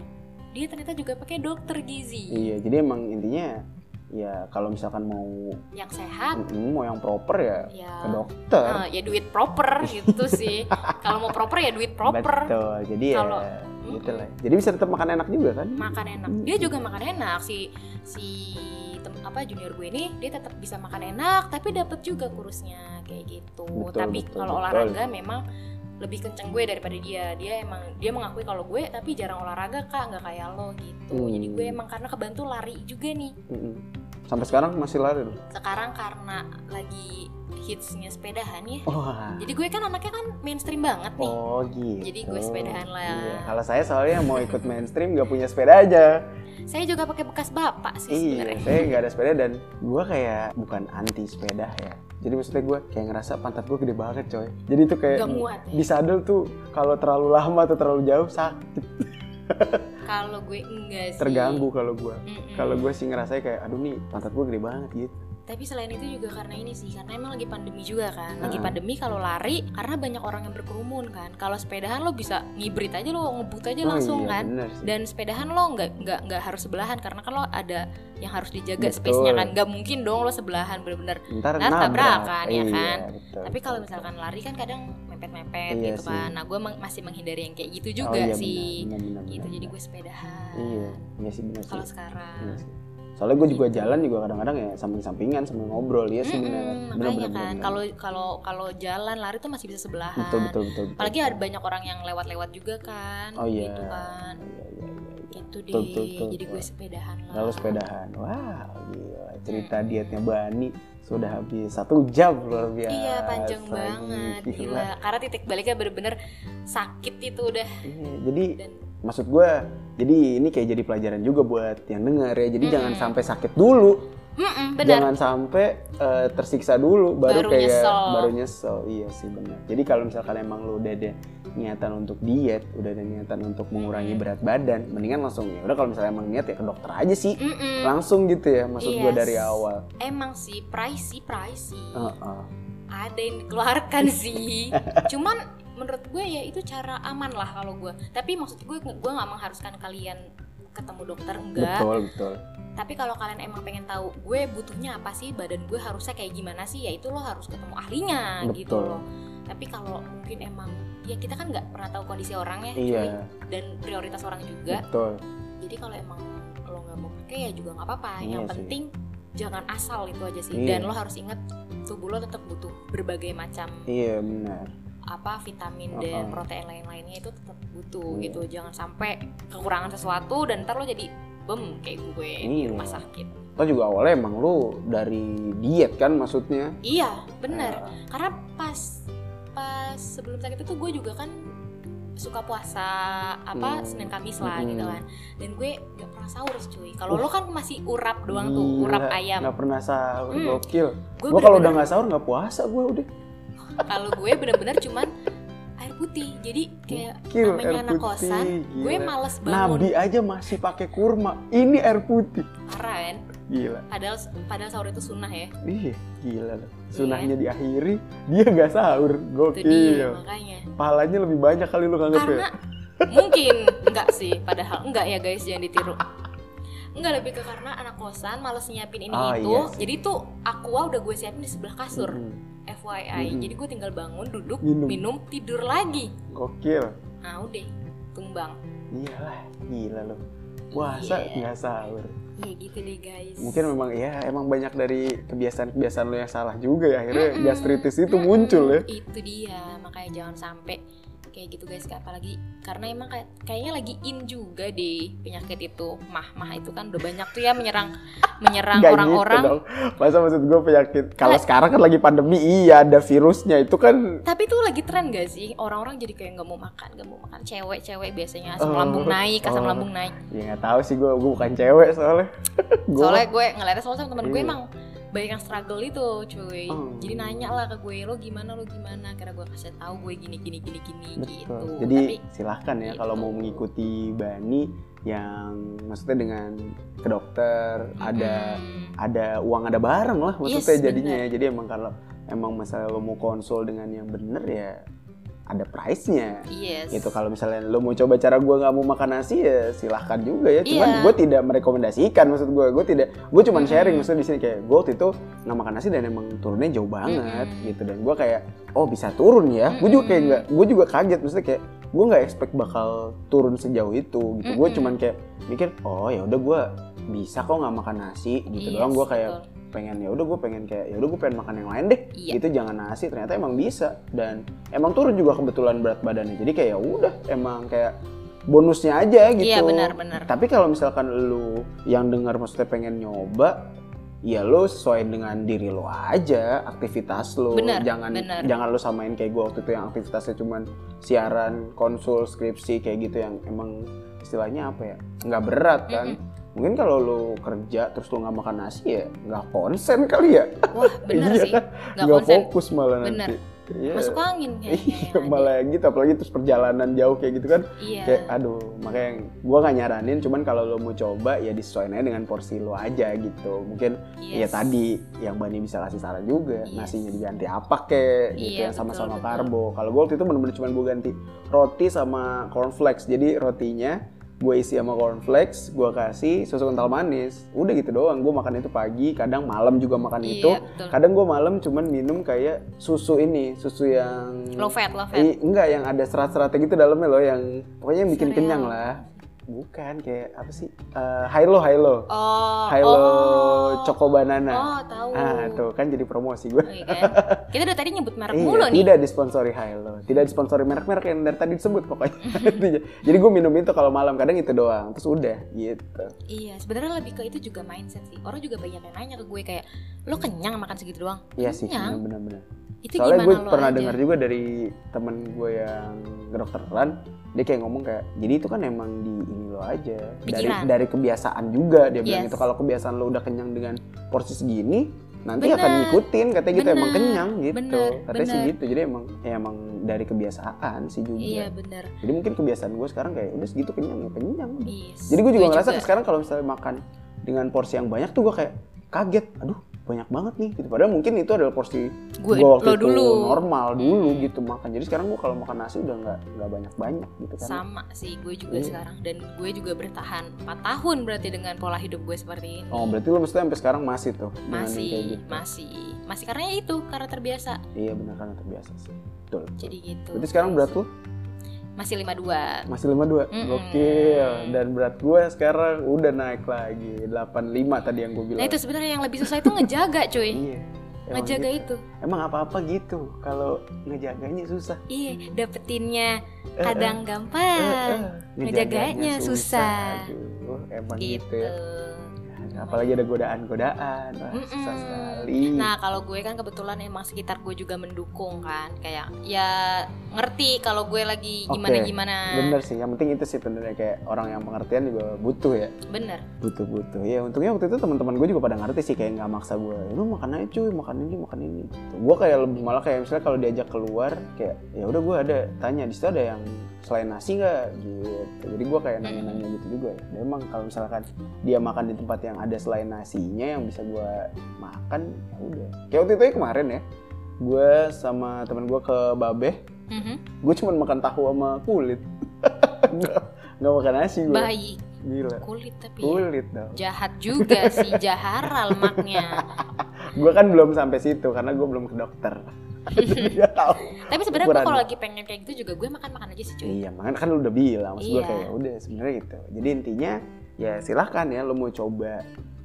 Speaker 2: dia ternyata juga pakai dokter gizi
Speaker 1: iya jadi emang intinya ya kalau misalkan mau
Speaker 2: yang sehat
Speaker 1: mm, mau yang proper ya ke
Speaker 2: ya
Speaker 1: dokter
Speaker 2: eh, ya duit proper gitu sih kalau mau proper ya duit proper
Speaker 1: betul jadi
Speaker 2: Kalau-
Speaker 1: ya gitu lah jadi bisa tetap makan enak juga kan
Speaker 2: makan enak dia juga makan enak si si tem- apa junior gue ini dia tetap bisa makan enak tapi dapat juga kurusnya kayak gitu
Speaker 1: Betul,
Speaker 2: tapi
Speaker 1: betul,
Speaker 2: kalau
Speaker 1: betul.
Speaker 2: olahraga memang lebih kenceng gue daripada dia dia emang dia mengakui kalau gue tapi jarang olahraga kak nggak kayak lo gitu
Speaker 1: Hmm.
Speaker 2: jadi gue emang karena kebantu lari juga nih
Speaker 1: Mm-mm. sampai sekarang masih lari loh
Speaker 2: sekarang karena lagi hitsnya sepedahan ya
Speaker 1: Wah.
Speaker 2: jadi gue kan anaknya kan mainstream banget nih
Speaker 1: Oh gitu.
Speaker 2: Jadi gue sepedahan lah.
Speaker 1: Iya, Kalau saya soalnya mau ikut mainstream nggak punya sepeda aja.
Speaker 2: saya juga pakai bekas bapak sih
Speaker 1: iya,
Speaker 2: sebenarnya
Speaker 1: saya nggak ada sepeda dan gue kayak bukan anti sepeda ya. Jadi maksudnya gue kayak ngerasa pantat gue gede banget coy. Jadi tuh kayak
Speaker 2: Nggak muat ya.
Speaker 1: di sadel tuh kalau terlalu lama atau terlalu jauh sakit
Speaker 2: kalau gue enggak sih
Speaker 1: terganggu kalau gue.
Speaker 2: Mm-mm.
Speaker 1: Kalau gue sih ngerasa kayak aduh nih pantat gue gede banget gitu.
Speaker 2: Tapi selain itu juga karena ini sih, karena emang lagi pandemi juga kan. Lagi
Speaker 1: Heeh.
Speaker 2: pandemi kalau lari karena banyak orang yang berkerumun kan. Kalau sepedahan lo bisa ngibrit aja lo ngebut aja
Speaker 1: oh,
Speaker 2: langsung
Speaker 1: iya,
Speaker 2: kan.
Speaker 1: bener sih.
Speaker 2: Dan sepedahan lo nggak nggak nggak harus sebelahan karena kan lo ada yang harus dijaga
Speaker 1: Betul.
Speaker 2: space-nya kan. Nggak mungkin dong lo sebelahan bener-bener.
Speaker 1: Ntar
Speaker 2: ntar
Speaker 1: nabrak.
Speaker 2: tabrakan, ya
Speaker 1: Iya,
Speaker 2: kan?
Speaker 1: betul,
Speaker 2: Tapi kalau
Speaker 1: betul,
Speaker 2: misalkan lari kan kadang mepet-mepet
Speaker 1: Iya
Speaker 2: gitu
Speaker 1: sih.
Speaker 2: kan. Nah gue emang masih menghindari yang kayak
Speaker 1: betul.
Speaker 2: gitu
Speaker 1: Oh,
Speaker 2: juga
Speaker 1: iya,
Speaker 2: sih.
Speaker 1: benar, benar, benar,
Speaker 2: Gitu jadi
Speaker 1: benar.
Speaker 2: gue sepedahan.
Speaker 1: Iya, iya sih benar sih.
Speaker 2: Kalau sekarang.
Speaker 1: Iya sih. Soalnya gue juga
Speaker 2: Gitu.
Speaker 1: jalan juga kadang-kadang ya samping-sampingan sambil ngobrol ya sih bener. Bener,
Speaker 2: Mm-mm, makanya
Speaker 1: bener,
Speaker 2: kan
Speaker 1: bener.
Speaker 2: kalau kalau kalau jalan lari tuh masih bisa sebelahan.
Speaker 1: betul, betul betul betul.
Speaker 2: apalagi ada banyak orang yang lewat-lewat juga kan
Speaker 1: Oh iya.
Speaker 2: gitu kan
Speaker 1: Iya, iya, iya, iya.
Speaker 2: gitu deh
Speaker 1: Betul, betul, betul.
Speaker 2: jadi gue sepedahan lah
Speaker 1: Lalu sepedahan. Wah, gila. Cerita
Speaker 2: Mm-mm.
Speaker 1: dietnya Bani sudah habis satu jam luar biasa.
Speaker 2: Hmm. iya panjang banget
Speaker 1: Iya.
Speaker 2: gila. karena titik baliknya bener-bener sakit itu udah
Speaker 1: Iya, jadi
Speaker 2: dan
Speaker 1: maksud gue jadi ini kayak jadi pelajaran juga buat yang denger ya. Jadi
Speaker 2: Mm-mm.
Speaker 1: jangan sampai sakit dulu,
Speaker 2: Mm-mm, Hmm. benar
Speaker 1: jangan sampai eh, tersiksa dulu baru,
Speaker 2: Baru
Speaker 1: kayak
Speaker 2: nyesel.
Speaker 1: baru nyesel iya sih benar jadi kalau misalkan emang lo udah ada niatan untuk diet udah ada niatan untuk mengurangi
Speaker 2: Hmm.
Speaker 1: berat badan mendingan langsung ya udah kalau misalnya emang niat ya ke dokter aja sih
Speaker 2: Mm-mm.
Speaker 1: langsung gitu ya maksud gua
Speaker 2: Yes.
Speaker 1: dari awal
Speaker 2: emang sih pricey pricey
Speaker 1: Heeh.
Speaker 2: ada yang dikeluarkan sih cuman menurut gue ya itu cara aman lah kalau gue tapi maksud gue gue nggak mengharuskan kalian ketemu dokter enggak
Speaker 1: betul betul
Speaker 2: Tapi kalau kalian emang pengen tahu gue butuhnya apa sih, badan gue harusnya kayak gimana sih, ya itu lo harus ketemu ahlinya gitu
Speaker 1: Betul.
Speaker 2: loh. Tapi kalau mungkin emang ya kita kan nggak pernah tahu kondisi orangnya
Speaker 1: iya
Speaker 2: cuy, dan prioritas orang juga.
Speaker 1: betul
Speaker 2: Jadi kalau emang lo nggak mau pakai ya juga nggak apa-apa.
Speaker 1: Iya
Speaker 2: Yang
Speaker 1: sih.
Speaker 2: penting jangan asal itu aja sih.
Speaker 1: Iya.
Speaker 2: Dan lo harus ingat tubuh lo tetap butuh berbagai macam
Speaker 1: iya benar
Speaker 2: apa vitamin dan
Speaker 1: Uh-uh.
Speaker 2: protein lain-lainnya itu tetap butuh
Speaker 1: Iya.
Speaker 2: gitu. Jangan sampai kekurangan sesuatu dan ntar lo jadi bem kayak gue di
Speaker 1: Iya.
Speaker 2: rumah sakit.
Speaker 1: lo juga awalnya emang lu dari diet kan maksudnya
Speaker 2: Iya, bener.
Speaker 1: Nah,
Speaker 2: Karena pas pas sebelum sakit itu gue juga kan suka puasa
Speaker 1: Hmm.
Speaker 2: apa Senin Kamis lah
Speaker 1: Hmm.
Speaker 2: gitu kan dan gue nggak pernah sahur cuy kalau lo kan masih urap doang tuh
Speaker 1: Gila,
Speaker 2: urap ayam
Speaker 1: nggak pernah sahur
Speaker 2: iya. Hmm.
Speaker 1: gokil gue iya. kalau
Speaker 2: gue
Speaker 1: udah
Speaker 2: bener-bener-
Speaker 1: nggak sahur nggak puasa gue udah
Speaker 2: kalau gue bener-bener cuman air putih jadi kayak
Speaker 1: Gokil,
Speaker 2: namanya
Speaker 1: air
Speaker 2: anak
Speaker 1: putih,
Speaker 2: kosan gue
Speaker 1: gila.
Speaker 2: males bangun
Speaker 1: Hmm, iya. Nabi aja masih pakai kurma ini air putih
Speaker 2: parah kan
Speaker 1: gila
Speaker 2: padahal padahal sahur itu sunnah ya
Speaker 1: ih gila loh. sunahnya diakhiri dia nggak sahur
Speaker 2: Iya. itu dia
Speaker 1: gokil
Speaker 2: makanya
Speaker 1: pahalanya lebih banyak kali lu nganggep ya
Speaker 2: karena mungkin enggak sih padahal enggak ya guys jangan ditiru Enggak lebih ke karena anak kosan males nyiapin ini
Speaker 1: Oh,
Speaker 2: itu
Speaker 1: iya sih.
Speaker 2: jadi tuh aqua udah gue siapin di sebelah kasur
Speaker 1: Mm-mm.
Speaker 2: FYI
Speaker 1: Mm-mm.
Speaker 2: jadi gue tinggal bangun duduk
Speaker 1: Minum.
Speaker 2: minum, tidur lagi
Speaker 1: gokil
Speaker 2: nah udah tumbang
Speaker 1: iyalah gila loh puasa
Speaker 2: Iya.
Speaker 1: nggak sahur
Speaker 2: ya gitu deh guys
Speaker 1: mungkin memang ya emang banyak dari kebiasaan-kebiasaan lo yang salah juga ya akhirnya
Speaker 2: Mm-mm.
Speaker 1: gastritis itu
Speaker 2: Mm-mm.
Speaker 1: muncul ya
Speaker 2: itu dia makanya jangan sampai kayak gitu guys Kak. apalagi karena emang kayak- kayaknya lagi in juga deh penyakit itu mah mah itu kan udah banyak tuh ya menyerang menyerang
Speaker 1: Nggak
Speaker 2: orang-orang Nah.
Speaker 1: gitu dong. Masa maksud gue penyakit kalau
Speaker 2: Lah.
Speaker 1: sekarang kan lagi pandemi iya ada virusnya itu kan
Speaker 2: Tapi itu lagi tren gak sih? Orang-orang jadi kayak nggak mau makan, nggak mau makan. Cewek-cewek biasanya asam
Speaker 1: Oh,
Speaker 2: lambung naik, asam
Speaker 1: oh.
Speaker 2: lambung naik.
Speaker 1: ya nggak tahu sih gue gue bukan cewek soalnya gue
Speaker 2: Soalnya gue ngeliatnya soalnya sama temen gue
Speaker 1: Iya.
Speaker 2: emang banyak yang struggle itu, cuy.
Speaker 1: Oh.
Speaker 2: Jadi nanya lah ke gue, lo gimana, lo gimana? Karena gue kasih tahu gue gini, gini, gini, gini, gitu.
Speaker 1: betul jadi
Speaker 2: Tapi
Speaker 1: silahkan ya
Speaker 2: Gitu.
Speaker 1: kalau mau mengikuti bani yang maksudnya dengan ke dokter ada
Speaker 2: hmm,
Speaker 1: ada uang ada barang lah maksudnya
Speaker 2: Yes,
Speaker 1: jadinya ya. jadi emang kalau emang misalnya lo mau konsul dengan yang bener ya ada price-nya
Speaker 2: yes.
Speaker 1: gitu kalau misalnya lo mau coba cara gue nggak mau makan nasi ya silahkan juga ya cuman
Speaker 2: Iya.
Speaker 1: gue tidak merekomendasikan maksud gue gue tidak gue cuman
Speaker 2: Mm-mm.
Speaker 1: sharing maksudnya di sini kayak gue waktu itu nggak makan nasi dan emang turunnya jauh banget
Speaker 2: Mm-mm.
Speaker 1: gitu dan gue kayak oh bisa turun ya gue juga kayak nggak gue juga kaget maksudnya kayak gue nggak expect bakal turun sejauh itu gitu gue
Speaker 2: Mm-mm.
Speaker 1: cuman kayak mikir oh ya udah gue bisa kok nggak makan nasi gitu
Speaker 2: Yes,
Speaker 1: doang gue kayak
Speaker 2: Iya, betul.
Speaker 1: pengen ya udah gue pengen kayak ya udah gue pengen makan yang lain deh
Speaker 2: Iya.
Speaker 1: gitu jangan nasi ternyata emang bisa dan emang turun juga kebetulan berat badannya jadi kayak ya udah emang kayak bonusnya aja gitu
Speaker 2: Iya, benar-benar.
Speaker 1: tapi kalau misalkan lu yang dengar maksudnya pengen nyoba ya lu sesuai dengan diri lu aja aktivitas lu
Speaker 2: Benar,
Speaker 1: jangan
Speaker 2: benar.
Speaker 1: jangan lu samain kayak gue waktu itu yang aktivitasnya cuman siaran konsul skripsi kayak gitu yang emang istilahnya apa ya nggak berat kan
Speaker 2: Mm-mm.
Speaker 1: mungkin kalau lu kerja terus lu nggak makan nasi ya nggak konsen kali ya
Speaker 2: Wah, bener
Speaker 1: Iya
Speaker 2: sih.
Speaker 1: kan?
Speaker 2: Nggak
Speaker 1: nggak
Speaker 2: konsen.
Speaker 1: fokus malah
Speaker 2: Bener.
Speaker 1: nanti Iya.
Speaker 2: Masuk angin kayaknya.
Speaker 1: Iya,
Speaker 2: yang ada.
Speaker 1: malah yang gitu apalagi terus perjalanan jauh kayak gitu kan
Speaker 2: Iya.
Speaker 1: kayak aduh makanya gua nggak nyaranin cuman kalau lo mau coba ya disesuaikan aja dengan porsi lo aja gitu mungkin ya
Speaker 2: yes.
Speaker 1: tadi yang Bani bisa kasih saran juga
Speaker 2: Yes.
Speaker 1: nasinya diganti apa kek gitu
Speaker 2: Iya,
Speaker 1: yang sama-sama
Speaker 2: betul, betul.
Speaker 1: karbo kalau gue waktu itu bener-bener cuman gue ganti roti sama cornflakes jadi rotinya gue isi sama cornflakes gue kasih susu kental manis udah gitu doang gue makan itu pagi kadang malam juga makan
Speaker 2: Iya,
Speaker 1: kan itu
Speaker 2: betul.
Speaker 1: kadang gue malam cuman minum kayak susu ini susu yang
Speaker 2: Low fat, low fat.
Speaker 1: I- enggak yang ada serat-seratnya gitu dalamnya loh yang pokoknya yang bikin
Speaker 2: Sereal.
Speaker 1: kenyang lah. Bukan kayak apa sih? Eh, high low high low.
Speaker 2: Oh,
Speaker 1: High low
Speaker 2: oh.
Speaker 1: choco banana.
Speaker 2: Oh, tahu.
Speaker 1: Ah, tuh kan jadi promosi gue.
Speaker 2: Iya kan? Kita dari tadi nyebut merek
Speaker 1: Iya,
Speaker 2: mulu nih.
Speaker 1: tidak disponsori high low. Tidak disponsori merek-merek yang dari tadi disebut pokoknya. Intinya. jadi gue minum itu kalau malam kadang itu doang, terus udah gitu.
Speaker 2: Iya, sebenarnya lebih ke itu juga mindset sih. Orang juga banyak yang nanya ke gue kayak, "Lo kenyang makan segitu doang?"
Speaker 1: Iya sih,
Speaker 2: Kenyang.
Speaker 1: benar-benar.
Speaker 2: Itu
Speaker 1: Soalnya
Speaker 2: gimana
Speaker 1: gue
Speaker 2: lo
Speaker 1: pernah
Speaker 2: aja?
Speaker 1: dengar juga dari temen gue yang kedokteran, dia kayak ngomong kayak, jadi itu kan emang di ini lo aja dari
Speaker 2: Pikiran.
Speaker 1: dari kebiasaan juga dia bilang
Speaker 2: Yes.
Speaker 1: itu kalau kebiasaan lo udah kenyang dengan porsi segini nanti
Speaker 2: Bener.
Speaker 1: akan ngikutin katanya gitu emang
Speaker 2: Bener.
Speaker 1: kenyang gitu
Speaker 2: Bener,
Speaker 1: katanya sih
Speaker 2: bener.
Speaker 1: gitu jadi emang ya emang dari kebiasaan sih juga
Speaker 2: Iya, bener.
Speaker 1: jadi mungkin kebiasaan gue sekarang kayak udah segitu kenyang ya kenyang
Speaker 2: Yes.
Speaker 1: jadi gue juga ngerasa sekarang kalau misalnya makan dengan porsi yang banyak tuh gue kayak kaget aduh banyak banget nih gitu padahal mungkin itu adalah porsi
Speaker 2: gue
Speaker 1: Gua waktu
Speaker 2: lo
Speaker 1: itu
Speaker 2: dulu
Speaker 1: normal kan. dulu
Speaker 2: Hmm.
Speaker 1: gitu makan jadi sekarang gua kalau makan nasi udah nggak nggak banyak banyak gitu kan
Speaker 2: sama sih gue
Speaker 1: Iya.
Speaker 2: juga sekarang dan gue juga bertahan 4 tahun berarti dengan pola hidup gue seperti ini.
Speaker 1: oh berarti lo maksudnya sampai sekarang masih tuh dengan yang kayak
Speaker 2: masih
Speaker 1: gitu.
Speaker 2: masih masih karena ya itu karena terbiasa
Speaker 1: iya benar kan terbiasa sih betul betul.
Speaker 2: jadi gitu
Speaker 1: berarti sekarang berat lo
Speaker 2: masih 52
Speaker 1: masih 52
Speaker 2: Mm-mm.
Speaker 1: gokil dan berat gua sekarang udah naik lagi 85 tadi yang gua bilang
Speaker 2: nah itu sebenarnya yang lebih susah itu ngejaga cuy
Speaker 1: iya emang
Speaker 2: ngejaga
Speaker 1: gitu.
Speaker 2: itu
Speaker 1: emang apa-apa gitu kalau ngejaganya susah
Speaker 2: Iya, dapetinnya
Speaker 1: Eh, eh, eh,
Speaker 2: kadang
Speaker 1: eh.
Speaker 2: gampang. ngejaganya susah.
Speaker 1: Aduh, emang gitu,
Speaker 2: Gitu.
Speaker 1: ya apalagi ada godaan-godaan wah
Speaker 2: Mm-mm.
Speaker 1: susah sekali
Speaker 2: Nah, kalau gue kan kebetulan emang sekitar gue juga mendukung kan, kayak ya ngerti kalau gue lagi
Speaker 1: Oke,
Speaker 2: gimana gimana.
Speaker 1: bener sih yang penting itu sih sebenarnya kayak orang yang pengertian juga butuh ya
Speaker 2: Bener.
Speaker 1: butuh butuh ya untungnya waktu itu teman-teman gue juga pada ngerti sih kayak nggak maksa gue lu makan aja cuy makan ini makan ini gitu. gue kayak lebih malah kayak misalnya kalau diajak keluar kayak ya udah gue ada tanya di situ ada yang selain nasi nggak gitu jadi gue kayak nanya-nanya gitu juga ya memang kalau misalkan dia makan di tempat yang ada selain nasinya yang bisa gue makan ya udah kayak waktu itu ya kemarin ya gue sama teman gue ke Babeh
Speaker 2: Mhm.
Speaker 1: gue cuma makan tahu sama kulit nggak nggak makan nasi gue
Speaker 2: Baik
Speaker 1: gila
Speaker 2: kulit tapi ya.
Speaker 1: Iya. kulit dong
Speaker 2: jahat juga sih jahara lemaknya.
Speaker 1: gue kan belum sampai situ karena gue belum ke dokter Jadi nggak tahu
Speaker 2: tapi sebenarnya gue kalau
Speaker 1: Ukurannya.
Speaker 2: lagi pengen kayak gitu juga gue makan makan aja sih cuy.
Speaker 1: iya makanya kan lu udah bilang maksud gue
Speaker 2: Iya.
Speaker 1: kayak udah sebenarnya gitu jadi intinya ya silahkan ya lu mau coba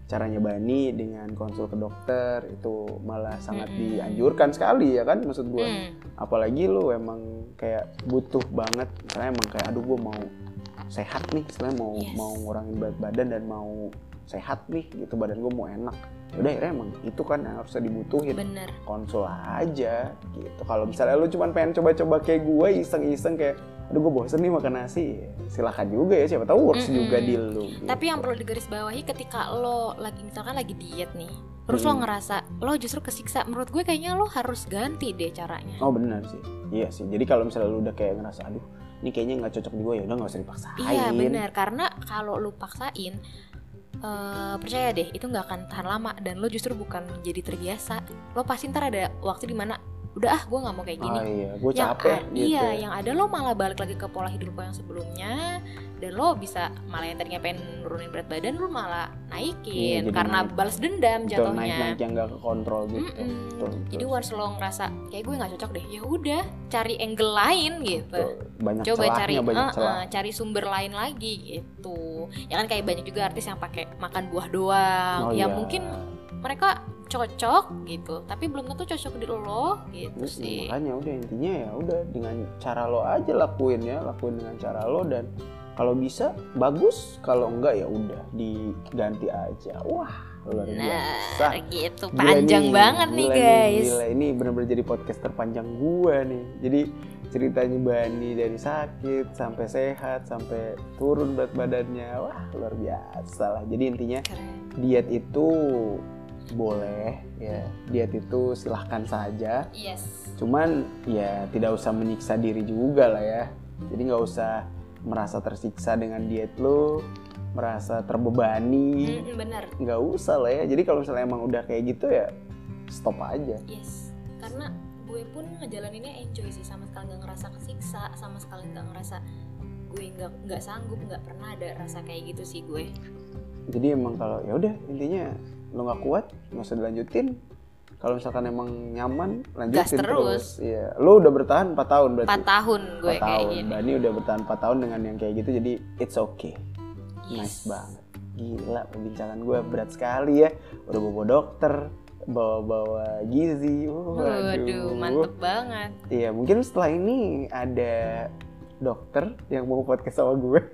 Speaker 1: caranya bani dengan konsul ke dokter itu malah sangat
Speaker 2: Mm-mm.
Speaker 1: dianjurkan sekali ya kan maksud gue
Speaker 2: Hmm.
Speaker 1: apalagi lu emang kayak butuh banget misalnya emang kayak aduh gue mau sehat nih misalnya mau
Speaker 2: Yes.
Speaker 1: mau ngurangin berat badan dan mau sehat nih gitu badan gue mau enak Ya udah akhirnya emang itu kan yang harusnya dibutuhin
Speaker 2: Bener.
Speaker 1: konsul aja gitu kalau
Speaker 2: Iya.
Speaker 1: misalnya lu cuma pengen coba-coba kayak gue iseng-iseng kayak aduh gue bosen nih makan nasi silahkan juga ya siapa tahu works
Speaker 2: Mm-mm.
Speaker 1: juga di lu gitu.
Speaker 2: Tapi yang perlu digarisbawahi ketika lo lagi misalkan lagi diet nih, terus lo
Speaker 1: Hmm.
Speaker 2: ngerasa lo justru kesiksa. Menurut gue kayaknya lo harus ganti deh caranya.
Speaker 1: oh benar sih iya sih jadi kalau misalnya lu udah kayak ngerasa aduh ini kayaknya nggak cocok di gue ya udah nggak usah dipaksain
Speaker 2: Iya benar karena kalau lo paksain eh, percaya deh itu nggak akan tahan lama dan lo justru bukan jadi terbiasa. Lo pasti ntar ada waktu dimana udah ah gue nggak mau kayak gini.
Speaker 1: ah iya gue
Speaker 2: yang
Speaker 1: capek
Speaker 2: a-
Speaker 1: gitu
Speaker 2: iya
Speaker 1: ya.
Speaker 2: yang ada lo malah balik lagi ke pola hidup lo yang sebelumnya dan lo bisa malah yang tadinya pengen nurunin berat badan lo malah
Speaker 1: Iya,
Speaker 2: naikin
Speaker 1: jadi
Speaker 2: karena
Speaker 1: naik.
Speaker 2: balas dendam
Speaker 1: Betul,
Speaker 2: jatuhnya
Speaker 1: naik-naik yang nggak kekontrol gitu
Speaker 2: Mm-mm.
Speaker 1: Betul, betul.
Speaker 2: jadi once lo ngerasa kayak gue nggak cocok deh ya udah cari angle lain gitu
Speaker 1: Betul. banyak
Speaker 2: coba
Speaker 1: celahnya
Speaker 2: cari
Speaker 1: banyak
Speaker 2: eh, eh,
Speaker 1: celah
Speaker 2: cari sumber lain lagi gitu ya kan kayak banyak juga artis yang pakai makan buah doang
Speaker 1: Oh iya.
Speaker 2: ya mungkin mereka cocok gitu tapi belum tentu cocok di lo gitu
Speaker 1: Terus
Speaker 2: sih
Speaker 1: makanya udah intinya ya udah dengan cara lo aja lakuin ya lakuin dengan cara lo dan kalau bisa bagus kalau enggak ya udah diganti aja wah luar biasa
Speaker 2: Nah, gitu
Speaker 1: Gila
Speaker 2: panjang
Speaker 1: nih,
Speaker 2: banget nih
Speaker 1: gila
Speaker 2: guys.
Speaker 1: gila ini benar-benar jadi podcast terpanjang gua nih jadi ceritanya Bani dari sakit sampai sehat sampai turun berat badannya wah luar biasa lah jadi intinya
Speaker 2: Keren.
Speaker 1: diet itu boleh ya diet itu silahkan saja
Speaker 2: Yes.
Speaker 1: cuman ya tidak usah menyiksa diri juga lah ya jadi nggak usah merasa tersiksa dengan diet lo merasa terbebani
Speaker 2: Mm, bener.
Speaker 1: nggak usah lah ya jadi kalau misalnya emang udah kayak gitu ya stop aja
Speaker 2: Yes. Karena gue pun ngejalaninnya enjoy sih sama sekali nggak ngerasa kesiksa, sama sekali nggak ngerasa gue nggak nggak sanggup, nggak pernah ada rasa kayak gitu sih gue.
Speaker 1: jadi emang kalau ya udah intinya lo nggak kuat nggak usah dilanjutin kalau misalkan emang nyaman lanjutin
Speaker 2: Gas terus.
Speaker 1: Iya, lo udah bertahan 4 tahun berarti
Speaker 2: 4 tahun gue
Speaker 1: Empat
Speaker 2: kayak
Speaker 1: tahun
Speaker 2: gini.
Speaker 1: Bani udah bertahan 4 tahun dengan yang kayak gitu jadi it's okay Nice
Speaker 2: Yes.
Speaker 1: banget. Gila perbincangan gue berat sekali ya. Udah bawa dokter, bawa-bawa gizi.
Speaker 2: Waduh, mantep banget.
Speaker 1: Iya, mungkin setelah ini ada dokter yang mau podcast sama gue.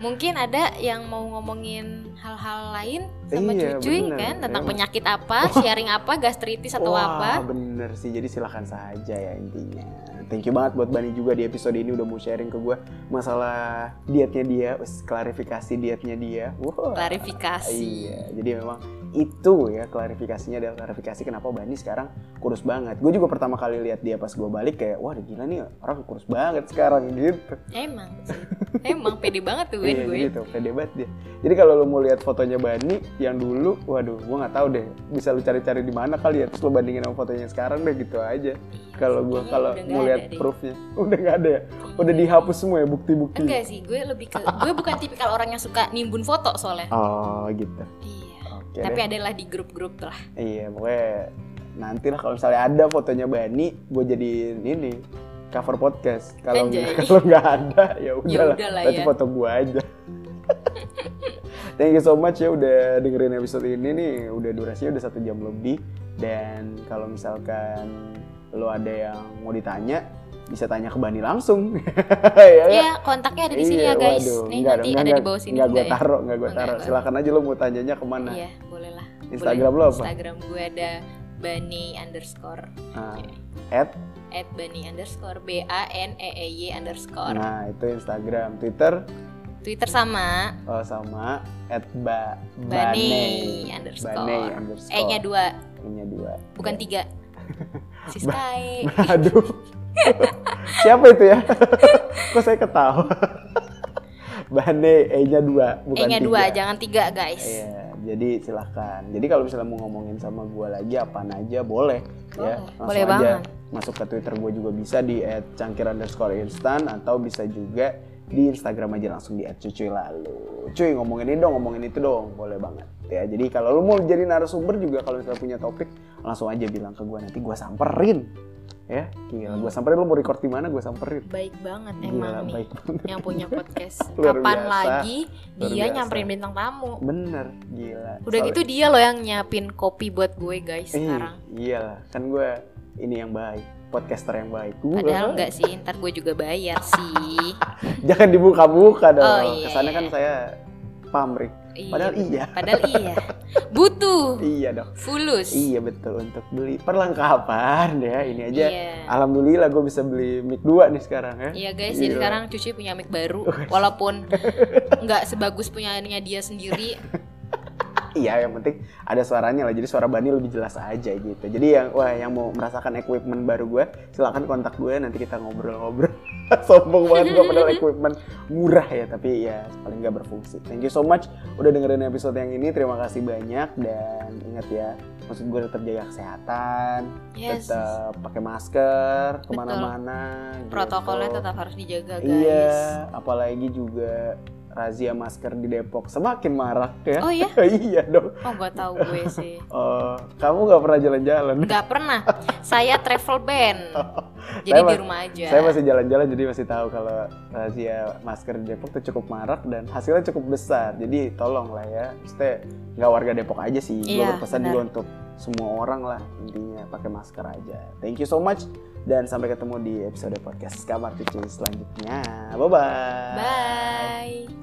Speaker 2: Mungkin ada yang mau ngomongin hal-hal lain sama
Speaker 1: Iya,
Speaker 2: cuy
Speaker 1: bener.
Speaker 2: kan tentang
Speaker 1: Emang.
Speaker 2: penyakit apa, sharing apa, gastritis atau
Speaker 1: Wah,
Speaker 2: apa.
Speaker 1: bener sih. Jadi silahkan saja ya intinya. Thank you banget buat Bani juga di episode ini udah mau sharing ke gue masalah dietnya dia, Wes, klarifikasi dietnya dia. Wah.
Speaker 2: Klarifikasi.
Speaker 1: Iya, jadi memang itu ya klarifikasinya adalah klarifikasi kenapa Bani sekarang kurus banget. Gue juga pertama kali lihat dia pas gue balik kayak, wah gila nih orang kurus banget sekarang gitu.
Speaker 2: Emang sih. Emang pede banget tuh Ben
Speaker 1: Iya,
Speaker 2: gue.
Speaker 1: gitu, pede banget dia. Jadi kalau lo mau lihat fotonya Bani yang dulu, waduh, gue nggak tahu deh, bisa lo cari-cari di mana kali ya, terus lo bandingin sama fotonya sekarang deh gitu aja. Kalau gue
Speaker 2: Kayaknya
Speaker 1: kalau
Speaker 2: Iya, udah nggak
Speaker 1: mau
Speaker 2: ada
Speaker 1: lihat
Speaker 2: deh. Iya.
Speaker 1: proofnya, udah nggak ada ya, udah dihapus semua ya bukti-bukti.
Speaker 2: Enggak sih, gue lebih ke gue bukan tipikal orang yang suka nimbun foto soalnya.
Speaker 1: Oh gitu.
Speaker 2: Iya.
Speaker 1: Oke deh.
Speaker 2: Tapi adalah di grup-grup lah.
Speaker 1: Iya, pokoknya nanti lah kalau misalnya ada fotonya Bani, gue jadiin ini cover podcast. Kalau
Speaker 2: Anjay.
Speaker 1: kalau nggak ada ya udahlah,
Speaker 2: udahlah
Speaker 1: nanti
Speaker 2: ya.
Speaker 1: foto gue aja. Thank you so much ya udah dengerin episode ini nih, udah durasinya udah satu jam lebih. Dan kalau misalkan lo ada yang mau ditanya, bisa tanya ke Bani langsung. ya, ya.
Speaker 2: Iya, kontaknya ada di sini
Speaker 1: Iya,
Speaker 2: ya guys.
Speaker 1: waduh,
Speaker 2: Nih
Speaker 1: enggak
Speaker 2: nanti
Speaker 1: dong,
Speaker 2: ada
Speaker 1: enggak,
Speaker 2: di bawah sini
Speaker 1: Nggak gue
Speaker 2: juga ya.
Speaker 1: taruh, nggak gue
Speaker 2: Oh,
Speaker 1: taruh.
Speaker 2: nggak,
Speaker 1: Silakan aja lo mau tanyanya kemana.
Speaker 2: Iya, boleh lah.
Speaker 1: Instagram lo apa?
Speaker 2: Instagram gue ada bani underscore Iya,
Speaker 1: Nah, at,
Speaker 2: at bani underscore b a n e e y underscore
Speaker 1: nah itu Instagram, Twitter
Speaker 2: Twitter sama
Speaker 1: oh, sama at ba,
Speaker 2: Bane
Speaker 1: Bane.
Speaker 2: underscore.
Speaker 1: Bane
Speaker 2: e nya
Speaker 1: underscore.
Speaker 2: dua
Speaker 1: E-nya dua.
Speaker 2: bukan tiga si
Speaker 1: Ba-
Speaker 2: Sky
Speaker 1: Aduh. Siapa itu ya? Kok saya ketawa? Bane E-nya dua,
Speaker 2: e
Speaker 1: bukan
Speaker 2: nya
Speaker 1: tiga.
Speaker 2: dua jangan tiga guys
Speaker 1: Iya, jadi silahkan. Jadi kalau misalnya mau ngomongin sama gue lagi apaan aja boleh, ya.
Speaker 2: Boleh.
Speaker 1: Langsung
Speaker 2: Boleh
Speaker 1: aja
Speaker 2: banget.
Speaker 1: Masuk ke Twitter gue juga bisa di @cangkir underscore instan atau bisa juga di Instagram aja langsung di @cucuy lalu. Cuy ngomongin ini dong, ngomongin itu dong, boleh banget. Ya, jadi kalau lu mau jadi narasumber juga kalau misalnya punya topik langsung aja bilang ke gue nanti gue samperin. Ya, gila, gue samperin lu mau record di mana gue samperin.
Speaker 2: baik banget
Speaker 1: Gila,
Speaker 2: emang nih
Speaker 1: baik banget.
Speaker 2: yang punya podcast
Speaker 1: Luar
Speaker 2: kapan
Speaker 1: biasa.
Speaker 2: lagi
Speaker 1: Luar
Speaker 2: dia
Speaker 1: biasa.
Speaker 2: nyamperin bintang tamu
Speaker 1: Bener, gila.
Speaker 2: udah
Speaker 1: Soalnya-
Speaker 2: gitu dia loh yang nyiapin kopi buat gue guys
Speaker 1: Eh,
Speaker 2: sekarang
Speaker 1: Iyalah, kan gue ini yang baik, podcaster yang baik. Gua
Speaker 2: padahal
Speaker 1: nggak-
Speaker 2: enggak sih ntar gue juga bayar sih
Speaker 1: Jangan dibuka-buka dong.
Speaker 2: Oh, iya,
Speaker 1: Kesannya kan
Speaker 2: iya.
Speaker 1: saya pamrih. Padahal iya.
Speaker 2: padahal iya butuh
Speaker 1: Iya dong.
Speaker 2: fulus
Speaker 1: Iya betul untuk beli perlengkapan ya. Ini aja.
Speaker 2: Iya.
Speaker 1: Alhamdulillah gue bisa beli mic 2 nih sekarang ya.
Speaker 2: Iya guys, jadi
Speaker 1: Iya.
Speaker 2: sekarang Cuci punya mic baru Walaupun nggak sebagus punyanya dia sendiri
Speaker 1: Iya, yang penting ada suaranya lah. Jadi suara Bani lebih jelas aja gitu. Jadi yang wah yang mau merasakan equipment baru gue, silakan kontak gue nanti kita ngobrol-ngobrol. Sombong banget gue padahal equipment murah ya, tapi ya paling nggak berfungsi. Thank you so much udah dengerin episode yang ini. Terima kasih banyak dan ingat ya, maksud gue tetap jaga kesehatan,
Speaker 2: Yes,
Speaker 1: tetap pakai masker kemana-mana. gitu.
Speaker 2: protokolnya tetap harus dijaga guys
Speaker 1: Iya, apalagi juga razia masker di Depok semakin marak ya.
Speaker 2: Oh ya?
Speaker 1: iya dong.
Speaker 2: Oh gue tahu gue sih
Speaker 1: Eh, kamu nggak pernah jalan-jalan.
Speaker 2: Gak pernah, saya travel ban Jadi
Speaker 1: Saya
Speaker 2: di
Speaker 1: mas-
Speaker 2: rumah aja
Speaker 1: Saya masih jalan-jalan jadi masih tahu kalau razia masker di Depok tuh cukup marak dan hasilnya cukup besar. Jadi tolong lah ya, mesti nggak warga Depok aja sih. Gue
Speaker 2: Iya,
Speaker 1: berpesan
Speaker 2: benar.
Speaker 1: juga untuk semua orang lah intinya pakai masker aja. Thank you so much dan sampai ketemu di episode podcast kamar cuci selanjutnya. Bye bye.
Speaker 2: Bye